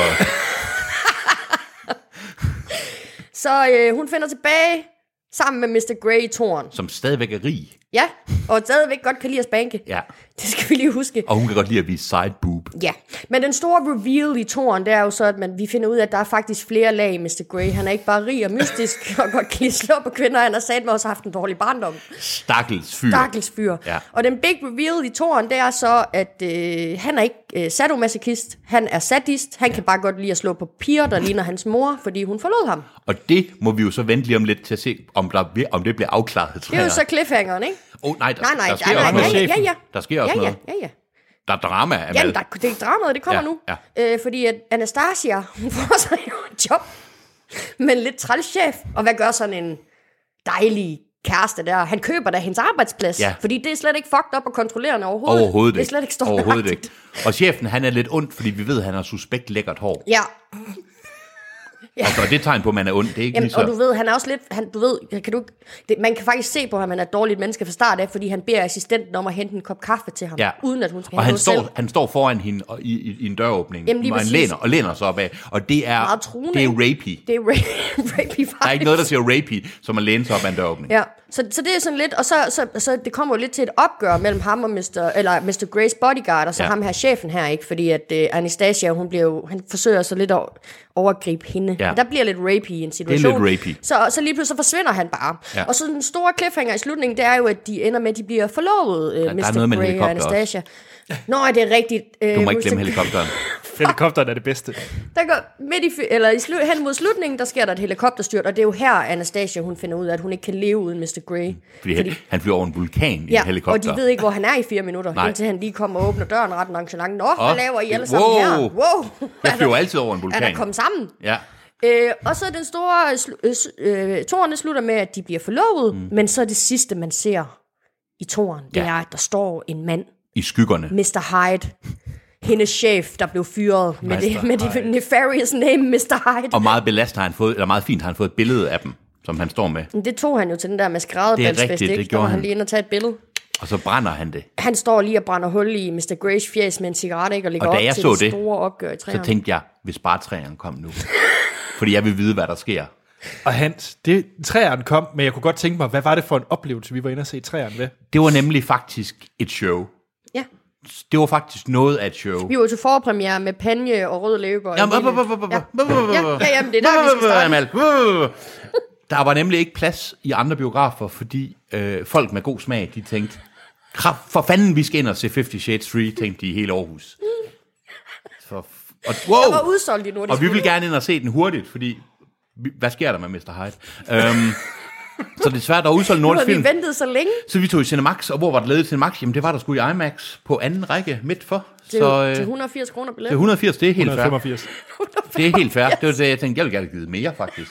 S3: så øh, hun finder tilbage sammen med Mr. Grey i toren.
S2: Som stadigvæk er rig.
S3: Ja, og stadigvæk godt kan lide at spanke.
S2: Ja.
S3: Det skal vi lige huske.
S2: Og hun kan godt lide at vise side boob.
S3: Ja, men den store reveal i toren, det er jo så, at man, vi finder ud af, at der er faktisk flere lag i Mr. Grey. Han er ikke bare rig og mystisk og godt kan lide at slå på kvinder, han har sat med også haft en dårlig barndom.
S2: Stakkels fyr.
S3: Stakkels fyr.
S2: Hmm. Ja.
S3: Og den big reveal i toren, det er så, at øh, han er ikke øh, sadomasochist, han er sadist. Han kan bare godt lide at slå på piger, der ligner hans mor, fordi hun forlod ham.
S2: Og det må vi jo så vente lige om lidt til at se, om, der, vir- om det bliver afklaret.
S3: Det er jo så cliffhangeren, ikke?
S2: oh, nej, der,
S3: Nej, nej,
S2: der sker
S3: nej,
S2: også
S3: nej,
S2: noget.
S3: ja, ja, ja.
S2: Der sker også
S3: ja, ja,
S2: noget.
S3: ja, ja.
S2: Der er drama af
S3: Jamen, der, det er dramaet, det kommer
S2: Ja,
S3: nu.
S2: ja.
S3: Øh, fordi at Anastasia, hun får sig jo et job med en lidt trælschef. Og hvad gør sådan en dejlig kæreste der? Han køber da hendes arbejdsplads.
S2: Ja.
S3: Fordi det er slet ikke fucked op og kontrollerende overhovedet.
S2: Overhovedet
S3: Det
S2: ikke.
S3: er slet ikke stort
S2: Overhovedet ikke. Og chefen, han er lidt ondt, fordi vi ved, at han har suspekt lækkert hår.
S3: Ja,
S2: Altså, og det er et tegn på, at man er ond. Det er ikke
S3: Jamen,
S2: lige så...
S3: og du ved, han er også lidt, han, du ved, kan du, ikke- det, man kan faktisk se på ham, han er et dårligt menneske fra start af, fordi han beder assistenten om at hente en kop kaffe til ham,
S2: Ja.
S3: uden at hun skal
S2: og
S3: have
S2: han
S3: noget selv.
S2: står, han står foran hende og, i, i, i en døråbning,
S3: Jamen, lige
S2: og han
S3: præcis.
S2: læner, og læner sig opad. Og det er,
S3: Meget truende,
S2: det er
S3: ikke?
S2: rapey.
S3: Det er rape, rapey
S2: Der er ikke noget, der siger rapey, som at læne sig op ad en døråbning.
S3: Ja, så, så det er sådan lidt, og så, så, så det kommer jo lidt til et opgør mellem ham og Mr. eller Mr. Grace bodyguard, og så ja.
S2: Ja.
S3: ham her chefen her, ikke? Fordi at øh, Anastasia, hun bliver jo, han forsøger så lidt at overgribe hende.
S2: Ja.
S3: Men Der bliver lidt rapey i en situation.
S2: lidt rapey.
S3: Så, så lige pludselig så forsvinder han bare.
S2: Ja.
S3: Og så den store cliffhanger i slutningen, det er jo, at de ender med, at de bliver forlovet, øh,
S2: er
S3: Mr.
S2: noget med en
S3: Grey og
S2: helikopter også.
S3: Anastasia. Nå, er det er rigtigt. Øh,
S2: Du må ikke
S3: Mr.
S2: glemme helikopteren.
S1: Helikopteren er det bedste.
S3: der går midt i, fi- eller i slu, hen mod slutningen, der sker der et helikopterstyrt, og det er jo her, Anastasia, hun finder ud af, at hun ikke kan leve uden Mr. Grey.
S2: Fordi, han, han flyver over en vulkan i
S3: Ja,
S2: en helikopter.
S3: og de ved ikke, hvor han er i fire minutter, Nej.
S2: Nej.
S3: indtil han lige kommer og åbner døren ret nonchalant. Nå, hvad
S2: Åh,
S3: laver I alle
S2: det-
S3: sammen
S2: wow.
S3: her? Wow!
S2: Jeg
S3: Er
S2: flyver
S3: der-
S2: altid over en vulkan.
S3: Er der kommet sammen?
S2: Ja.
S3: Øh, og så er den store... øh, slu- Øh, s- øh, toerne slutter med, at de bliver forlovet, mm. men så er det sidste, man ser i toren, det
S2: Ja.
S3: er, at der står en mand,
S2: I skyggerne.
S3: Mr. Hyde, hendes chef, der blev fyret med det, med det nefarious name, Mr. Hyde.
S2: Og meget belast har han fået, eller meget fint har han fået et billede af dem, som han står med.
S3: Men Det tog han jo til den der
S2: Det er
S3: maskeradebalsfest,
S2: rigtigt,
S3: ikke?
S2: det
S3: Der var
S2: gjorde
S3: han
S2: han.
S3: lige inde og tage et billede.
S2: Og så brænder han det.
S3: han står lige og brænder hul i Mr. Grays fjes med en cigaret, ikke? Og lægger
S2: Og da
S3: op
S2: jeg
S3: til
S2: så
S3: det,
S2: det,
S3: store opgør i
S2: Så
S3: træerne.
S2: tænkte jeg, hvis bare træerne kom nu. Fordi jeg vil vide, hvad der sker.
S1: Og Hans, det, træerne kom, men jeg kunne godt tænke mig, hvad var det for en oplevelse, vi var inde og se træerne ved?
S2: Det var nemlig faktisk et show.
S3: Ja.
S2: Det var faktisk noget af et show.
S3: Vi var jo til forpremiere med panje og rød løber.
S2: Jamen, op, op, op, op, op, op, op, op, op, op.
S3: Ja, ja, jamen, det er der, vi skal
S2: Op, op, op,
S3: starte.
S2: Amal. Op, op, op. Der var nemlig ikke plads i andre biografer, fordi øh, folk med god smag, de tænkte, "Kraft, for fanden, vi skal ind og se 50 Shades Free, tænkte de i hele Aarhus. Så, f- og, wow.
S3: Der var udsolgt i Nordisk
S2: Og vi vil
S3: Film.
S2: gerne ind og se den hurtigt, fordi... vi- Hvad sker der med Mr. Hyde? Øhm, så desværre, der er udsolgt
S3: Nu
S2: nordisk
S3: havde
S2: film.
S3: vi ventet så længe.
S2: Så vi tog i Cinemax, og hvor var det ledet i Cinemax? Jamen, det var der skulle i IMAX på anden række midt for.
S3: Til,
S2: så,
S3: til
S2: øh,
S3: 180 kroner
S2: det er
S3: billet.
S2: 180, det er helt fair.
S1: 185.
S2: Det er helt fair. Det var det, jeg tænkte, jeg ville gerne give mere, faktisk.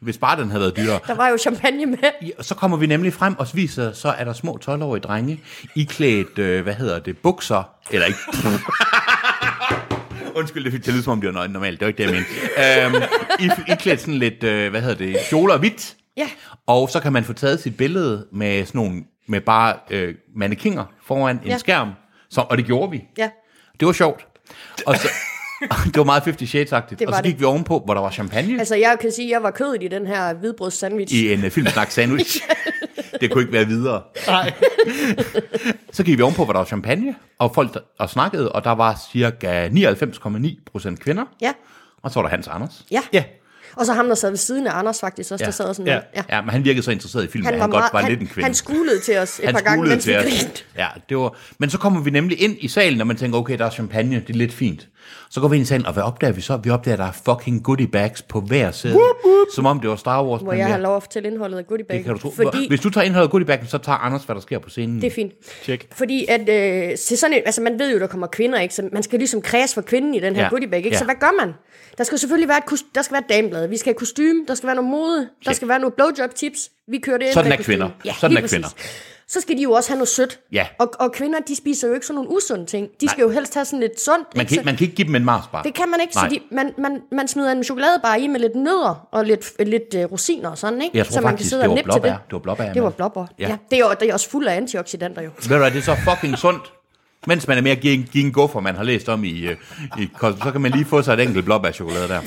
S2: Hvis bare den havde været dyrere.
S3: Der var jo champagne med.
S2: Ja, Så kommer vi nemlig frem, og så viser så er der små 12-årige drenge, iklædt, øh, hvad hedder det, bukser, eller ikke... Undskyld, det fik til at lyde, som om det var nøgen normalt. Det var ikke det, jeg mente. Øhm, I, iklædt sådan lidt, øh, hvad hedder det, kjoler og hvidt.
S3: Ja.
S2: Og så kan man få taget sit billede med sådan nogle, med bare øh, mannekinger foran en
S3: Ja.
S2: skærm. Så, og det gjorde vi.
S3: Ja.
S2: Det var sjovt. Og så, det var meget 50 Shades-agtigt.
S3: Det
S2: Og så
S3: var
S2: gik
S3: det.
S2: vi ovenpå, hvor der var champagne
S3: Altså, jeg kan sige, at jeg var kødet i den her hvidbrødssandwich.
S2: i en uh, filmsnak sandwich. det kunne ikke være videre. Nej. så gik vi ovenpå, hvor der var champagne, og folk der, og snakkede, og der var cirka 99,9 procent kvinder.
S3: Ja.
S2: Og så var der Hans Anders.
S3: Ja.
S2: ja.
S3: Og så ham, der sad ved siden af Anders faktisk også, ja. der sad sådan
S2: ja.
S3: noget.
S2: Ja. ja, men han virkede så interesseret i filmen, han at han godt var
S3: han,
S2: lidt en kvinde.
S3: han skulede til os et par gange,
S2: skulede
S3: mens vi
S2: til os.
S3: grinede.
S2: Ja, det var... Men så kommer vi nemlig ind i salen, og man tænker, okay, der er champagne, det er lidt fint. Så går vi ind i salen, og hvad opdager vi så? Vi opdager, at der er fucking goodie bags på hver sæde. Som om det var Star Wars.
S3: Hvor jeg har lov at fortælle indholdet af goodiebag.
S2: det kan du tro.
S3: Fordi,
S2: Fordi... Hvis du tager indholdet af goodie baggen, så tager Anders, hvad der sker på scenen.
S3: det er fint.
S1: Tjek.
S3: Fordi at, øh, til sådan et, altså man ved jo, der kommer kvinder, ikke? Så man skal ligesom kredse for kvinden i den her
S2: Ja.
S3: ja. goodiebag, ikke? Så
S2: Ja.
S3: hvad gør man? Der skal selvfølgelig være et, kus- der skal være et dameblad, vi skal have kostume, der skal være noget mode, der skal være nogle blowjob tips, vi kører det ind
S2: Sådan
S3: med
S2: er kvinder.
S3: kostume. Ja,
S2: Sådan
S3: lige
S2: er kvinder.
S3: præcis. Så skal de jo også have noget sødt.
S2: Ja.
S3: Og, og kvinder, de spiser jo ikke sådan nogle usunde ting. De skal jo helst have sådan lidt sundt.
S2: Man kan,
S3: ikke? Så-
S2: ikke- man kan ikke give dem en Mars bare.
S3: Det kan man ikke,
S2: Nej.
S3: så de, man, man, man smider en chokoladebar i med lidt nødder og lidt, øh, lidt uh, rosiner og sådan, ikke?
S2: Jeg tror
S3: så man
S2: faktisk,
S3: kan sidde
S2: det
S3: og
S2: var
S3: nippe til
S2: blåbær.
S3: det.
S2: Det var blåbær,
S3: Det var
S2: Mads.
S3: blåbær,
S2: Ja.
S3: ja. ja. Det, er, jo- det er også fuld af antioxidanter jo.
S2: Ved du hvad, det er så fucking sundt. Mens man er mere gin, gin guffer, man har læst om i, øh, i Cosmo, så kan man lige få sig et enkelt blåbærchokolade der.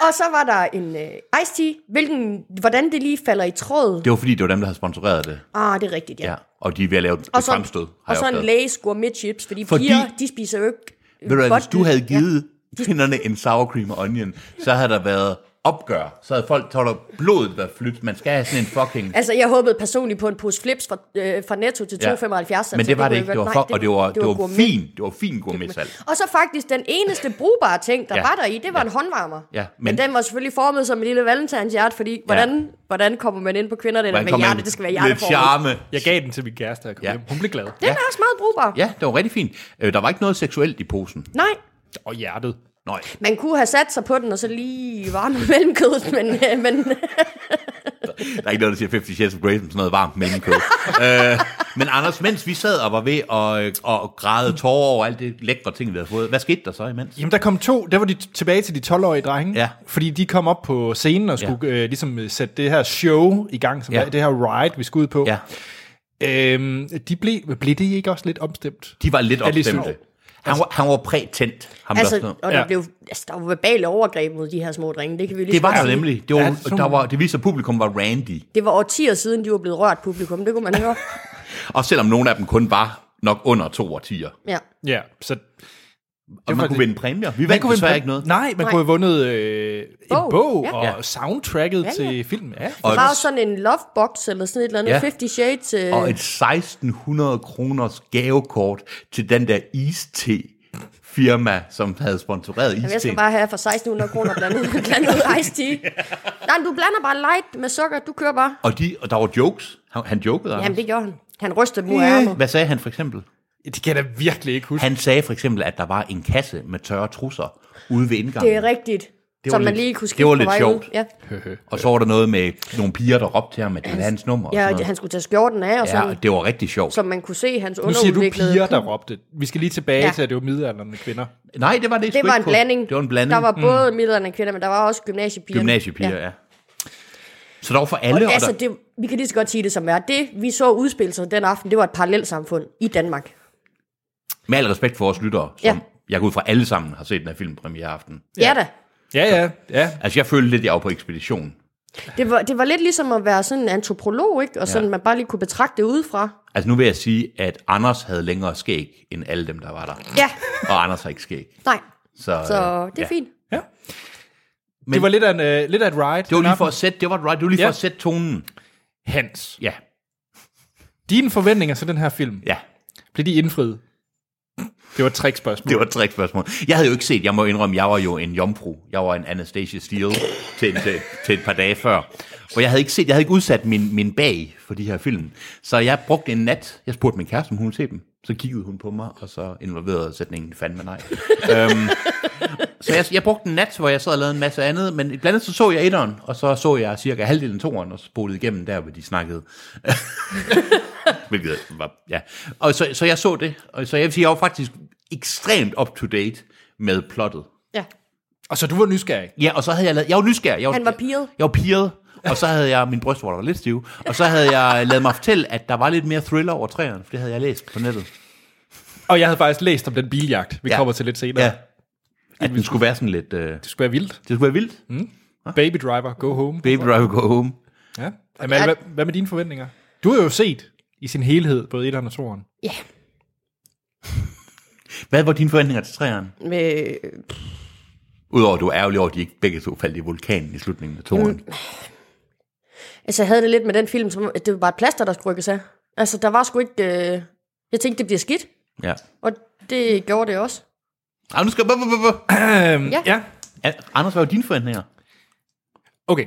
S3: Og så var der en uh, iced tea, hvilken, hvordan det lige falder i tråd.
S2: Det var fordi, det var dem, der havde sponsoreret det.
S3: Ah, det er rigtigt, ja.
S2: Ja. Og de er ved at lave
S3: Og
S2: et
S3: så,
S2: fremstød, har
S3: og så
S2: jeg
S3: en
S2: opdaget.
S3: læge gourmet chips, fordi,
S2: Fordi-
S3: fordi piger, de spiser jo ikke... øh,
S2: Ved du hvad, hvis
S3: godt
S2: du havde
S3: lyd.
S2: givet kvinderne en sour cream og onion, så havde der været opgør. Så havde folk, så havde der blodet været flyttet. Man skal have sådan en fucking...
S3: Ja. Altså, jeg håbede personligt på en pose flips fra, øh, fra Netto til 2,75.
S2: Ja.
S3: altså,
S2: Men det var det
S3: kunne
S2: ikke.
S3: jeg
S2: Det var
S3: godt-
S2: for,
S3: nej,
S2: og det var, det var,
S3: gourmet.
S2: fint. Det var fint gourmetsalt.
S3: Og så faktisk den eneste brugbare ting, der
S2: Ja.
S3: ja. var der i, det var ja. en håndvarmer.
S2: Ja, men-
S3: men... men den var selvfølgelig formet som en lille valentinshjerte, fordi hvordan, ja. hvordan kommer man ind på kvinder, det der med hjerte, det skal være
S2: Lidt
S3: hjerteformet.
S2: charme.
S1: Jeg gav den til min kæreste, og kom
S2: Ja.
S1: ja. hjem. Hun blev glad.
S3: Den er også meget brugbar. Ja.
S2: Ja, det var rigtig fint. Øh, Der var ikke noget seksuelt i posen.
S3: Nej,
S1: Og hjertet.
S2: Nej.
S3: man kunne have sat sig på den, og så lige varme mellemkødet, men, øh, men
S2: Der er ikke noget, der siger 50 Shades of Grey som sådan noget varmt mellemkød. øh, men Anders, mens vi sad og var ved at, øh, at græde tårer over alt det lækre ting, vi havde fået, hvad skete der så imens?
S1: Jamen, der kom to. Der var de t- tilbage til de 12-årige drenge.
S2: Ja.
S1: Fordi de kom op på scenen og skulle øh, ligesom øh, sætte det her show i gang, som
S2: Ja.
S1: ja. det her ride, vi skulle ud på.
S2: Ja,
S1: Øhm, de blev, blev det ikke også lidt omstemt?
S2: de var lidt
S1: Er det
S2: opstemte.
S1: sjovt?
S2: Han var, han var prætændt. Ham altså, der sådan-
S3: altså, og der,
S1: Ja.
S3: ja. blev, altså, der var verbale overgreb mod de her små drenge, det kan vi lige
S2: det
S3: så godt
S2: var der
S3: sige.
S2: nemlig. Det, var,
S1: Ja, det så
S2: der
S1: man.
S2: var, det viser, at publikum var randy.
S3: Det var årtier siden, de var blevet rørt publikum, det kunne man høre.
S2: Og selvom nogle af dem kun var nok under to årtier.
S3: Ja.
S1: Ja, så...
S2: Og man
S1: var
S2: kunne
S1: det-
S2: vinde præmier. Vi vandt
S1: vinde
S2: desværre
S1: på-
S2: ikke noget.
S1: Nej, man
S3: Nej.
S1: kunne have vundet øh, en
S3: Bog,
S1: bog
S3: ja.
S1: og
S2: Ja.
S1: soundtracket
S3: ja.
S1: til filmen. Ja.
S3: Der
S2: Og,
S3: var også sådan en lovebox, eller sådan et eller andet,
S2: Ja.
S3: ja. 50 Shades. Øh,
S2: og et 1600 kroners gavekort til den der iste firma, som havde sponsoreret
S3: Jamen, jeg
S2: iste.
S3: skal bare have for 1600 kroner blandet, blandet iced tea. Nej, men du blander bare light med sukker, du kører bare.
S2: Og, de, og der var jokes. Han, han jokede
S3: Jamen,
S2: Anders.
S3: det gjorde han. Han rystede mod ærmet.
S2: Hvad sagde han for eksempel?
S1: Det kan jeg da virkelig ikke huske.
S2: Han sagde for eksempel, at der var en kasse med tørre trusser ude ved indgangen.
S3: Det er rigtigt.
S2: Det var
S3: Som man
S2: lidt-
S3: lige kunne
S2: det
S3: skifte
S2: var
S3: på
S2: lidt
S3: vej
S2: sjovt.
S3: ud. Ja.
S2: Og så var der noget med nogle piger, der råbte til ham, at det var hans nummer. og sådan
S3: ja,
S2: noget.
S3: han skulle tage skjorten af, og sådan,
S2: ja, det var rigtig sjovt.
S3: som man kunne se hans
S1: Nu siger du
S3: underudviklede...
S1: piger, der råbte. Vi skal lige tilbage
S3: Ja.
S1: til, at det var midalderne kvinder.
S2: Nej, det var det,
S3: Det
S2: sgu
S3: var
S2: ikke
S3: en
S2: på-
S3: blanding.
S2: Det var en blanding.
S3: Der var både mm. midlerne og kvinder, men der var også gymnasiepiger.
S2: Gymnasiepiger, ja. ja. Så der var for alle, og,
S3: Altså,
S2: der,
S3: det, vi kan lige så godt sige det som er. Det, vi så udspille sig den aften, det var et parallelsamfund i Danmark.
S2: med al respekt for vores lyttere, som
S3: Ja.
S2: jeg går ud fra alle sammen har set den her film premiereaften.
S3: Ja, ja da.
S1: Ja, ja, ja.
S2: Altså, jeg følte lidt, jeg var på ekspedition.
S3: Det var, det var lidt ligesom at være sådan en antropolog, ikke? Og sådan,
S2: Ja.
S3: ja. man bare lige kunne betragte det udefra.
S2: Altså, nu vil jeg sige, at Anders havde længere skæg, end alle dem, der var der.
S3: Ja,
S2: Og Anders har ikke skæg.
S3: nej.
S2: Så,
S3: Så
S2: øh,
S3: det er
S2: ja.
S3: fint.
S1: Men, det var lidt af, en, øh, lidt af et ride.
S2: Det var
S1: den
S2: lige for at
S1: aften.
S2: sætte, det var, right, det var lige for
S1: Ja.
S2: at sætte tonen.
S1: Hans.
S2: Ja,
S1: Dine forventninger til den her film,
S2: ja.
S1: blev de indfriet? Det var et trickspørgsmål.
S2: Det var et trickspørgsmål. Jeg havde jo ikke set, jeg må indrømme, jeg var jo en jomfru. Jeg var en Anastasia Steele til, til, til et par dage før. Og jeg havde ikke set, jeg havde ikke udsat min, min bag for de her film. Så jeg brugte en nat, jeg spurgte min kæreste, om hun ville se dem. Så kiggede hun på mig, og så involverede sætningen fandme nej. øhm, så jeg, jeg brugte en nat, hvor jeg sad og lavede en masse andet, men blandt andet så så jeg etteren, og så så jeg cirka halvdelen af toeren, og spolede igennem der, hvor de snakkede. Hvilket var, ja. Og så, så jeg så det, og så jeg vil sige, jeg var faktisk ekstremt up to date med plottet.
S3: Ja.
S1: Og så du var nysgerrig.
S2: Ja, og så havde jeg lavet, jeg var nysgerrig. Jeg var,
S3: Han var pirret.
S2: Jeg, jeg var piret, og så havde jeg, min brystvorter var lidt stiv, og så havde jeg lavet mig fortælle, at der var lidt mere thriller over træerne, for det havde jeg læst på nettet.
S1: Og jeg havde faktisk læst om den biljagt, vi
S2: Ja.
S1: ja. kommer til lidt senere.
S2: Ja.
S1: Ja.
S2: At den skulle være sådan lidt, øh, det
S1: Det skulle være vildt.
S2: skulle være vildt. Ah.
S1: Baby Driver, Go Home.
S2: Baby Driver Go Home.
S1: Ja. Amal, hvad, hvad med dine forventninger? Du har jo set i sin helhed både etteren og toeren.
S3: Ja.
S2: Hvad var dine forventninger til træerne?
S3: Med,
S2: Udover at du er ærgerlig over, at de ikke begge to faldt i vulkanen i slutningen af toren. Mm.
S3: Altså, jeg havde det lidt med den film, som at det var bare et plaster, der skulle rykkes af. Altså, der var sgu ikke... Øh... Jeg tænkte, det bliver skidt,
S2: Ja.
S3: og det gjorde det også.
S2: Ah, nu skal... bup, bup, bup, bup.
S3: Ja.
S1: Øhm, ja.
S2: An- Anders, hvad var dine forventninger?
S1: Okay.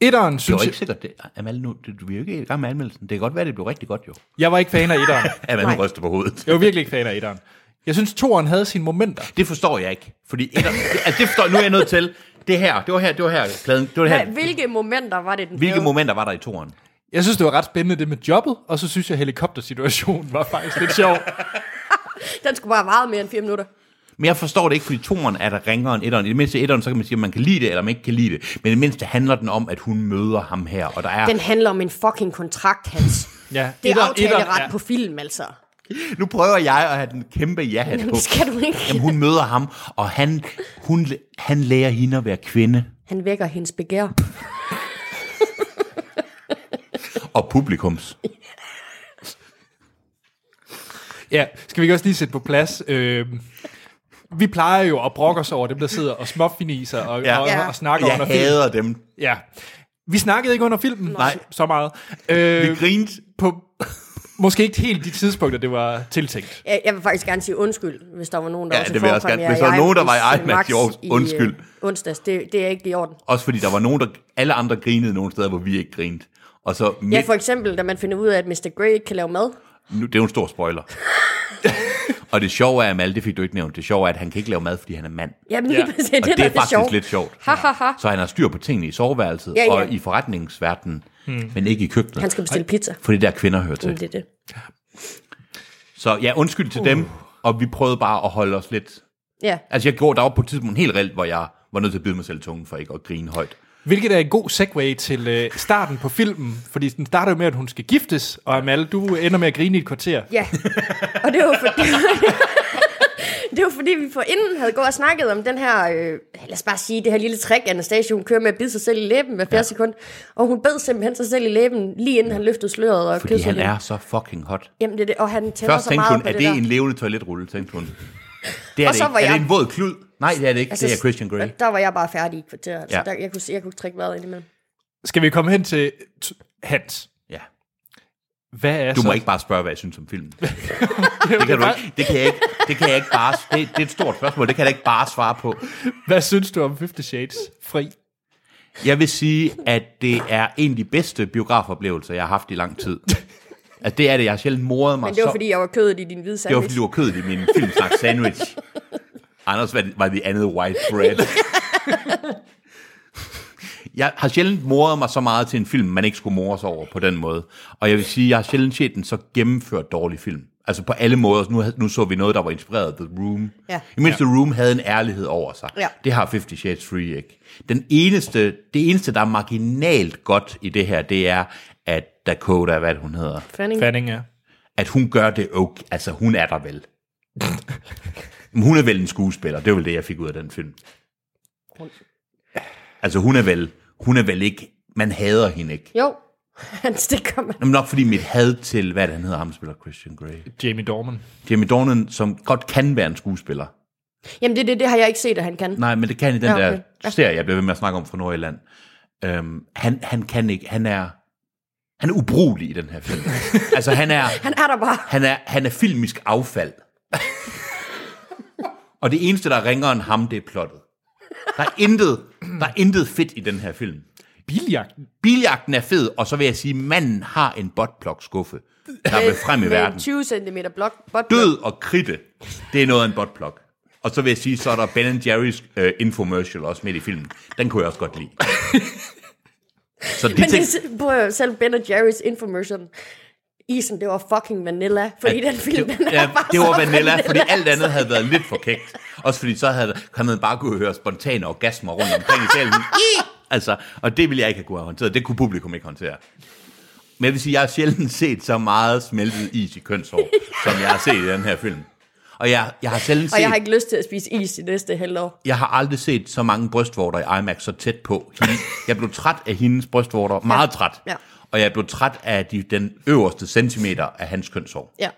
S1: Etteren,
S2: Det var
S1: synes jeg...
S2: ikke sikkert. Det, Amal, nu, det, vi er jo ikke i gang med anmeldelsen. Det kan godt være, det blev rigtig godt, jo.
S1: Jeg var ikke fan af etteren.
S2: Amal,
S3: Nej.
S2: nu ryster på hovedet.
S1: Jeg var virkelig ikke fan af etteren. Jeg synes, toeren havde sine momenter.
S2: Det forstår jeg ikke. Fordi etter, det, altså, det forstår nu er jeg nødt til. Det her, det var her, det var her, pladen, det var her.
S3: Hvad, hvilke momenter var det, den
S2: Hvilke
S3: havde?
S2: momenter var der i toren?
S1: Jeg synes, det var ret spændende det med jobbet, og så synes jeg, helikoptersituationen var faktisk lidt sjov.
S3: Den skulle bare have varet mere end fire minutter.
S2: Men jeg forstår det ikke, fordi toren er der ringere end etteren. I det mindste etteren, så kan man sige, om man kan lide det, eller man ikke kan lide det. Men i det mindste handler den om, at hun møder ham her, og der er...
S3: Den handler om en fucking kontrakt, Hans.
S1: Ja,
S3: Det er
S1: etteren-
S3: aftaleret
S1: etteren-
S3: på film, altså.
S2: Nu prøver jeg at have den kæmpe ja-hat på.
S3: Jamen, skal du ikke?
S2: Jamen, hun møder ham, og han, hun, han lærer hende at være kvinde.
S3: Han vækker hendes begær.
S2: Og publikums.
S1: Ja. ja, skal vi ikke også lige sætte på plads? Øh, vi plejer jo at brokke os over dem, der sidder og småfiniser og,
S2: Ja.
S1: ja. og,
S3: Ja.
S1: og, og snakker under
S2: Jeg
S1: filmen.
S2: hader dem.
S1: Ja. Vi snakkede ikke under filmen
S2: Nej.
S1: så meget. Øh,
S2: Vi grinte.
S1: på måske ikke helt de tidspunkter, det var tiltænkt.
S3: Jeg, jeg vil faktisk gerne sige undskyld, hvis der var nogen, der
S2: Ja,
S3: også
S2: det vil jeg også
S3: forekom
S2: gerne.
S3: jer
S2: Hvis der var nogen, der var i
S3: IMAX
S2: IMAX i Aarhus,
S3: øh,
S2: undskyld.
S3: onsdags, det, det er ikke i orden.
S2: Også fordi der var nogen, der... Alle andre grinede nogle steder, hvor vi ikke grinede. Og så... Midt,
S3: Ja, for eksempel, da man finder ud af, at Mr. Grey ikke kan lave mad.
S2: nu, det er jo en stor spoiler. og det sjove er, Amal, det fik du ikke nævnt, det sjove er, at han kan ikke lave mad, fordi han er mand.
S3: Jamen,
S1: Ja.
S3: lige præcis, det,
S2: Og det,
S3: der
S2: er faktisk
S3: sjove.
S2: lidt sjovt.
S3: Ha, ha, ha.
S2: Så han har styr på tingene i soveværelset
S3: Ja, ja.
S2: og i forretningsverdenen, men ikke i køkkenet.
S3: Han skal bestille pizza.
S2: Fordi der kvinder hører til.
S3: Det er det.
S2: Så ja, undskyld til dem,
S3: Uh.
S2: og vi prøvede bare at holde os lidt...
S3: Ja,
S2: Altså jeg gjorde, der var på et tidspunkt helt reelt, hvor jeg var nødt til at bide mig selv i tungen for ikke at grine højt.
S1: Hvilket er en god segue til øh, starten på filmen, fordi den starter jo med, at hun skal giftes, og Amal, du ender med at grine i et kvarter.
S3: ja. Og det var fordi... Det var fordi, vi forinden havde gået og snakket om den her, øh, lad os bare sige, det her lille trick, Anastasia, hun kører med at bide sig selv i læben hver 40 sekund. Og hun bed simpelthen sig selv i læben, lige inden han løftede sløret og
S2: Fordi
S3: kyssede
S2: han
S3: hende.
S2: er så fucking hot.
S3: Jamen, det er det, og han tænder
S2: Først
S3: så
S2: tænkte
S3: meget
S2: hun,
S3: på
S2: er
S3: det,
S2: det,
S3: der.
S2: en levende toiletrulle, tænkte hun. Det er,
S3: Og
S2: det
S3: så
S2: ikke.
S3: var
S2: er
S3: jeg-
S2: det en våd klud? Nej, det er det ikke. Altså, det er Christian Grey.
S3: Der var jeg bare færdig i kvarteret. Ja.
S2: Ja.
S3: Så der, jeg, kunne, se- jeg kunne ikke trække vejret ind imellem.
S1: Skal vi komme hen til t- Hans?
S2: Ja.
S1: Hvad er
S2: Du
S1: så?
S2: må ikke bare spørge, hvad jeg synes om filmen. Det kan, du ikke, det kan jeg ikke, det kan jeg ikke bare... Det, det er et stort spørgsmål, det kan jeg da ikke bare svare på.
S1: Hvad synes du om 50 Shades fri?
S2: Jeg vil sige, at det er en af de bedste biografoplevelser, jeg har haft i lang tid. Altså, det er det. Jeg har sjældent moret mig
S3: Men det var,
S2: så...
S3: fordi jeg var kødet i din hvide
S2: det var,
S3: sandwich.
S2: fordi du var kødet i min filmsnak sandwich. Anders var det, var det andet white bread. Jeg har sjældent moret mig så meget til en film, man ikke skulle mores over på den måde. Og jeg vil sige, jeg har sjældent set en så gennemført dårlig film. Altså på alle måder. Nu, havde- nu så vi noget, der var inspireret af The Room.
S3: Ja.
S2: I mindst The Room havde en ærlighed over sig.
S3: Ja.
S2: Det har Fifty Shades Free ikke. Den eneste, det eneste, der er marginalt godt i det her, det er, at Dakota, hvad er det, hun hedder,
S3: Fanning.
S1: Fanning, ja.
S2: at hun gør det okay. Altså, hun er der vel. Men hun er vel en skuespiller. Det var vel det, jeg fik ud af den film. Altså, hun er vel, hun er vel ikke... Man hader hende ikke.
S3: Jo, Hans, det kom
S2: Jamen nok fordi mit had til, hvad er det, han hedder, ham der spiller Christian Grey.
S1: Jamie Dorman.
S2: Jamie Dornan, som godt kan være en skuespiller.
S3: Jamen, det, det, det har jeg ikke set, at han kan.
S2: Nej, men det kan i den
S3: Ja,
S2: okay.
S3: okay.
S2: der serie, jeg bliver ved med at snakke om fra Nordjylland. Øhm, han, han kan ikke, han er, han er ubrugelig i den her film. altså, han er,
S3: Han er der bare.
S2: Han er, han er filmisk affald. og det eneste, der ringer end ham, det er plottet. Der er intet, der er intet fedt i den her film.
S1: Biljagten.
S2: Biljagten er fed, og så vil jeg sige, manden har en botplok-skuffe, der vil frem i
S3: Med en
S2: verden.
S3: 20 cm blok. bot-
S2: Død og kritte, det er noget af en botplok. Og så vil jeg sige, så er der Ben Jerry's øh, infomercial også midt i filmen. Den kunne jeg også godt lide. Så de
S3: Men det,
S2: ting,
S3: er- prøv at høre, selv Ben Jerry's infomercial. Isen, det var fucking vanilla. Fordi den film, den er
S2: ja,
S3: bare
S2: det var
S3: så
S2: vanilla, fordi alt
S3: altså.
S2: andet havde været lidt for kægt. Også fordi så havde kan man bare kunne høre spontane orgasmer rundt omkring i salen. I! Altså, og det ville jeg ikke have kunne have håndteret. Det kunne publikum ikke håndtere. Men jeg vil sige, jeg har sjældent set så meget smeltet is i kønshår, som jeg har set i den her film. Og jeg, jeg har sjældent set...
S3: Og jeg har ikke lyst til at spise is i næste halvår.
S2: jeg har aldrig set så mange brystvorter i IMAX så tæt på. Hende, jeg blev træt af hendes brystvorter, meget træt.
S3: Ja.
S2: Og jeg blev træt af de, den øverste centimeter af hans kønshår.
S3: Ja.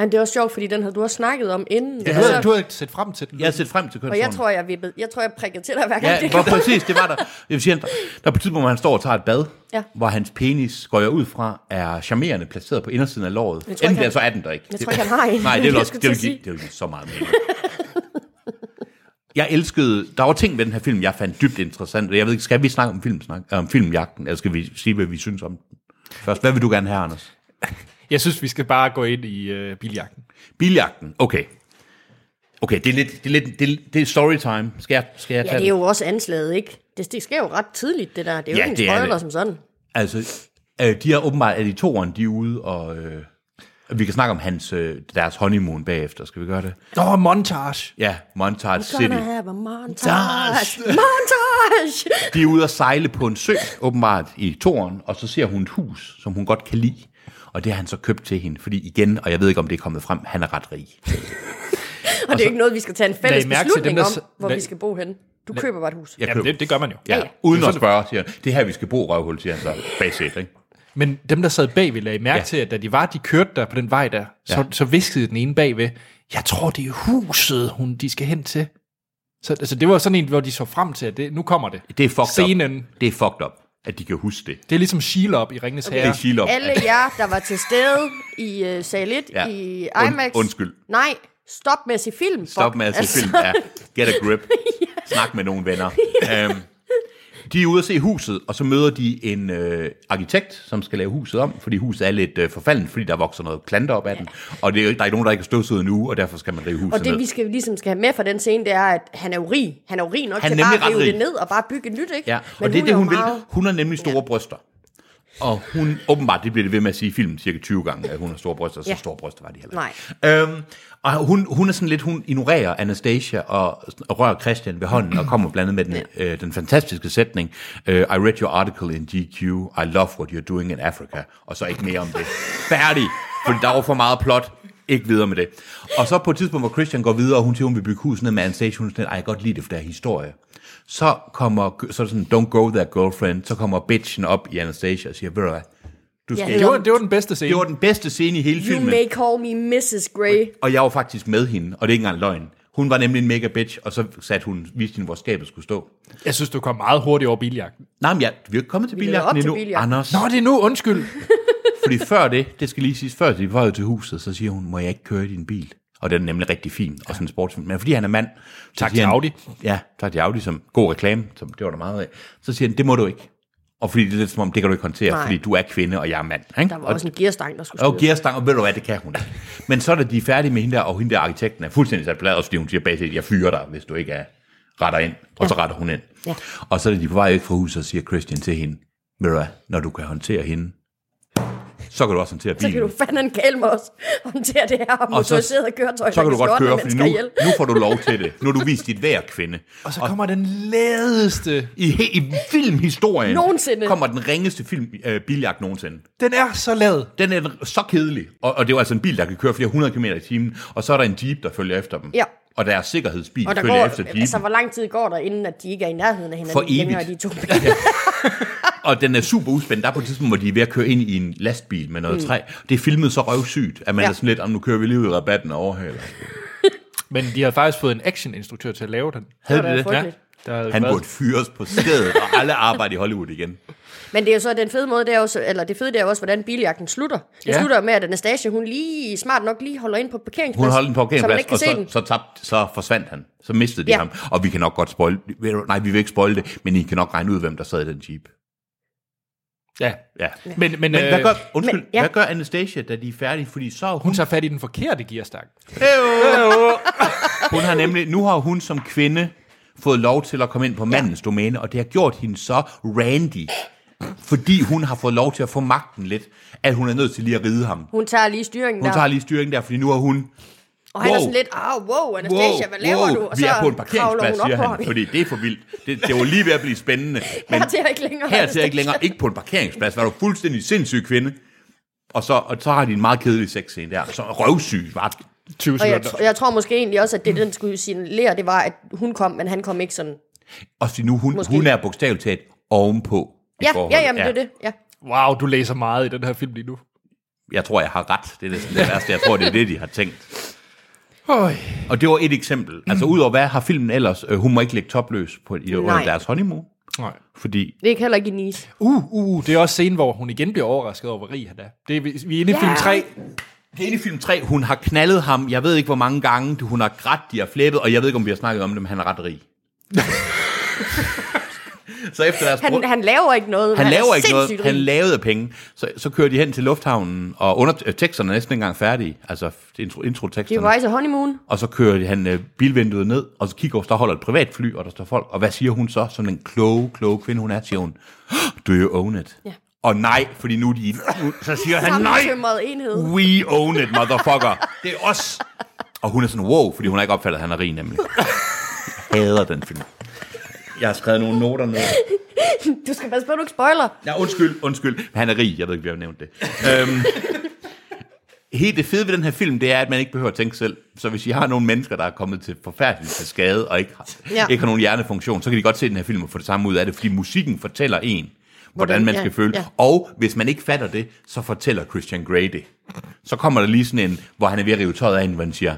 S3: Men det er også sjovt, fordi den havde du også snakket om inden.
S1: Ja,
S3: Og så-
S1: havde, du havde set frem til den.
S2: Altså- Jeg har set frem til
S3: og
S2: kønsrollen.
S3: jeg tror, jeg vippede. Jeg tror, jeg prikkede til dig hver gang.
S2: Ja,
S3: det
S2: hvor,
S3: kom.
S2: præcis, det var der. Jeg vil sige, han, der er på et tidspunkt, hvor han står og tager et bad,
S3: Ja.
S2: hvor hans penis, går jeg ud fra, er charmerende placeret på indersiden af låret.
S3: Jeg tror
S2: Enten
S3: ikke,
S2: der,
S3: han-
S2: så er den der ikke.
S3: Jeg tror ikke, han har en.
S2: Nej, det vil
S3: Jeg
S2: også
S3: skulle
S2: det vil
S3: til at
S2: give, det vil give så meget mening. Jeg elskede, der var ting ved den her film, jeg fandt dybt interessant. Jeg ved ikke, skal vi snakke om, filmsnak, om filmjagten, eller skal vi sige, hvad vi synes om den? Først, hvad vil du gerne have, Anders?
S1: Jeg synes, vi skal bare gå ind i øh, biljagten.
S2: Biljagten, okay. Okay, det er lidt, det er lidt, det er, det er storytime. Skal jeg, skal jeg
S3: Ja,
S2: tage
S3: det
S2: den?
S3: er jo også anslaget, ikke? Det, det sker jo ret tidligt, det der. Det er jo
S2: Ja,
S3: ikke en
S2: det er
S3: spoiler
S2: det.
S3: som sådan.
S2: Altså, øh, de er åbenbart, at de toeren, de er ude, og øh, vi kan snakke om hans, øh, deres honeymoon bagefter. Skal vi gøre det?
S1: Nå, montage.
S2: Ja, Montage City.
S3: Gonna have a montage. Montage!
S2: De er ude og sejle på en sø, åbenbart i toeren, og så ser hun et hus, som hun godt kan lide. Og det har han så købt til hende, fordi igen, og jeg ved ikke, om det er kommet frem, han er ret rig.
S3: Og det er jo ikke noget, vi skal tage en fælles
S1: I mærke til dem,
S3: beslutning
S1: der
S3: om,
S1: s-
S3: hvor
S1: lad-
S3: vi skal bo henne. Du køber bare et hus.
S2: Jeg
S1: Jamen,
S2: køber.
S1: det, det gør man jo.
S2: Ja,
S3: ja.
S2: uden at spørge, siger han. Det er her, vi skal bo, røvhul, siger han så. Basic, ikke?
S1: Men dem, der sad bagved, lagde mærke
S2: Ja.
S1: ja. til, at da de var, de kørte der på den vej der, så,
S2: Ja.
S1: ja. så viskede den ene bagved, jeg tror, det er huset, hun, de skal hen til. Så altså, det var sådan en, hvor de så frem til, at det, nu kommer det.
S2: Det er fucked
S1: Scenen.
S2: up. Det er fucked up, at de kan huske det.
S1: Det er ligesom Shelob i Ringenes
S2: Det er
S1: Herre.
S2: Sheila.
S3: Alle jer, der var til stede i uh, sal 1
S2: Ja.
S3: ja. i
S2: Und-
S3: IMAX.
S2: undskyld.
S3: Nej, stop med at se film. fuck. Altså,
S2: Stop med at se film. Ja. Get a grip. Snak med nogle venner. Øhm, de er ude at se huset, og så møder de en øh, arkitekt, som skal lave huset om, fordi huset er lidt øh, forfaldent, fordi der vokser noget planter op af den, og det er, jo ikke- der er ikke nogen, der ikke har støvsuget nu, og derfor skal man rive huset
S3: Og det,
S2: ned.
S3: vi skal, ligesom skal have med fra den scene, det er, at han er jo rig. Han er jo rig nok
S2: Han er
S3: til bare
S2: nemlig
S3: at
S2: ret
S3: rive
S2: rig.
S3: det ned og bare bygge et nyt, ikke?
S2: Ja, og det er det,
S3: jo
S2: hun vil.
S3: meget-
S2: Hun har nemlig store bryster. Og hun, åbenbart, det bliver det ved med at sige i filmen cirka 20 gange, at hun har store bryster, så
S3: Ja.
S2: store bryster var de heller
S3: Nej.
S2: Øhm, og hun, hun er sådan lidt, hun ignorerer Anastasia og, og rører Christian ved hånden og kommer blandt andet med den, øh, den fantastiske sætning, øh, I read your article in GQ, I love what you're doing in Africa, og så ikke mere om det. Færdig, for der var for meget plot, ikke videre med det. Og så på et tidspunkt, hvor Christian går videre, og hun siger, hun vil bygge hus ned med Anastasia, hun er sådan, lidt, "Ej, jeg kan godt lide det, for det er historie. Så kommer, så er det sådan, don't go there, girlfriend, så kommer bitchen op i Anastasia og siger, ved du hvad, du skal,
S1: Det var, det var den bedste scene.
S2: det var den bedste scene i hele
S3: You
S2: filmen.
S3: may call me Mrs. Grey.
S2: Og jeg var faktisk med hende, og det er ikke engang løgn. Hun var nemlig en mega bitch, og så satte hun, viste hende, hvor skabet skulle stå.
S1: Jeg synes, du kom meget hurtigt over biljagten.
S2: Nej, men jeg, vi er jo ikke kommet til
S3: Vi er
S2: biljagten
S3: op til
S2: endnu,
S3: biljagten.
S2: Anders.
S1: Nå, det er nu, undskyld.
S2: Fordi før det, det skal lige siges, før de var jo til huset, så siger hun, må jeg ikke køre i din bil? Og den er nemlig rigtig fin, og sådan en sportsfilm. Men fordi han er mand... så
S1: Tak
S2: siger
S1: til
S2: han-
S1: Audi.
S2: Ja, tak til Audi, som god reklame, som det var der meget af. Så siger han, det må du ikke. Og fordi det er lidt som om, det kan du ikke håndtere,
S3: Nej.
S2: fordi du er kvinde, og jeg er mand. Ikke?
S3: Der var
S2: og
S3: også en gearstang, der skulle
S2: Og
S3: styres.
S2: gearstang, og ved du hvad, det kan hun ikke. Men så er det, de er færdige med hende der, og hende der arkitekten er fuldstændig sat blad, også fordi hun siger basalt, jeg fyrer dig, hvis du ikke er, retter ind. Og så retter hun ind.
S3: Ja.
S2: Og så er det, de er på vej væk fra huset, og siger Christian til hende, ved du hvad, når du kan håndtere hende, så kan du også håndtere bilen.
S3: Så kan du fandme en kalme også håndtere det her
S2: Og så-
S3: motoriserede køretøj,
S2: så kan du godt køre, fordi nu,
S3: ihjel.
S2: nu får du lov til det. Nu har du vist dit værd, kvinde.
S1: Og så kommer den ladeste.
S2: I, he- i filmhistorien
S3: Nogensinde.
S2: kommer den ringeste film, øh, biljagt nogensinde.
S1: Den er så lad.
S2: Den er så kedelig, og, og det er jo altså en bil, der kan køre flere hundrede kilometer i timen, og så er der en Jeep, der følger efter dem.
S3: Ja.
S2: Og deres sikkerhedsbil
S3: Og der
S2: følger
S3: går,
S2: efter Jeepen.
S3: altså, hvor lang tid går der, inden at de ikke er i nærheden af hinanden
S2: For evigt.
S3: længere, de to biler?
S2: Og den er super uspændt. Der er på et tidspunkt, hvor de er ved at køre ind i en lastbil med noget mm. træ. Det er filmet så røvsygt, at man ja.
S3: Ja.
S2: er sådan lidt, om nu kører vi lige ud i rabatten og overhaler.
S1: Men de har faktisk fået en actioninstruktør til at lave den.
S2: Havde
S3: da
S2: de det?
S3: frygteligt.
S1: Der havde
S2: Han
S1: været-
S2: burde fyres på stedet, og alle arbejde i Hollywood igen.
S3: Men det er jo så den fede måde, det er også, eller det fede det er også, hvordan biljagten slutter. Det
S1: Ja.
S3: ja. slutter jo med, at Anastasia, hun lige smart nok lige holder ind på parkeringspladsen.
S2: Hun holdt den på
S3: Så man
S2: parkeringsplads,
S3: ikke kan
S2: og
S3: se
S2: så,
S3: den.
S2: så, tabt, så forsvandt han. Så mistede de ja.
S3: Ja.
S2: ham. Og vi kan nok godt spoil ved du- Nej, vi vil ikke spoil det, men I kan nok regne ud, hvem der sad i den Jeep.
S1: Ja.
S2: Ja.
S1: Men, men, men
S2: Men hvad
S1: øh,
S2: gør, undskyld,
S3: men- ja.
S2: hvad gør Anastasia, da de er færdige? Fordi så er hun
S1: hun tager fat i den forkerte gearstang.
S2: Hun har nemlig, nu har hun som kvinde fået lov til at komme ind på mandens domæne, og det har gjort hende så randy, fordi hun har fået lov til at få magten lidt, at hun er nødt til lige at ride ham.
S3: Hun tager lige styringen
S2: Hun
S3: der.
S2: tager lige styringen der, fordi nu har hun...
S3: og han er
S2: Wow.
S3: sådan lidt, ah, wow, Anastasia, wow, hvad laver
S2: wow,
S3: du? Og
S2: vi
S3: så
S2: er på en
S3: kravler
S2: parkeringsplads,
S3: hun op
S2: siger
S3: på
S2: han,
S3: ham.
S2: fordi det er for vildt. Det, det var lige ved at blive spændende. Men
S3: Her til jeg ikke længere.
S2: her til jeg ikke længere, ikke på en parkeringsplads, var du fuldstændig sindssyg kvinde. Og så, og så har de en meget kedelig sexscene der, så røvsyg, var det?
S1: 20
S3: Og jeg,
S1: sekunder.
S3: tr- jeg tror måske egentlig også, at det, den skulle signalere, det var, at hun kom, men han kom ikke sådan.
S2: Og så nu, hun,
S3: Måske.
S2: hun er bogstaveligt talt ovenpå. i
S3: Ja,
S2: forholdet.
S3: ja, jamen, det er det. Ja.
S1: Wow, du læser meget i den her film lige nu.
S2: Jeg tror, jeg har ret. Det er næsten det værste. Jeg tror, det er det, de har tænkt.
S1: Øj.
S2: Og det var et eksempel. Altså, udover hvad har filmen ellers? Øh, Hun må ikke ligge topløs på, i, under
S3: Nej.
S2: deres honeymoon.
S1: Nej.
S2: Fordi
S3: Det er ikke heller ikke i Nice.
S1: Uh, uh, uh, det er også scenen, hvor hun igen bliver overrasket over, hvor rig han er. Det er vi, vi er inde i
S3: Ja.
S1: film 3.
S2: Det er inde i film 3, hun har knaldet ham, jeg ved ikke hvor mange gange, Du- hun har grædt, de har flettet, og jeg ved ikke om vi har snakket om det, men han er ret rig. så efter deres
S3: Han,
S2: brud-
S3: han laver ikke noget.
S2: han
S3: men er
S2: laver ikke noget,
S3: sindssygt
S2: han
S3: rig.
S2: lavede penge, så, så kører de hen til lufthavnen, og under, øh, teksterne er næsten ikke engang færdige, altså intro,
S3: Det
S2: introteksterne,
S3: var altså honeymoon.
S2: og så kører de- han øh, bilvinduet ned, og så kigger hun, der holder et privatfly, og der står folk, og hvad siger hun så, som den kloge, kloge kvinde hun er, siger hun, do you own it?
S3: Ja.
S2: Og nej, fordi nu er de, nu, så siger han, nej,
S3: Sammentømret enhed.
S2: We own it, motherfucker. Det er os. Og hun er sådan, wow, fordi hun har ikke opfattet, at han er rig, nemlig. Jeg hader den film. Jeg har skrevet nogle noter ned.
S3: Du skal passe på, at du ikke spoiler.
S2: Ja, undskyld, undskyld. Men han er rig, jeg ved ikke, vi har nævnt det. Øhm, helt det fede ved den her film, det er, at man ikke behøver at tænke selv. Så hvis I har nogle mennesker, der er kommet til forfærdeligt til skade, og ikke har,
S3: Ja.
S2: ja. ikke har nogen hjernefunktion, så kan de godt se den her film og få det samme ud af det, fordi musikken fortæller en, hvordan man
S3: ja,
S2: skal føle.
S3: ja.
S2: Og hvis man ikke fatter det, så fortæller Christian Grey det. Så kommer der lige sådan en, hvor han er ved at rive tøjet af en, hvor han siger,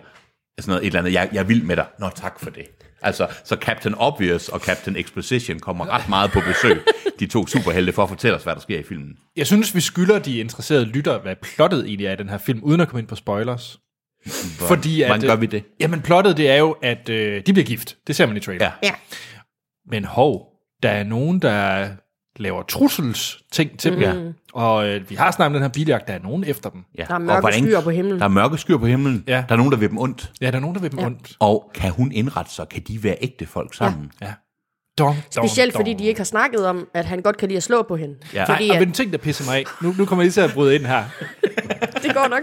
S2: sådan noget, et eller andet, jeg, jeg er vild med dig. Nå, tak for det. Altså, så Captain Obvious og Captain Exposition kommer ret meget på besøg. De to superhelte for at fortælle os, hvad der sker i filmen.
S1: Jeg synes, vi skylder de interesserede lytter, hvad plottet egentlig er i den her film, uden at komme ind på spoilers. Fordi at,
S2: hvordan gør
S1: øh,
S2: vi det?
S1: Jamen, plottet det er jo, at øh, de bliver gift. Det ser man i trailer.
S2: Ja.
S3: Ja.
S1: Men hov, der er nogen, der laver trussels ting til
S3: Mm.
S1: dem.
S2: Ja.
S1: Og øh, vi har snakket om den her biljagt, der er nogen efter dem.
S2: Ja.
S3: Der er mørke
S2: Og
S3: skyer på himlen.
S2: Der er mørke skyer på himlen.
S1: Ja.
S2: Der er nogen, der vil dem ondt.
S1: Ja, der er nogen, der vil dem ja. ondt.
S2: Og kan hun indrette sig? Kan de være ægte folk sammen?
S1: Ja. Dong, dong,
S3: Specielt
S1: dong.
S3: fordi de ikke har snakket om, at han godt kan lide at slå på hende.
S2: Ja.
S3: Fordi
S1: Ej, og
S3: at,
S1: en ting, der pisser mig af. Nu, nu kommer jeg lige til at bryde ind her.
S3: det går nok.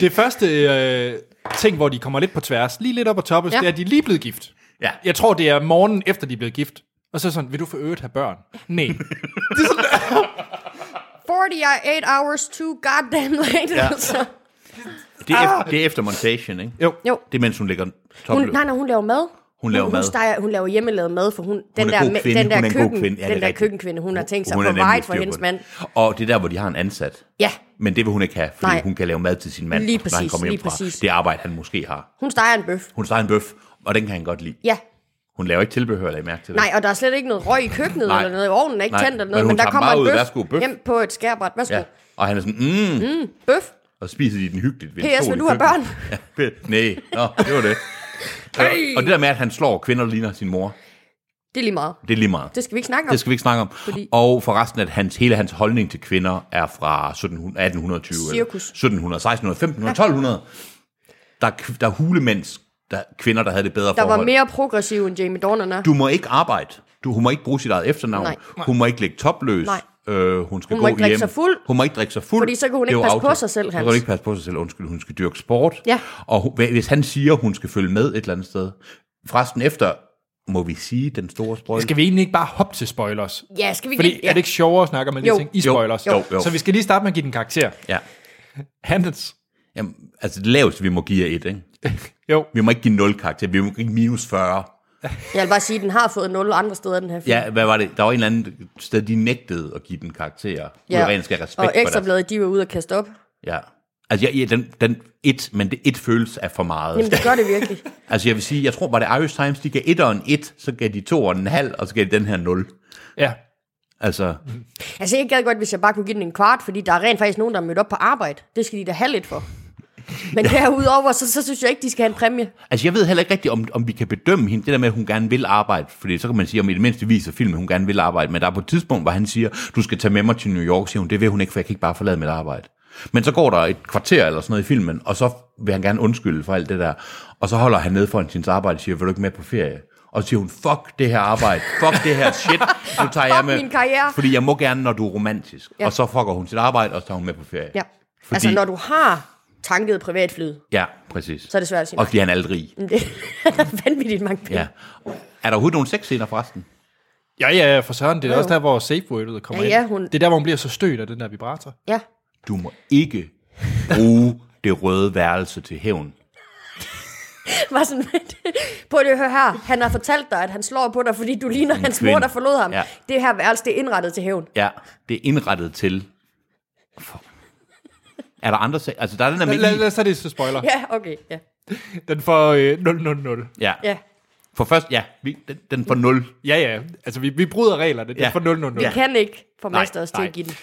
S1: Det første øh, ting, hvor de kommer lidt på tværs, lige lidt op på toppen,
S3: Ja.
S1: ja. det er, at de er lige blevet gift.
S2: Ja.
S1: Jeg tror, det er morgenen efter, de er blevet gift. Og så sådan, vil du for øvrigt have børn? Nej.
S3: 48 hours too goddamn late. Ja. Altså.
S2: Det, er
S1: Ah!
S2: efter, det er efter montagen, ikke?
S1: Jo.
S3: Jo.
S2: Det er, mens hun ligger
S3: Hun,
S2: topløs.
S3: nej, nej, hun laver mad.
S2: Hun laver
S3: hun,
S2: mad.
S3: Hun, steger, hun laver hjemmelavet mad, for hun, den,
S2: er
S3: der,
S2: god
S3: med-
S2: kvinde.
S3: den der
S2: Hun er en god
S3: køkken,
S2: kvinde. Ja, det er
S3: den der
S2: rigtigt.
S3: køkkvinde, hun har tænkt sig
S2: Hun
S3: at
S2: er nemlig
S3: provide for
S2: styr på
S3: hendes
S2: det.
S3: mand.
S2: Og det er der, hvor de har en ansat.
S3: Ja,
S2: Men det vil hun ikke have, fordi
S3: Nej.
S2: Nej. hun kan lave mad til sin mand,
S3: Lige
S2: når han
S3: præcis,
S2: kommer hjem
S3: lige
S2: fra
S3: præcis.
S2: det arbejde, han måske har.
S3: hun steger en bøf.
S2: Hun steger en bøf, og den kan han godt lide.
S3: Ja,
S2: Hun laver ikke tilbehør, lad I mærke til det.
S3: nej, og der er slet ikke noget røg i køkkenet
S2: Nej.
S3: eller noget. Ovnen er ikke
S2: Nej,
S3: tændt eller
S2: men
S3: noget,
S2: hun
S3: men der
S2: tager
S3: kommer
S2: meget
S3: en
S2: ud.
S3: bøf,
S2: Værsgo, bøf.
S3: hjem på et skærbræt. Værsgo.
S2: Ja. Og han er sådan, mm, mm.
S3: Bøf.
S2: og spiser de den hyggeligt ved en
S3: P.S.
S2: stol
S3: vil
S2: i
S3: du have børn?
S2: køkkenet. Ja, p- nej, Nå, det var det. Øh, og det der med, at han slår kvinder, der ligner sin mor,
S3: Det er lige meget.
S2: det er lige meget.
S3: Det skal vi ikke snakke om.
S2: Det skal vi ikke snakke om.
S3: Fordi-
S2: Fordi... Og forresten, at hans, hele hans holdning til kvinder er fra 1700, 1820, eller
S3: Cirkus.
S2: 1700, 1600, 1500, 1200. Der, er kv- der er hulemænds, der er kvinder, der havde det bedre
S3: Der var
S2: forhold.
S3: mere progressiv end Jamie Dornan er.
S2: Du må ikke arbejde. Du, hun må ikke bruge sit eget efternavn.
S3: Nej.
S2: Hun må ikke ligge topløs.
S3: Nej.
S2: Øh, hun skal
S3: Hun må
S2: gå
S3: ikke drikke
S2: hjem.
S3: sig fuld.
S2: Hun må ikke drikke sig fuld.
S3: Fordi så kan hun
S2: Det er
S3: ikke
S2: jo
S3: passe på
S2: aftalt.
S3: sig selv,
S2: Så kan
S3: Hans.
S2: hun ikke passe på sig selv. Undskyld, hun skal dyrke sport.
S3: Ja.
S2: Og hun, hva- hvis han siger, hun skal følge med et eller andet sted. Forresten efter, må vi sige den store sprøjte?
S1: Skal vi egentlig ikke bare hoppe til spoilers?
S3: Ja, skal vi ikke
S1: Fordi
S3: lige- ja.
S1: er det ikke sjovere at snakke om alle
S3: Jo.
S1: de ting i spoilers?
S2: Jo, jo.
S1: Så vi skal lige starte med at give den karakter.
S2: Ja.
S1: Handels.
S2: Jamen, altså det laveste, vi må give er et, ikke?
S1: Jo.
S2: Vi må ikke give 0 karakter. Vi må give minus 40.
S3: Jeg vil bare sige, at den har fået 0 andre steder, den her film.
S2: Ja, hvad var det? Der var en eller anden sted, de nægtede at give den karakter. Ja. Ud af ren skal respekt
S3: og
S2: for deres-
S3: ekstrabladet, de var ude og kaste op.
S2: Ja. Altså, jeg, jeg, den, den et, men det et føles af for meget.
S3: Jamen, det gør det virkelig.
S2: Altså, jeg vil sige, jeg tror, var det Irish Times, de gav etteren et, så gav de toeren en halv, og så gav de den her nul.
S1: Ja.
S2: Altså,
S3: Altså, jeg gad godt, hvis jeg bare kunne give den en kvart, fordi der er rent faktisk nogen, der er mødt op på arbejde. Det skal de da have lidt for. Men derudover, så, så synes jeg ikke, de skal have en præmie.
S2: altså, jeg ved heller ikke rigtigt, om, om vi kan bedømme hende, det der med, at hun gerne vil arbejde, fordi så kan man sige, om i det mindste viser filmen, at hun gerne vil arbejde, men der er på et tidspunkt, hvor han siger, du skal tage med mig til New York, siger hun, det vil hun ikke, for jeg kan ikke bare forlade mit arbejde. Men så går der et kvarter eller sådan noget i filmen, og så vil han gerne undskylde for alt det der, og så holder han ned foran sin arbejde og siger, vil du ikke med på ferie? Og så siger hun, fuck det her arbejde, fuck det her shit, nu tager jeg
S3: Fuck
S2: med.
S3: min karriere.
S2: Fordi jeg må gerne, når du er romantisk.
S3: Ja.
S2: Ja. Og så fucker hun sit arbejde, og så tager hun med på ferie.
S3: Ja. Fordi...
S2: Fordi-
S3: Altså, når du har tanket privatflyet,
S2: Ja, præcis.
S3: så er det svært at sige
S2: Og
S3: nej. Mm-hmm.
S2: fordi han er aldrig.
S3: Men Det er vanvittigt mange penge.
S2: Ja. Er der overhovedet nogle sexscener forresten?
S1: Ja, ja, for søren. Det er
S3: Jo,
S1: også
S3: jo.
S1: der, hvor safe wordet kommer
S3: Ja, ja,
S1: ind.
S3: hun-
S1: Det er der, hvor hun bliver så stødt af den der vibrator.
S3: ja.
S2: Du må ikke bruge det røde værelse til hævn.
S3: Var sådan, prøv lige at høre her. Han har fortalt dig, at han slår på dig, fordi du ligner hans mor,
S2: kvinde.
S3: der forlod ham. Ja.
S2: Ja.
S3: Det her værelse, det er indrettet til hævn.
S2: Ja, det er indrettet til... For- Er der andre sag? Altså, der er den
S1: Lad, lad, lad
S2: almindelige...
S1: os tage det til spoiler.
S3: Ja, okay, ja.
S1: Den får øh, 000.
S2: Ja.
S3: ja.
S2: For først, ja, vi, den, den får 0.
S1: Ja, ja. Altså, vi, vi bryder reglerne. Den
S2: Ja.
S1: ja. får 000.
S3: Vi
S1: Ja.
S2: Ja.
S3: kan ikke få
S2: Nej,
S3: Master os til
S2: nej.
S3: at give den.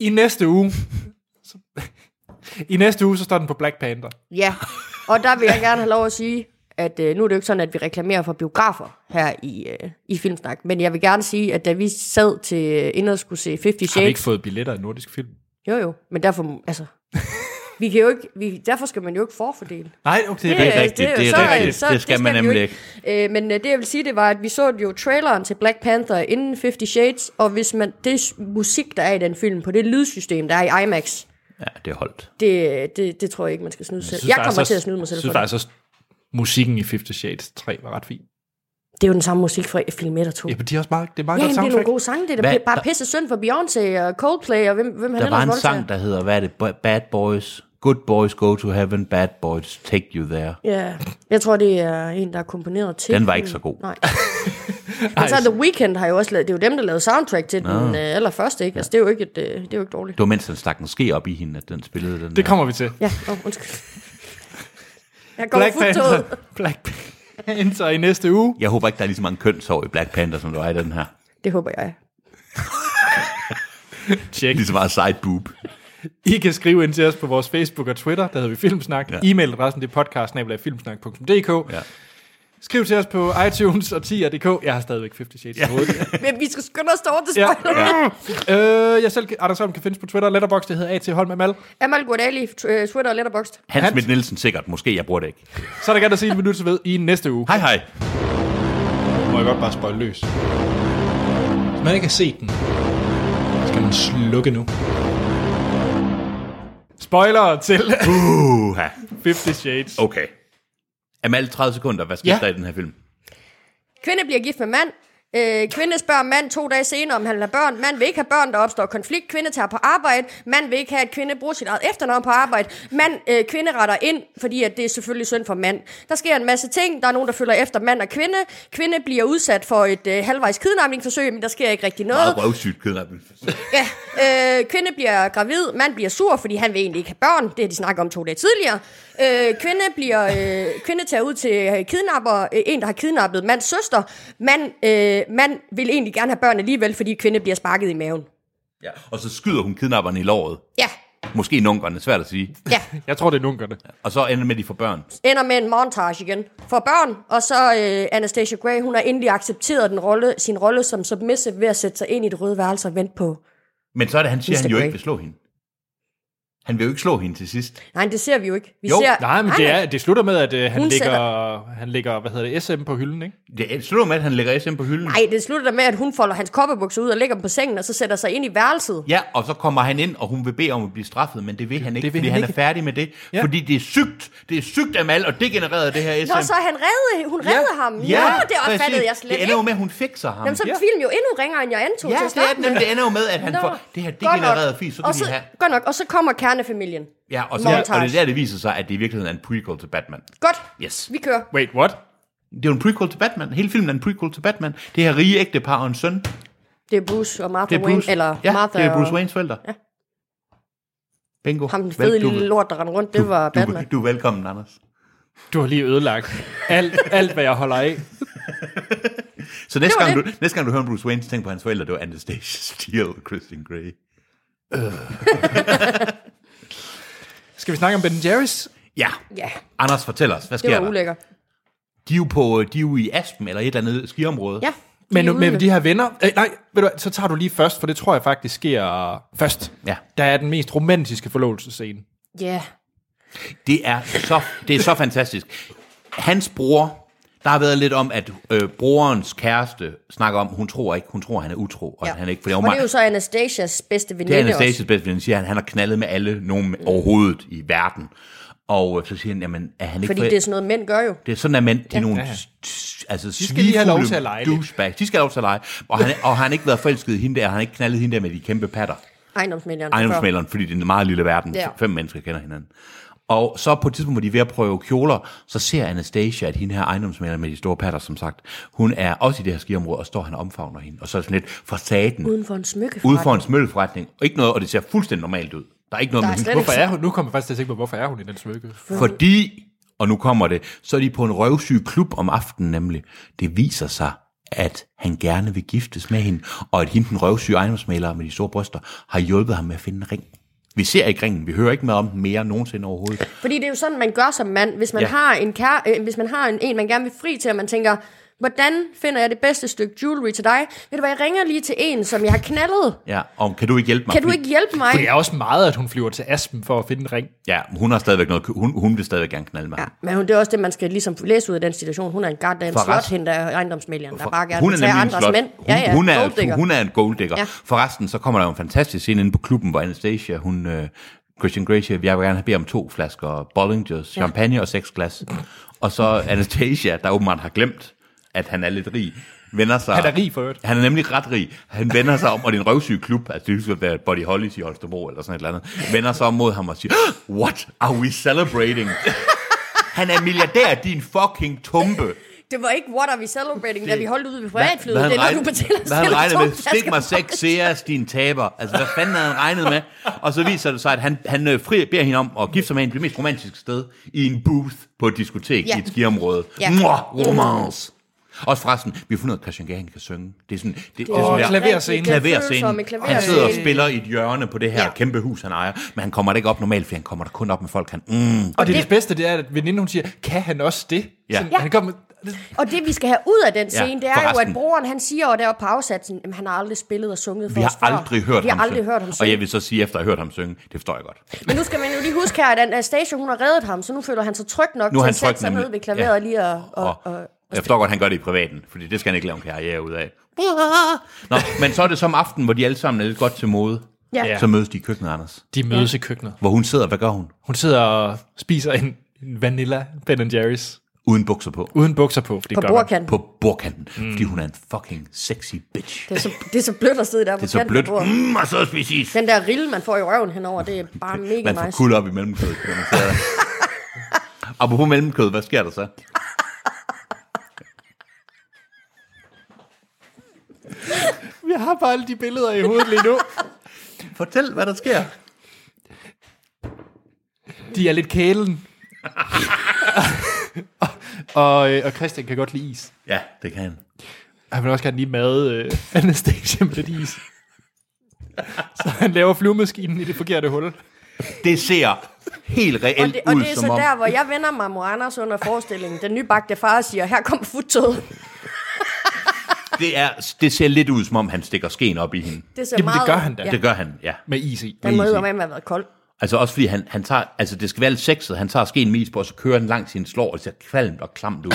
S1: I næste uge... så- I næste uge, så står den på Black Panther.
S3: Ja, og der vil jeg gerne have lov at sige, at øh, nu er det jo ikke sådan, at vi reklamerer for biografer her i, øh, i Filmsnak, men jeg vil gerne sige, at da vi sad til øh, inde og skulle se 50
S1: Har vi ikke
S3: Shades,
S1: fået billetter af nordisk film?
S3: jo jo, men derfor, altså, vi kan jo ikke, vi, derfor skal man jo ikke forfordele.
S1: Nej, okay.
S2: Det er rigtigt,
S3: jo-
S2: det er
S3: så-
S2: rigtigt.
S3: så-
S2: Det skal man
S3: vi jo
S2: nemlig
S3: Øh, men øh, det jeg vil sige, det var, at vi så jo traileren til Black Panther inden 50 Shades, og hvis man, det s- musik, der er i den film, på det lydsystem, der er i IMAX,
S2: Ja, det er holdt.
S3: det, øh, det, det tror jeg ikke, man skal snyde sig selv. Jeg
S2: altså
S3: kommer til at snyde mig selv
S1: synes
S3: for det.
S1: faktisk også, musikken i Fifty Shades 3 var ret fin.
S3: Mm. Det er jo den samme musik fra film 1 og 2.
S1: Ja, men de er også meget, det er meget
S3: Ja,
S1: godt
S3: jamen, det er nogle
S1: soundtrack.
S3: gode sange. Det er da
S2: Hvad-
S3: pi- bare
S2: der-
S3: pisse synd for Beyoncé og Coldplay og hvem, hvem han
S2: Der var
S3: ellers
S2: en
S3: voldtager.
S2: sang, der hedder, hvad er det? Bo- Bad Boys. Good boys go to heaven, bad boys take you there.
S3: Ja, jeg tror, det er en, der er komponeret til.
S2: Den var ikke så god.
S3: Nej. Men så The Weeknd har jo også lavet, det er jo dem, der lavede soundtrack til den øh, allerførste, ikke? Altså, det er jo ikke, et, øh, det er jo ikke dårligt.
S2: Det var mens han stak en ske op i hende, at den spillede den
S1: Det
S2: der.
S1: kommer vi til.
S3: Ja, oh, undskyld. Jeg går
S1: Black
S3: fuldt toget.
S1: Panther. Black Panther i næste uge.
S2: Jeg håber ikke, der er lige så mange kønshår i Black Panther, som der var i den her.
S3: Det håber jeg.
S1: Check.
S2: Lige så meget side boob.
S1: I kan skrive ind til os på vores Facebook og Twitter, der hedder vi Filmsnak. Ja.
S2: Ja.
S1: E-mailadressen det er podcast ja.
S2: Ja.
S1: Skriv til os på iTunes og 10.dk. Jeg har stadigvæk 50 Shades ja. i hovedet.
S3: Men vi skal skynde os over til
S1: Ja.
S3: spoiler. Ja.
S1: øh, jeg selv, Anders Holm, kan findes på Twitter. Letterboxd, det hedder A.T. Holm Amal.
S3: Amal Gordali, Twitter og Letterboxd.
S2: Hans
S1: Hans-
S2: Schmidt Nielsen sikkert. Måske, jeg bruger det ikke.
S1: Så er der gerne at se en minut, så ved i næste uge.
S2: Hej hej.
S1: Må jeg godt bare spoil løs. Hvis man ikke har set den, skal man slukke nu. Spoiler til
S2: Uha.
S1: 50 Shades.
S2: Okay. Amal, 30 sekunder. Hvad sker
S1: Ja.
S2: ja. der i den her film?
S3: Kvinde bliver gift med mand. Øh, kvinde spørger mand to dage senere, om han vil have børn. Mand vil ikke have børn, der opstår konflikt. Kvinde tager på arbejde. Mand vil ikke have, at kvinde bruger sit eget efternavn på arbejde. Mand, øh, kvinde retter ind, fordi at det er selvfølgelig synd for mand. Der sker en masse ting. Der er nogen, der følger efter mand og kvinde. Kvinde bliver udsat for et øh, halvvejs kidnapningsforsøg, men der sker ikke rigtig noget.
S2: Meget røvsygt kidnapping.
S3: Ja, øh, kvinde bliver gravid, mand bliver sur, fordi han vil egentlig ikke have børn. Det har de snakket om to dage tidligere. Øh, kvinde, bliver, øh, kvinde tager ud til øh, kidnapper, øh, en, der har kidnappet mands søster. Mand, øh, mand vil egentlig gerne have børn alligevel, fordi kvinde bliver sparket i maven.
S2: Ja. Og så skyder hun kidnapperne i låret.
S3: Ja,
S2: Måske nunkerne, svært at sige.
S3: ja.
S1: Jeg tror, det er nunkerne.
S2: Og så ender det med, at de får børn.
S3: Ender med en montage igen. For børn, og så øh, Anastasia Gray, hun har endelig accepteret den rolle, sin rolle som submissive ved at sætte sig ind i det røde værelse og vente på.
S2: Men så er det, han siger,
S3: Mr.
S2: han jo
S3: Grey.
S2: ikke vil slå hende. Han vil jo ikke slå hende til sidst.
S3: Nej, det ser vi jo ikke. Vi
S2: Jo,
S3: ser,
S1: Nej, men det, er, det slutter med, at øh, han,
S3: Hun
S1: ligger, han ligger, hvad hedder det, SM på hylden, ikke?
S2: Det slutter med, at han lægger SM på hylden.
S3: Nej, det slutter da med, at hun folder hans kopperbukser ud og lægger dem på sengen, og så sætter sig ind i værelset.
S2: Ja, og så kommer han ind, og hun vil bede om at blive straffet, men det vil han
S1: vil
S2: ikke, det vil fordi
S1: han
S2: han,
S1: ikke.
S2: er færdig med det.
S1: Ja.
S2: Ja. Fordi det er sygt. Det er sygt af mal, og det genererede det her SM.
S3: Nå, så er han reddet, hun redde ham. Ja, det opfattede jeg slet
S2: Det
S3: ikke.
S2: ender jo med, at hun fikser ham.
S3: Jamen, så er
S1: Ja.
S3: filmen jo endnu ringere, end jeg antog
S2: ja,
S3: til at
S2: det, er,
S3: starte
S2: den,
S3: med.
S2: Jamen, det ender jo med, at han
S3: Nå.
S2: får det her
S3: Godt nok.
S2: degenererede fis, så kan
S3: og
S2: de
S3: så,
S2: have...
S3: Godt nok, og så kommer kernefamilien.
S2: Ja, og, så,
S3: Montage.
S2: og det er der, det viser sig, at det i virkeligheden er en prequel til Batman.
S3: Godt,
S2: Yes.
S3: vi kører.
S1: Wait, what?
S2: Det er jo en prequel til Batman. Hele filmen er en prequel til Batman. Det her rige ægte par og en søn.
S3: Det er Bruce og Martha
S2: Det er
S3: Wayne,
S2: Bruce,
S3: eller
S2: ja,
S3: Martha
S2: det er Bruce
S3: og
S2: Waynes forældre. Ja. Bingo.
S3: ham den
S2: Vel-
S3: fede
S2: du-
S3: lille lort, der rendte rundt, det var
S2: du,
S3: Batman.
S2: du, du er velkommen, Anders.
S1: Du har lige ødelagt alt, alt hvad jeg holder af.
S2: Så næste
S3: Det var
S2: gang, du, næste gang du hører om Bruce Wayne, så tænk på hans forældre, det var Anastasia Steele og Christian Grey.
S1: Skal vi snakke om Ben Jerry's?
S2: Ja.
S3: Ja,
S2: Anders, fortæl os, hvad
S3: det
S2: sker
S3: var
S2: der?
S3: ulækker.
S2: De er, jo på, de er jo i Aspen eller et eller andet skiområde.
S3: Ja,
S1: Men
S3: de er
S1: med
S3: ude.
S1: de her venner... Øh, nej, ved du hvad, så tager du lige først, for det tror jeg faktisk sker først.
S2: Ja.
S1: Der er den mest romantiske forlovelsescene.
S3: Ja,
S2: Det er så, det er så fantastisk. Hans bror, der har været lidt om, at øh, brorens kæreste snakker om, hun tror ikke, hun tror, han er utro, og
S3: ja.
S2: ja. han er ikke, for
S3: og det er jo så Anastasias bedste veninde
S2: Det er
S3: også.
S2: Anastasias bedste veninde, siger han. Han har knaldet med alle nogen overhovedet i verden. Og øh, så siger han, jamen, er han ikke...
S3: Fordi
S2: for-
S3: det er sådan noget, mænd gør jo.
S2: det er sådan, at mænd, de er nogle
S1: Ja, ja.
S2: s- s- altså,
S1: skal lige have lov til at lege lidt.
S2: douchebags. De skal have lov til at lege. Og han, og han har ikke været forelsket i hende der, og han har ikke knaldet hende der med de kæmpe patter.
S3: Ejendomsmænderen.
S2: Ejendomsmæleren, fordi det er en meget lille verden.
S3: Ja.
S2: Ja. Fem mennesker kender hinanden. Og så på et tidspunkt, hvor de er ved at prøve kjoler, så ser Anastasia, at hende her ejendomsmæleren med de store patter, som sagt, hun er også i det her skiområde, og står han og omfavner hende. Og så er det sådan lidt for saten,
S3: Uden for en smykke.
S2: ude for en smølleforretning. Og ikke noget, og det ser fuldstændig normalt ud. Der er ikke noget
S3: Der
S2: med
S3: er
S2: hende.
S3: slet
S1: Hvorfor
S3: ikke-
S1: er hun? Nu kommer jeg faktisk til at tænke på, hvorfor er hun i den smykke?
S2: Fordi, og nu kommer det, så er de på en røvsyg klub om aftenen nemlig. Det viser sig, at han gerne vil giftes med hende, og at hende den røvsyge ejendomsmaler med de store bryster har hjulpet ham med at finde en ring. Vi ser ikke ringen, vi hører ikke med om den mere nogensinde overhovedet.
S3: Fordi det er jo sådan, man gør som mand. Hvis man
S2: Ja.
S3: ja. har, en, kær, øh, hvis man har en, en, man gerne vil fri til, og man tænker, hvordan finder jeg det bedste stykke jewelry til dig? Ved du hvad, jeg ringer lige til en, som jeg har knaldet.
S2: Ja, og kan du ikke hjælpe mig?
S3: Kan du
S2: Fordi-
S3: ikke hjælpe mig?
S1: Det er også meget, at hun flyver til Aspen for at finde en ring.
S2: Ja, hun har stadigvæk noget, hun, hun vil stadigvæk gerne knalde med ham.
S3: Men hun- det er også det, man skal ligesom læse ud af den situation. Hun er en goddamn
S2: For
S3: slot,
S2: rest-
S3: hende der er ejendomsmælgeren, der bare gerne
S2: Hun er
S3: vil tage
S2: nemlig en
S3: andres
S2: slot.
S3: mænd.
S2: Hun,
S3: Ja, ja,
S2: hun, er,
S3: golddigger.
S2: hun er en golddigger. Ja.
S3: Ja.
S2: Forresten, så kommer der jo en fantastisk scene inde på klubben, hvor Anastasia, hun, øh, Christian Gracie, jeg vil gerne bede om to flasker Bollingers, champagne og seks glas. Og så Anastasia, der åbenbart har glemt, at han er lidt rig, vender sig...
S1: Han er rig for øvrigt.
S2: Han er nemlig ret rig. Han vender sig om, og det er en røvsyg klub, altså det skal være Body Hollies i Holstebro eller sådan et eller andet, vender sig om mod ham og siger, What are we celebrating? Han er milliardær, din fucking tumpe.
S3: Det var ikke, what are we celebrating, da vi holdt ude ved
S2: Hvad
S3: privatflyet. Det
S2: han
S3: er noget,
S2: regnede-
S3: du fortæller
S2: Hvad han
S3: selv
S2: regnede
S3: to
S2: med? Stik
S3: flasker
S2: mig seks seers, din taber. Altså, hvad fanden havde han regnet med? Og så viser det sig, at han, han øh, fri, beder hende om at gifte sig med hende på det mest romantiske sted i en booth på et diskotek ja.
S3: Ja.
S2: i et skiområde. Ja.
S3: Ja.
S2: romance. Også forresten, vi har fundet, ud af, at Christian Gehring kan synge. Det er sådan, det, det, det er
S1: Åh,
S2: sådan der,
S1: klaverscene.
S2: klaverscene.
S3: Følsomme klaverscene.
S2: Han sidder og spiller i et hjørne på det her ja.
S3: Ja.
S2: kæmpe hus, han ejer. Men han kommer da ikke op normalt, for han kommer da kun op med folk, han... Mm,
S1: Og det, det,
S3: det-
S1: det bedste, det er, at veninden hun siger, kan han også det?
S2: Ja.
S1: Sådan,
S2: Ja.
S1: Han kommer,
S3: Og det, vi skal have ud af den scene, det er jo,
S2: forresten.
S3: at broren, han siger jo deroppe på afsatsen, at han har aldrig spillet og sunget for
S2: vi
S3: os
S2: har
S3: før.
S2: aldrig hørt
S3: vi
S2: ham
S3: har aldrig
S2: synge.
S3: hørt ham
S2: Og
S3: synge.
S2: jeg vil så sige, efter at have hørt ham synge, det forstår jeg godt.
S3: Men nu skal man jo lige huske her, at Anastasia, hun har reddet ham, så nu føler han sig tryg nok
S2: Nu er
S3: til
S2: han
S3: at
S2: tryg
S3: sætte sig
S2: nemlig.
S3: ned ved klaveret
S2: Ja.
S3: ja. lige og... og,
S2: Og,
S3: og, og
S2: jeg forstår godt, at han gør det i privaten, fordi det skal han ikke lave en karriere ud af. Nå, men så er det som aften, hvor de alle sammen er lidt godt til mode.
S3: ja.
S1: Ja.
S3: ja.
S2: Så mødes de i køkkenet, Anders.
S1: de mødes i køkkenet.
S2: Hvor hun sidder, hvad gør hun?
S1: Hun sidder og spiser en, en vanilla Ben Jerry's,
S2: Uden bukser på.
S1: uden bukser på. Det
S3: På
S1: gør man.
S3: bordkanten.
S2: På bordkanten. Mm. Fordi hun er en fucking sexy bitch.
S3: Det er, så, det er så blødt at sidde der på
S2: Det er så
S3: kanten af
S2: blødt.
S3: bordet.
S2: Mm, og så præcis.
S3: Den der rille, man får i røven henover, det er bare mega
S2: Man får
S3: nice.
S2: kul op i mellemkødet, når man sidder der. Apropos mellemkød, hvad sker der så?
S1: Jeg har bare alle de billeder i hovedet lige nu.
S2: Fortæl, hvad der sker.
S1: De er lidt kælen. og, øh, og Christian kan godt lide is.
S2: Ja, det kan han.
S1: Han vil også gerne lige mad øh, Anastasia med lidt is. Så han laver flyvemaskinen i det forkerte hul.
S2: Det ser helt
S3: Og
S2: reelt
S3: det, og
S2: ud,
S3: det er så
S2: som om...
S3: der, hvor jeg vender mig mod Anders under forestillingen. Den nybagte far siger, her kommer futtoget.
S2: Det, er, det ser lidt ud, som om han stikker skeen op i hende.
S3: Det ser
S1: Jamen, det
S3: meget...
S1: gør han da.
S2: Ja.
S3: Ja.
S2: Det gør han, ja.
S1: Med is i.
S3: Den må
S2: Easy.
S3: jo have været kold.
S2: Altså også fordi han, han tager, altså det skal være lidt sexet, han tager skeen med is på, og så kører han langs sin slår, og det ser kvalmt og klamt ud.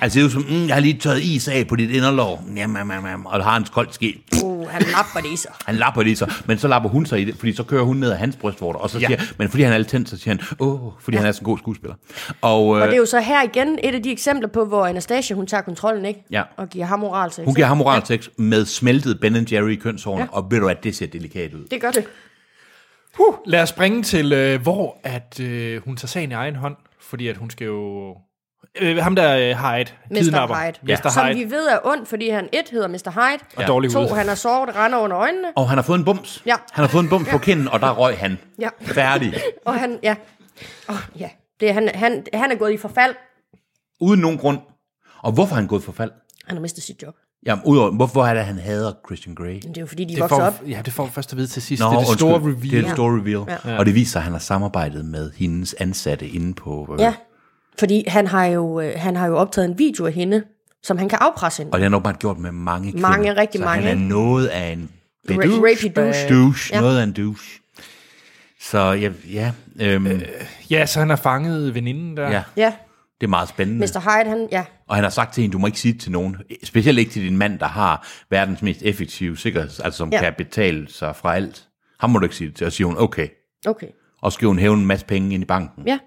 S2: altså det er jo som, mm, jeg har lige tørret is af på dit inderlov, jam, jam, jam, jam, og der har en kold ske.
S3: Uh, han lapper det i sig.
S2: Han lapper det i sig, men så lapper hun sig i det, fordi så kører hun ned ad hans brystvorter, og så siger, men fordi han er lidt tændt, så siger han, åh, fordi ja. han er sådan en god skuespiller. Og, øh,
S3: Og det er jo så her igen et af de eksempler på, hvor Anastasia, hun tager kontrollen, ikke?
S2: Ja.
S3: Og giver ham moral til.
S2: hun giver ham moralsex med smeltet Ben Jerry i kønshårene, ja.
S3: Ja.
S2: og ved du at det ser delikat ud.
S3: Det gør det.
S1: Huh, lad os springe til, øh, hvor at øh, hun tager sagen i egen hånd, fordi at hun skal jo... Øh, ham der øh, Hyde, kidnapper.
S3: Hyde.
S1: Mr.
S3: Som
S1: Hyde.
S3: vi ved er ond, fordi han et hedder Mr. Hyde.
S1: Og dårlig
S3: To,
S1: hud.
S3: han er såret, render under øjnene.
S2: Og han har fået en bums.
S3: Ja.
S2: Han har fået en bums ja. på kinden, og der røg han.
S3: Ja.
S2: Færdig.
S3: Og han, ja. Oh, ja. Det er, han, han, han er gået i forfald.
S2: Uden nogen grund. Og hvorfor er han gået for fald?
S3: Han har mistet sit job.
S2: Jamen, udover, hvorfor er det, han hader Christian Grey?
S3: Men det er jo fordi, de
S1: Det
S3: vokser op.
S1: får, ja, det får vi først at vide til sidst. Nå, det er det store
S2: undskyld.
S1: reveal.
S2: Det er det store reveal. Ja.
S3: Ja.
S2: Og det viser, at han har samarbejdet med hendes ansatte inde på... Øh,
S3: Ja. Fordi han har, jo, øh, han har jo optaget en video af hende, som han kan afpresse hende.
S2: Og det har han åbenbart gjort med mange kvinder.
S3: Mange, rigtig
S2: så
S3: mange.
S2: han er noget af en...
S3: Ra-
S2: bedouche,
S3: rapey douche.
S2: douche
S3: Ja.
S2: Noget af en douche. Så ja, ja, øhm, øh,
S1: Ja, så han har fanget veninden der.
S2: ja,
S3: Ja,
S2: det er meget spændende.
S3: Mr. Hyde, han, ja.
S2: Og han har sagt til hende, du må ikke sige det til nogen. Specielt ikke til din mand, der har verdens mest effektive sikkerhed, altså som ja.
S3: Ja.
S2: kan betale sig fra alt. Ham må du ikke sige det til. Og så siger hun, okay.
S3: Okay.
S2: Og så skal hun hæve en masse penge ind i banken.
S3: Ja.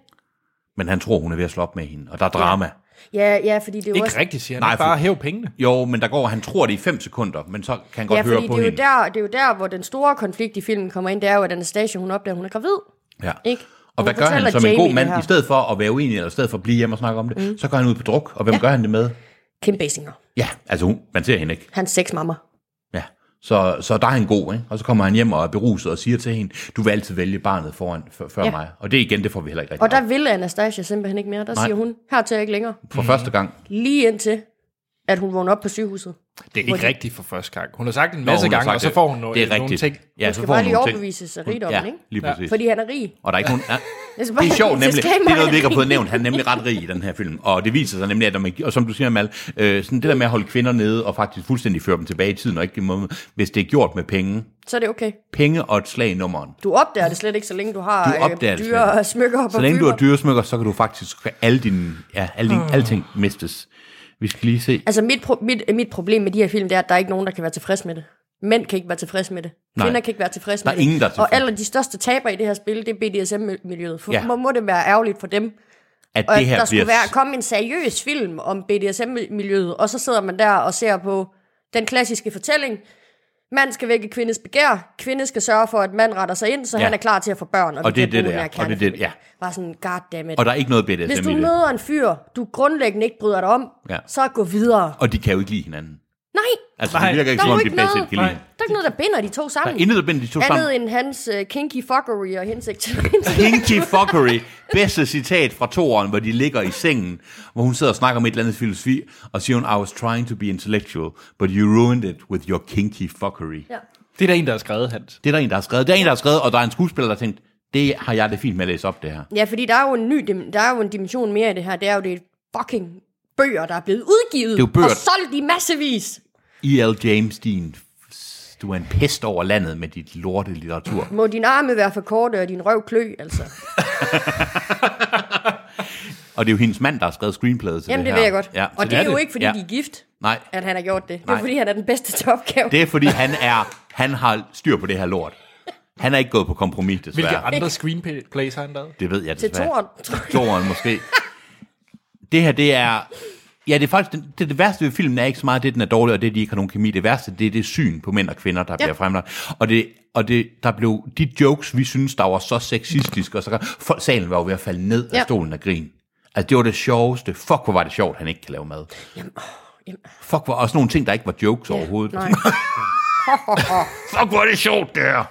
S2: Men han tror, hun er ved at slå op med hende. Og der er drama.
S3: Ja, ja, fordi det er jo
S1: Ikke
S3: også...
S1: rigtigt, siger han.
S2: Nej,
S1: Nej, bare
S2: for-
S1: hæv pengene.
S2: Jo, men der går, han tror det i 5 sekunder, men så kan han godt
S3: Ja,
S2: høre
S3: fordi
S2: på
S3: det er, jo
S2: hende.
S3: der, det er jo der, hvor den store konflikt i filmen kommer ind, det er jo, at Anastasia, hun opdager, at hun er gravid.
S2: Ja.
S3: Ikke?
S2: Og hvad
S3: Hun
S2: gør han
S3: fortæller
S2: som en god
S3: Jamie det
S2: mand?
S3: her.
S2: I stedet for at være uenig, eller i stedet for at blive hjemme og snakke om det, mm. så går han ud på druk. Og hvem ja. gør han det med?
S3: Kim Basinger.
S2: Ja, altså hun, man ser hende ikke.
S3: Hans sexmammer.
S2: Ja. Så, så der er han god, ikke? Og så kommer han hjem og er beruset og siger til hende, du vil altid vælge barnet foran, før, før
S3: Ja.
S2: ja. mig. Og det igen, det får vi heller ikke rigtig.
S3: Og der vil Anastasia simpelthen ikke mere. Der
S2: Nej.
S3: siger hun, her til jeg ikke længere.
S2: For første gang.
S3: Lige indtil, at hun vågner op på sygehuset.
S1: Det er
S3: Hvor
S1: ikke
S3: de-
S1: rigtigt for første gang. Hun har sagt en
S2: Nå,
S1: masse
S2: hun har
S1: gange,
S2: sagt
S1: og så
S2: det.
S1: får hun no-
S2: Det er
S1: nogle
S2: rigtigt.
S1: ting.
S2: Ja, så
S3: Hun skal
S2: får hun
S3: bare lige
S2: nogle ting.
S3: overbevises af
S2: Hun-
S3: rigdommen,
S2: ja,
S3: ikke?
S2: lige
S1: Ja.
S2: præcis.
S3: Fordi han er rig.
S2: Og der er ikke nogen... Ja.
S3: Det
S2: Det er sjovt
S3: så
S2: nemlig.
S3: skal han
S2: Det er
S3: bare
S2: noget, vi ikke har
S3: rig.
S2: fået nævnt. Han er nemlig ret rig i den her film. Og det viser sig nemlig, at når man, og som du siger, Mal, øh, sådan det der med at holde kvinder nede og faktisk fuldstændig føre dem tilbage i tiden, og ikke give dem- hvis det er gjort med penge,
S3: Så er det okay.
S2: penge og et slag i nummeren.
S3: Du opdager det slet ikke, så længe du har
S2: Du
S3: øh,
S2: opdager det slet
S3: dyre
S2: ikke.
S3: smykker og
S2: Så længe du har
S3: parfumer.
S2: dyresmykker, så kan du faktisk alle dine, ja, alle
S3: Mm.
S2: dine, alting mistes. Vi skal lige se.
S3: Altså mit, pro- mit, mit problem med de her film, det er, at der er ikke nogen, der kan være tilfreds med det. Mænd kan ikke være tilfreds med det.
S2: Nej.
S3: Kvinder kan ikke være tilfreds
S2: Der
S3: med
S2: er
S3: det.
S2: ingen, der er tilfreds.
S3: Og alle de største taber i det her spil, det er BDSM-miljøet. For
S2: Ja.
S3: ja. må det være ærgerligt for dem,
S2: At
S3: og
S2: det her
S3: der skulle
S2: bliver...
S3: være, komme en seriøs film om BDSM-miljøet, og så sidder man der og ser på den klassiske fortælling. Mand skal vække kvindes begær, kvinde skal sørge for, at mand retter sig ind, så
S2: Ja.
S3: ja. han er klar til at få børn, og,
S2: Og
S3: vi
S2: det er det,
S3: kan
S2: det
S3: bruge den
S2: er.
S3: her
S2: Og det er det-
S3: kernefamilie." Bare sådan, goddammit.
S2: Og der er ikke noget BDSM
S3: Hvis du
S2: i det.
S3: møder en fyr, du grundlæggende ikke bryder dig om,
S2: Ja.
S3: ja. så gå videre.
S2: Og de kan jo ikke lide hinanden.
S3: Nej,
S2: Altså,
S1: Nej.
S2: det virker ikke
S3: der
S2: som
S3: er
S2: om,
S3: jo
S2: de
S3: ikke noget,
S2: basic kan lide.
S1: Nej.
S2: Der
S3: der er ikke noget, der binder de to
S2: er
S3: sammen.
S2: intet, der binder de to sammen.
S3: Andet end hans uh, kinky fuckery og hensigter.
S2: Pinky Fuckery, bedste citat fra toeren, hvor de ligger i sengen, hvor hun sidder og snakker om et eller andet filosofi, og siger hun, I was trying to be intellectual, but you ruined it with your kinky fuckery. Ja.
S1: Det er der en, der har skrevet, Hans.
S2: Det er der en, der har skrevet. Det er en, der har skrevet, og der er en skuespiller, der har tænkt, det har jeg det fint med at læse op, det her.
S3: Ja, fordi der er jo en ny dim- der er jo en dimension mere i det her. Det er jo det er fucking bøger, der er blevet udgivet.
S2: Det er jo bøger.
S3: Og solgt i massevis.
S2: E.L. E James, din, du er en pest over landet med dit lorte litteratur.
S3: Må din arme være for korte og din røv klø, altså.
S2: Og det er jo hendes mand, der har skrevet screenplayet til
S3: Jamen,
S2: det
S3: det
S2: her.
S3: ved jeg godt.
S2: Ja,
S3: og
S2: så
S3: det er jo ikke, fordi
S2: Ja.
S3: de er gift,
S2: Nej,
S3: at han har gjort det. Det
S2: Nej.
S3: er, fordi han er den bedste til opgaven.
S2: det er fordi, han, er, han har styr på det her lort. Han er ikke gået på kompromis, desværre.
S1: Hvilke andre screenplays har han lavet?
S2: Det ved jeg
S3: Til
S2: desværre.
S3: toeren, tror jeg.
S2: Toren måske. Det her, det er... Ja, det er faktisk... Det, det, det værste ved filmen er ikke så meget det, den er dårlig, og det, de ikke har nogen kemi. Det værste, det er det syn på mænd og kvinder, der ja. bliver fremlagt. Og det, og det, der blev de jokes, vi synes, der var så sexistiske, og så folk, salen var jo ved at falde ned af
S3: Ja.
S2: stolen af grin. Altså, det var det sjoveste. Fuck, hvor var det sjovt, han ikke kan lave mad.
S3: jamen.
S2: Fuck, hvor også nogle ting, der ikke var jokes ja, overhovedet.
S3: Nej.
S2: Fuck, hvor er det sjovt, det her.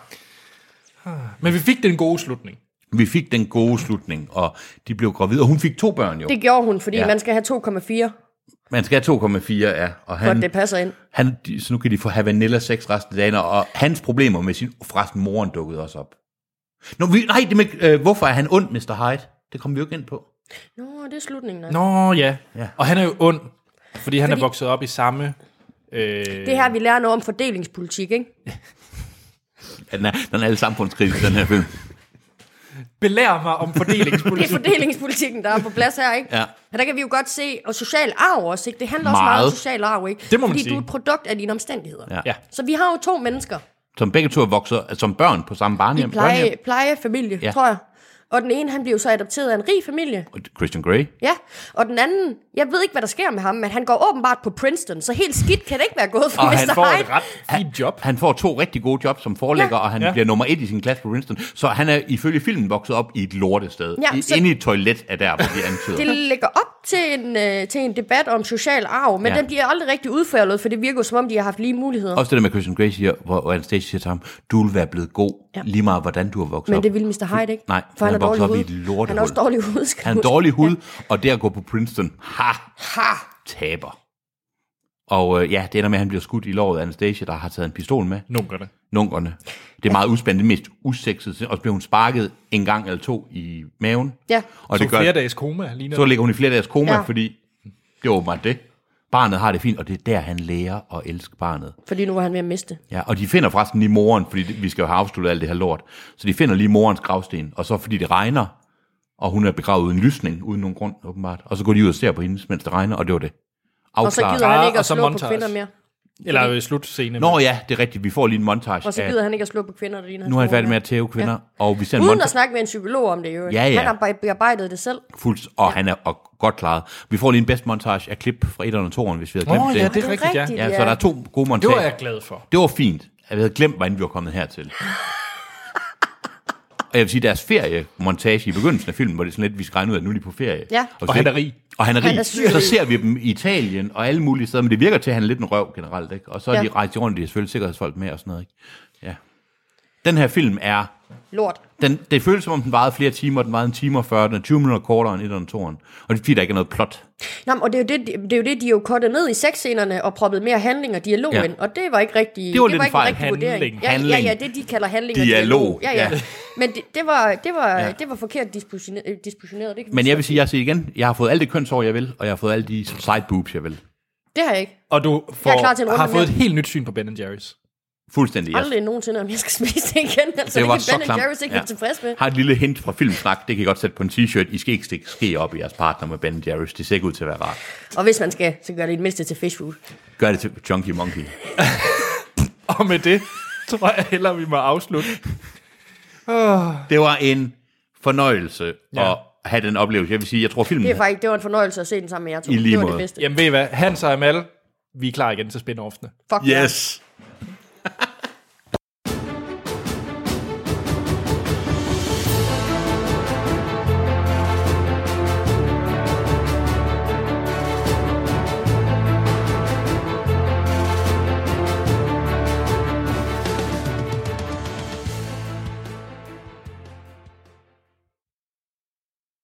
S1: Men vi fik den gode slutning.
S2: Vi fik den gode slutning, og de blev gravide, og hun fik to børn jo.
S3: Det gjorde hun, fordi
S2: Ja.
S3: ja. man skal have 2,4,
S2: Man skal have 2,4, ja. Og
S3: for
S2: han,
S3: at det passer ind.
S2: Han, de- så nu kan de få have vanilla sex resten af dagen, og hans problemer med sin... Forresten, moren dukkede også op. Nå, vi, nej, det med, øh, hvorfor er han ond, Mr. Hyde? Det kommer vi jo ikke ind på.
S3: Nå, det er slutningen. Altså.
S1: Nå ja.
S2: Ja.
S1: Og han er jo ond, fordi han fordi...
S3: Fordi-
S1: er vokset op i samme... Øh,
S3: Det her, vi lærer noget om fordelingspolitik, ikke?
S2: Ja, den er, den er alle samfundskritisk, den her film.
S1: belærer mig om
S3: Det er
S1: fordelingspolitik.
S3: fordelingspolitikken, der er på plads her, ikke?
S2: Ja.
S3: Og der kan vi jo godt se, og social arv også, ikke? Det handler også
S2: Meget.
S3: meget om social arv, ikke?
S1: Det må man
S3: Fordi
S1: sige.
S3: du er et produkt af dine omstændigheder.
S2: Ja. ja.
S1: Ja.
S3: Så vi har jo to mennesker.
S2: Som begge to er vokset som børn på samme barnehjem.
S3: Pleje,
S2: børnehjem.
S3: plejefamilie,
S2: Ja.
S3: ja. tror jeg. Og den ene, han bliver jo så adopteret af en rig familie.
S2: Christian Grey.
S3: Ja, og den anden, jeg ved ikke, hvad der sker med ham, men han går åbenbart på Princeton, så helt skidt kan det ikke være gået for
S2: Og
S3: Mr.
S2: han
S1: Han får et
S3: Hyde.
S1: ret fint job.
S2: Han får to rigtig gode jobs som forlægger, ja.
S3: Ja.
S2: og han ja.
S1: Ja.
S2: bliver nummer et i sin klasse på Princeton. Så han er ifølge filmen vokset op i et lortested.
S3: Ja,
S2: Ja,
S3: så-
S2: så... Inde i et toilet er der, hvor de antyder.
S3: Det lægger op til en, øh, til en debat om social arv, men
S2: Ja.
S3: ja. den bliver aldrig rigtig udført, for det virker jo, som om, de har haft lige muligheder.
S2: Også det der med Christian Grey siger, hvor hvor Anastasia siger til ham, du vil være blevet god, ja.
S3: Ja.
S2: lige meget hvordan du har vokset
S3: Men
S2: op.
S3: det vil Mr. Hyde ikke.
S2: Nej,
S3: for han,
S2: han
S3: er
S2: vokser
S3: dårlig
S2: op i
S3: hud.
S2: et lortehul.
S3: Han er også dårlig hud, skal
S2: Han har
S3: du
S2: en
S3: huske.
S2: dårlig hud, og det at gå på Princeton, ha, ha, taber. Og øh, ja, det ender med, at han bliver skudt i låret af Anastasia, der har taget en pistol med.
S1: Nunkerne.
S2: Nunkerne. Det er meget udspændende, det mest usexede. sind. Og så bliver hun sparket en gang eller to i maven.
S3: Ja.
S2: Og
S1: Så
S2: det gør,
S1: flere dages koma ligner
S2: så ligger hun i flere dages koma, ja.
S3: Ja.
S2: fordi det var åbenbart det. Barnet har det fint, og det er der, han lærer at elske barnet.
S3: Fordi nu var han ved at miste.
S2: Ja, og de finder forresten lige moren, fordi det- vi skal jo have afsluttet alt det her lort. Så de finder lige morens gravsten, og så fordi det regner, og hun er begravet uden lysning, uden nogen grund åbenbart. Og så går de ud og ser på hende, mens det regner, og det var det.
S3: Og så
S2: Afklaret.
S3: gider han
S1: Ah,
S3: ikke
S1: og
S3: at
S1: så
S3: slå på
S1: montage.
S3: kvinder mere.
S1: Eller øh, slutscene.
S2: Nå ja, det er rigtigt. Vi får lige en montage.
S3: Og så
S2: af-
S3: gider han ikke at slå på kvinder, der ligner
S2: nu er han
S3: hans
S2: færdig
S3: mor.
S2: med at tæve kvinder, ja. og vi ser en
S3: Uden
S2: montage.
S3: at snakke med en psykolog om det, jo.
S2: Ja, ja.
S3: Han har be- bearbejdet det selv.
S2: Fuldt, og han er og godt klaret. Vi får lige en bedst montage af klip fra 1'eren og 2'eren, hvis vi havde glemt
S1: Nå, ja,
S2: det.
S1: det er
S3: er
S1: rigtigt, ja.
S3: rigtigt.
S2: ja, så der er to gode
S1: Det
S2: montager.
S1: var jeg glad for.
S2: Det var fint. Jeg havde glemt, hvordan vi var kommet hertil. jeg vil sige, deres feriemontage i begyndelsen af filmen, hvor det er sådan lidt, vi skal regne ud, at nu er de på ferie.
S3: Ja.
S2: hvis
S1: Og han
S2: ikke-
S1: er rig.
S2: Og han er rig.
S3: Han er syg.
S2: så ser vi dem i Italien og alle mulige steder, men det virker til, at han er lidt en røv generelt. Ikke? Og så er
S3: Ja.
S2: de rejst rundt, de har selvfølgelig sikkerhedsfolk med og sådan noget. Ikke? Ja. Den her film er...
S3: Lort.
S2: Den, det føles som om, den varede flere timer. Den varede en time og 40, den er 20 minutter kortere end 1 og 2'eren. Og det er fordi, der ikke er noget plot.
S3: Nå, men, og det er, jo det, det er jo det, de jo kortet ned i sexscenerne og proppet mere handling og dialog
S2: Ja.
S3: ja. ind, og det var ikke rigtig,
S2: Det var lidt en
S3: var ikke en
S2: fejl.
S3: rigtig vurdering.
S1: Handling.
S3: Ja, ja, ja,
S2: Handling.
S3: det de kalder handling
S2: Dialog.
S3: og dialog. Ja, ja.
S2: Ja.
S3: Men det, det, var, det, var,
S2: Ja.
S3: ja. det var forkert dispositioneret. øh, dispositioneret, Det kan vi
S2: Men jeg
S3: sige.
S2: vil sige, jeg siger igen, jeg har fået alt det kønsår, jeg vil, og jeg har fået alle de side boobs, jeg vil.
S3: Det har jeg ikke.
S1: Og du
S3: Jeg er klar til en
S1: får,
S3: runde
S1: har
S3: med
S1: fået et
S3: mere.
S1: helt nyt syn på Ben Jerry's.
S2: Fuldstændig, yes.
S3: Aldrig nogensinde, om jeg skal spise det igen. Altså, det,
S2: var
S3: det kan Ben
S2: klamt.
S3: Jerry's ikke ja. være tilfreds med.
S2: Har et lille hint fra filmsnak, det kan I godt sætte på en t-shirt. I skal ikke stikke ske op i jeres partner med Ben Jerry's. Det ser ikke ud til at være rart.
S3: Og hvis man skal, så gør det i det mindste til fish food.
S2: Gør det til Junkie Monkey.
S1: Og med det tror jeg heller, vi må afslutte.
S2: Det var en fornøjelse ja.
S1: Ja.
S2: at have den oplevelse. Jeg vil sige, jeg tror filmen...
S3: Det, er faktisk, det var en fornøjelse at se den sammen med jer to.
S2: I lige
S3: det var
S2: måde.
S3: det bedste.
S1: Jamen ved I hvad, Hans og Amal, vi er klar igen til spin-offene.
S3: Fuck
S2: Yes!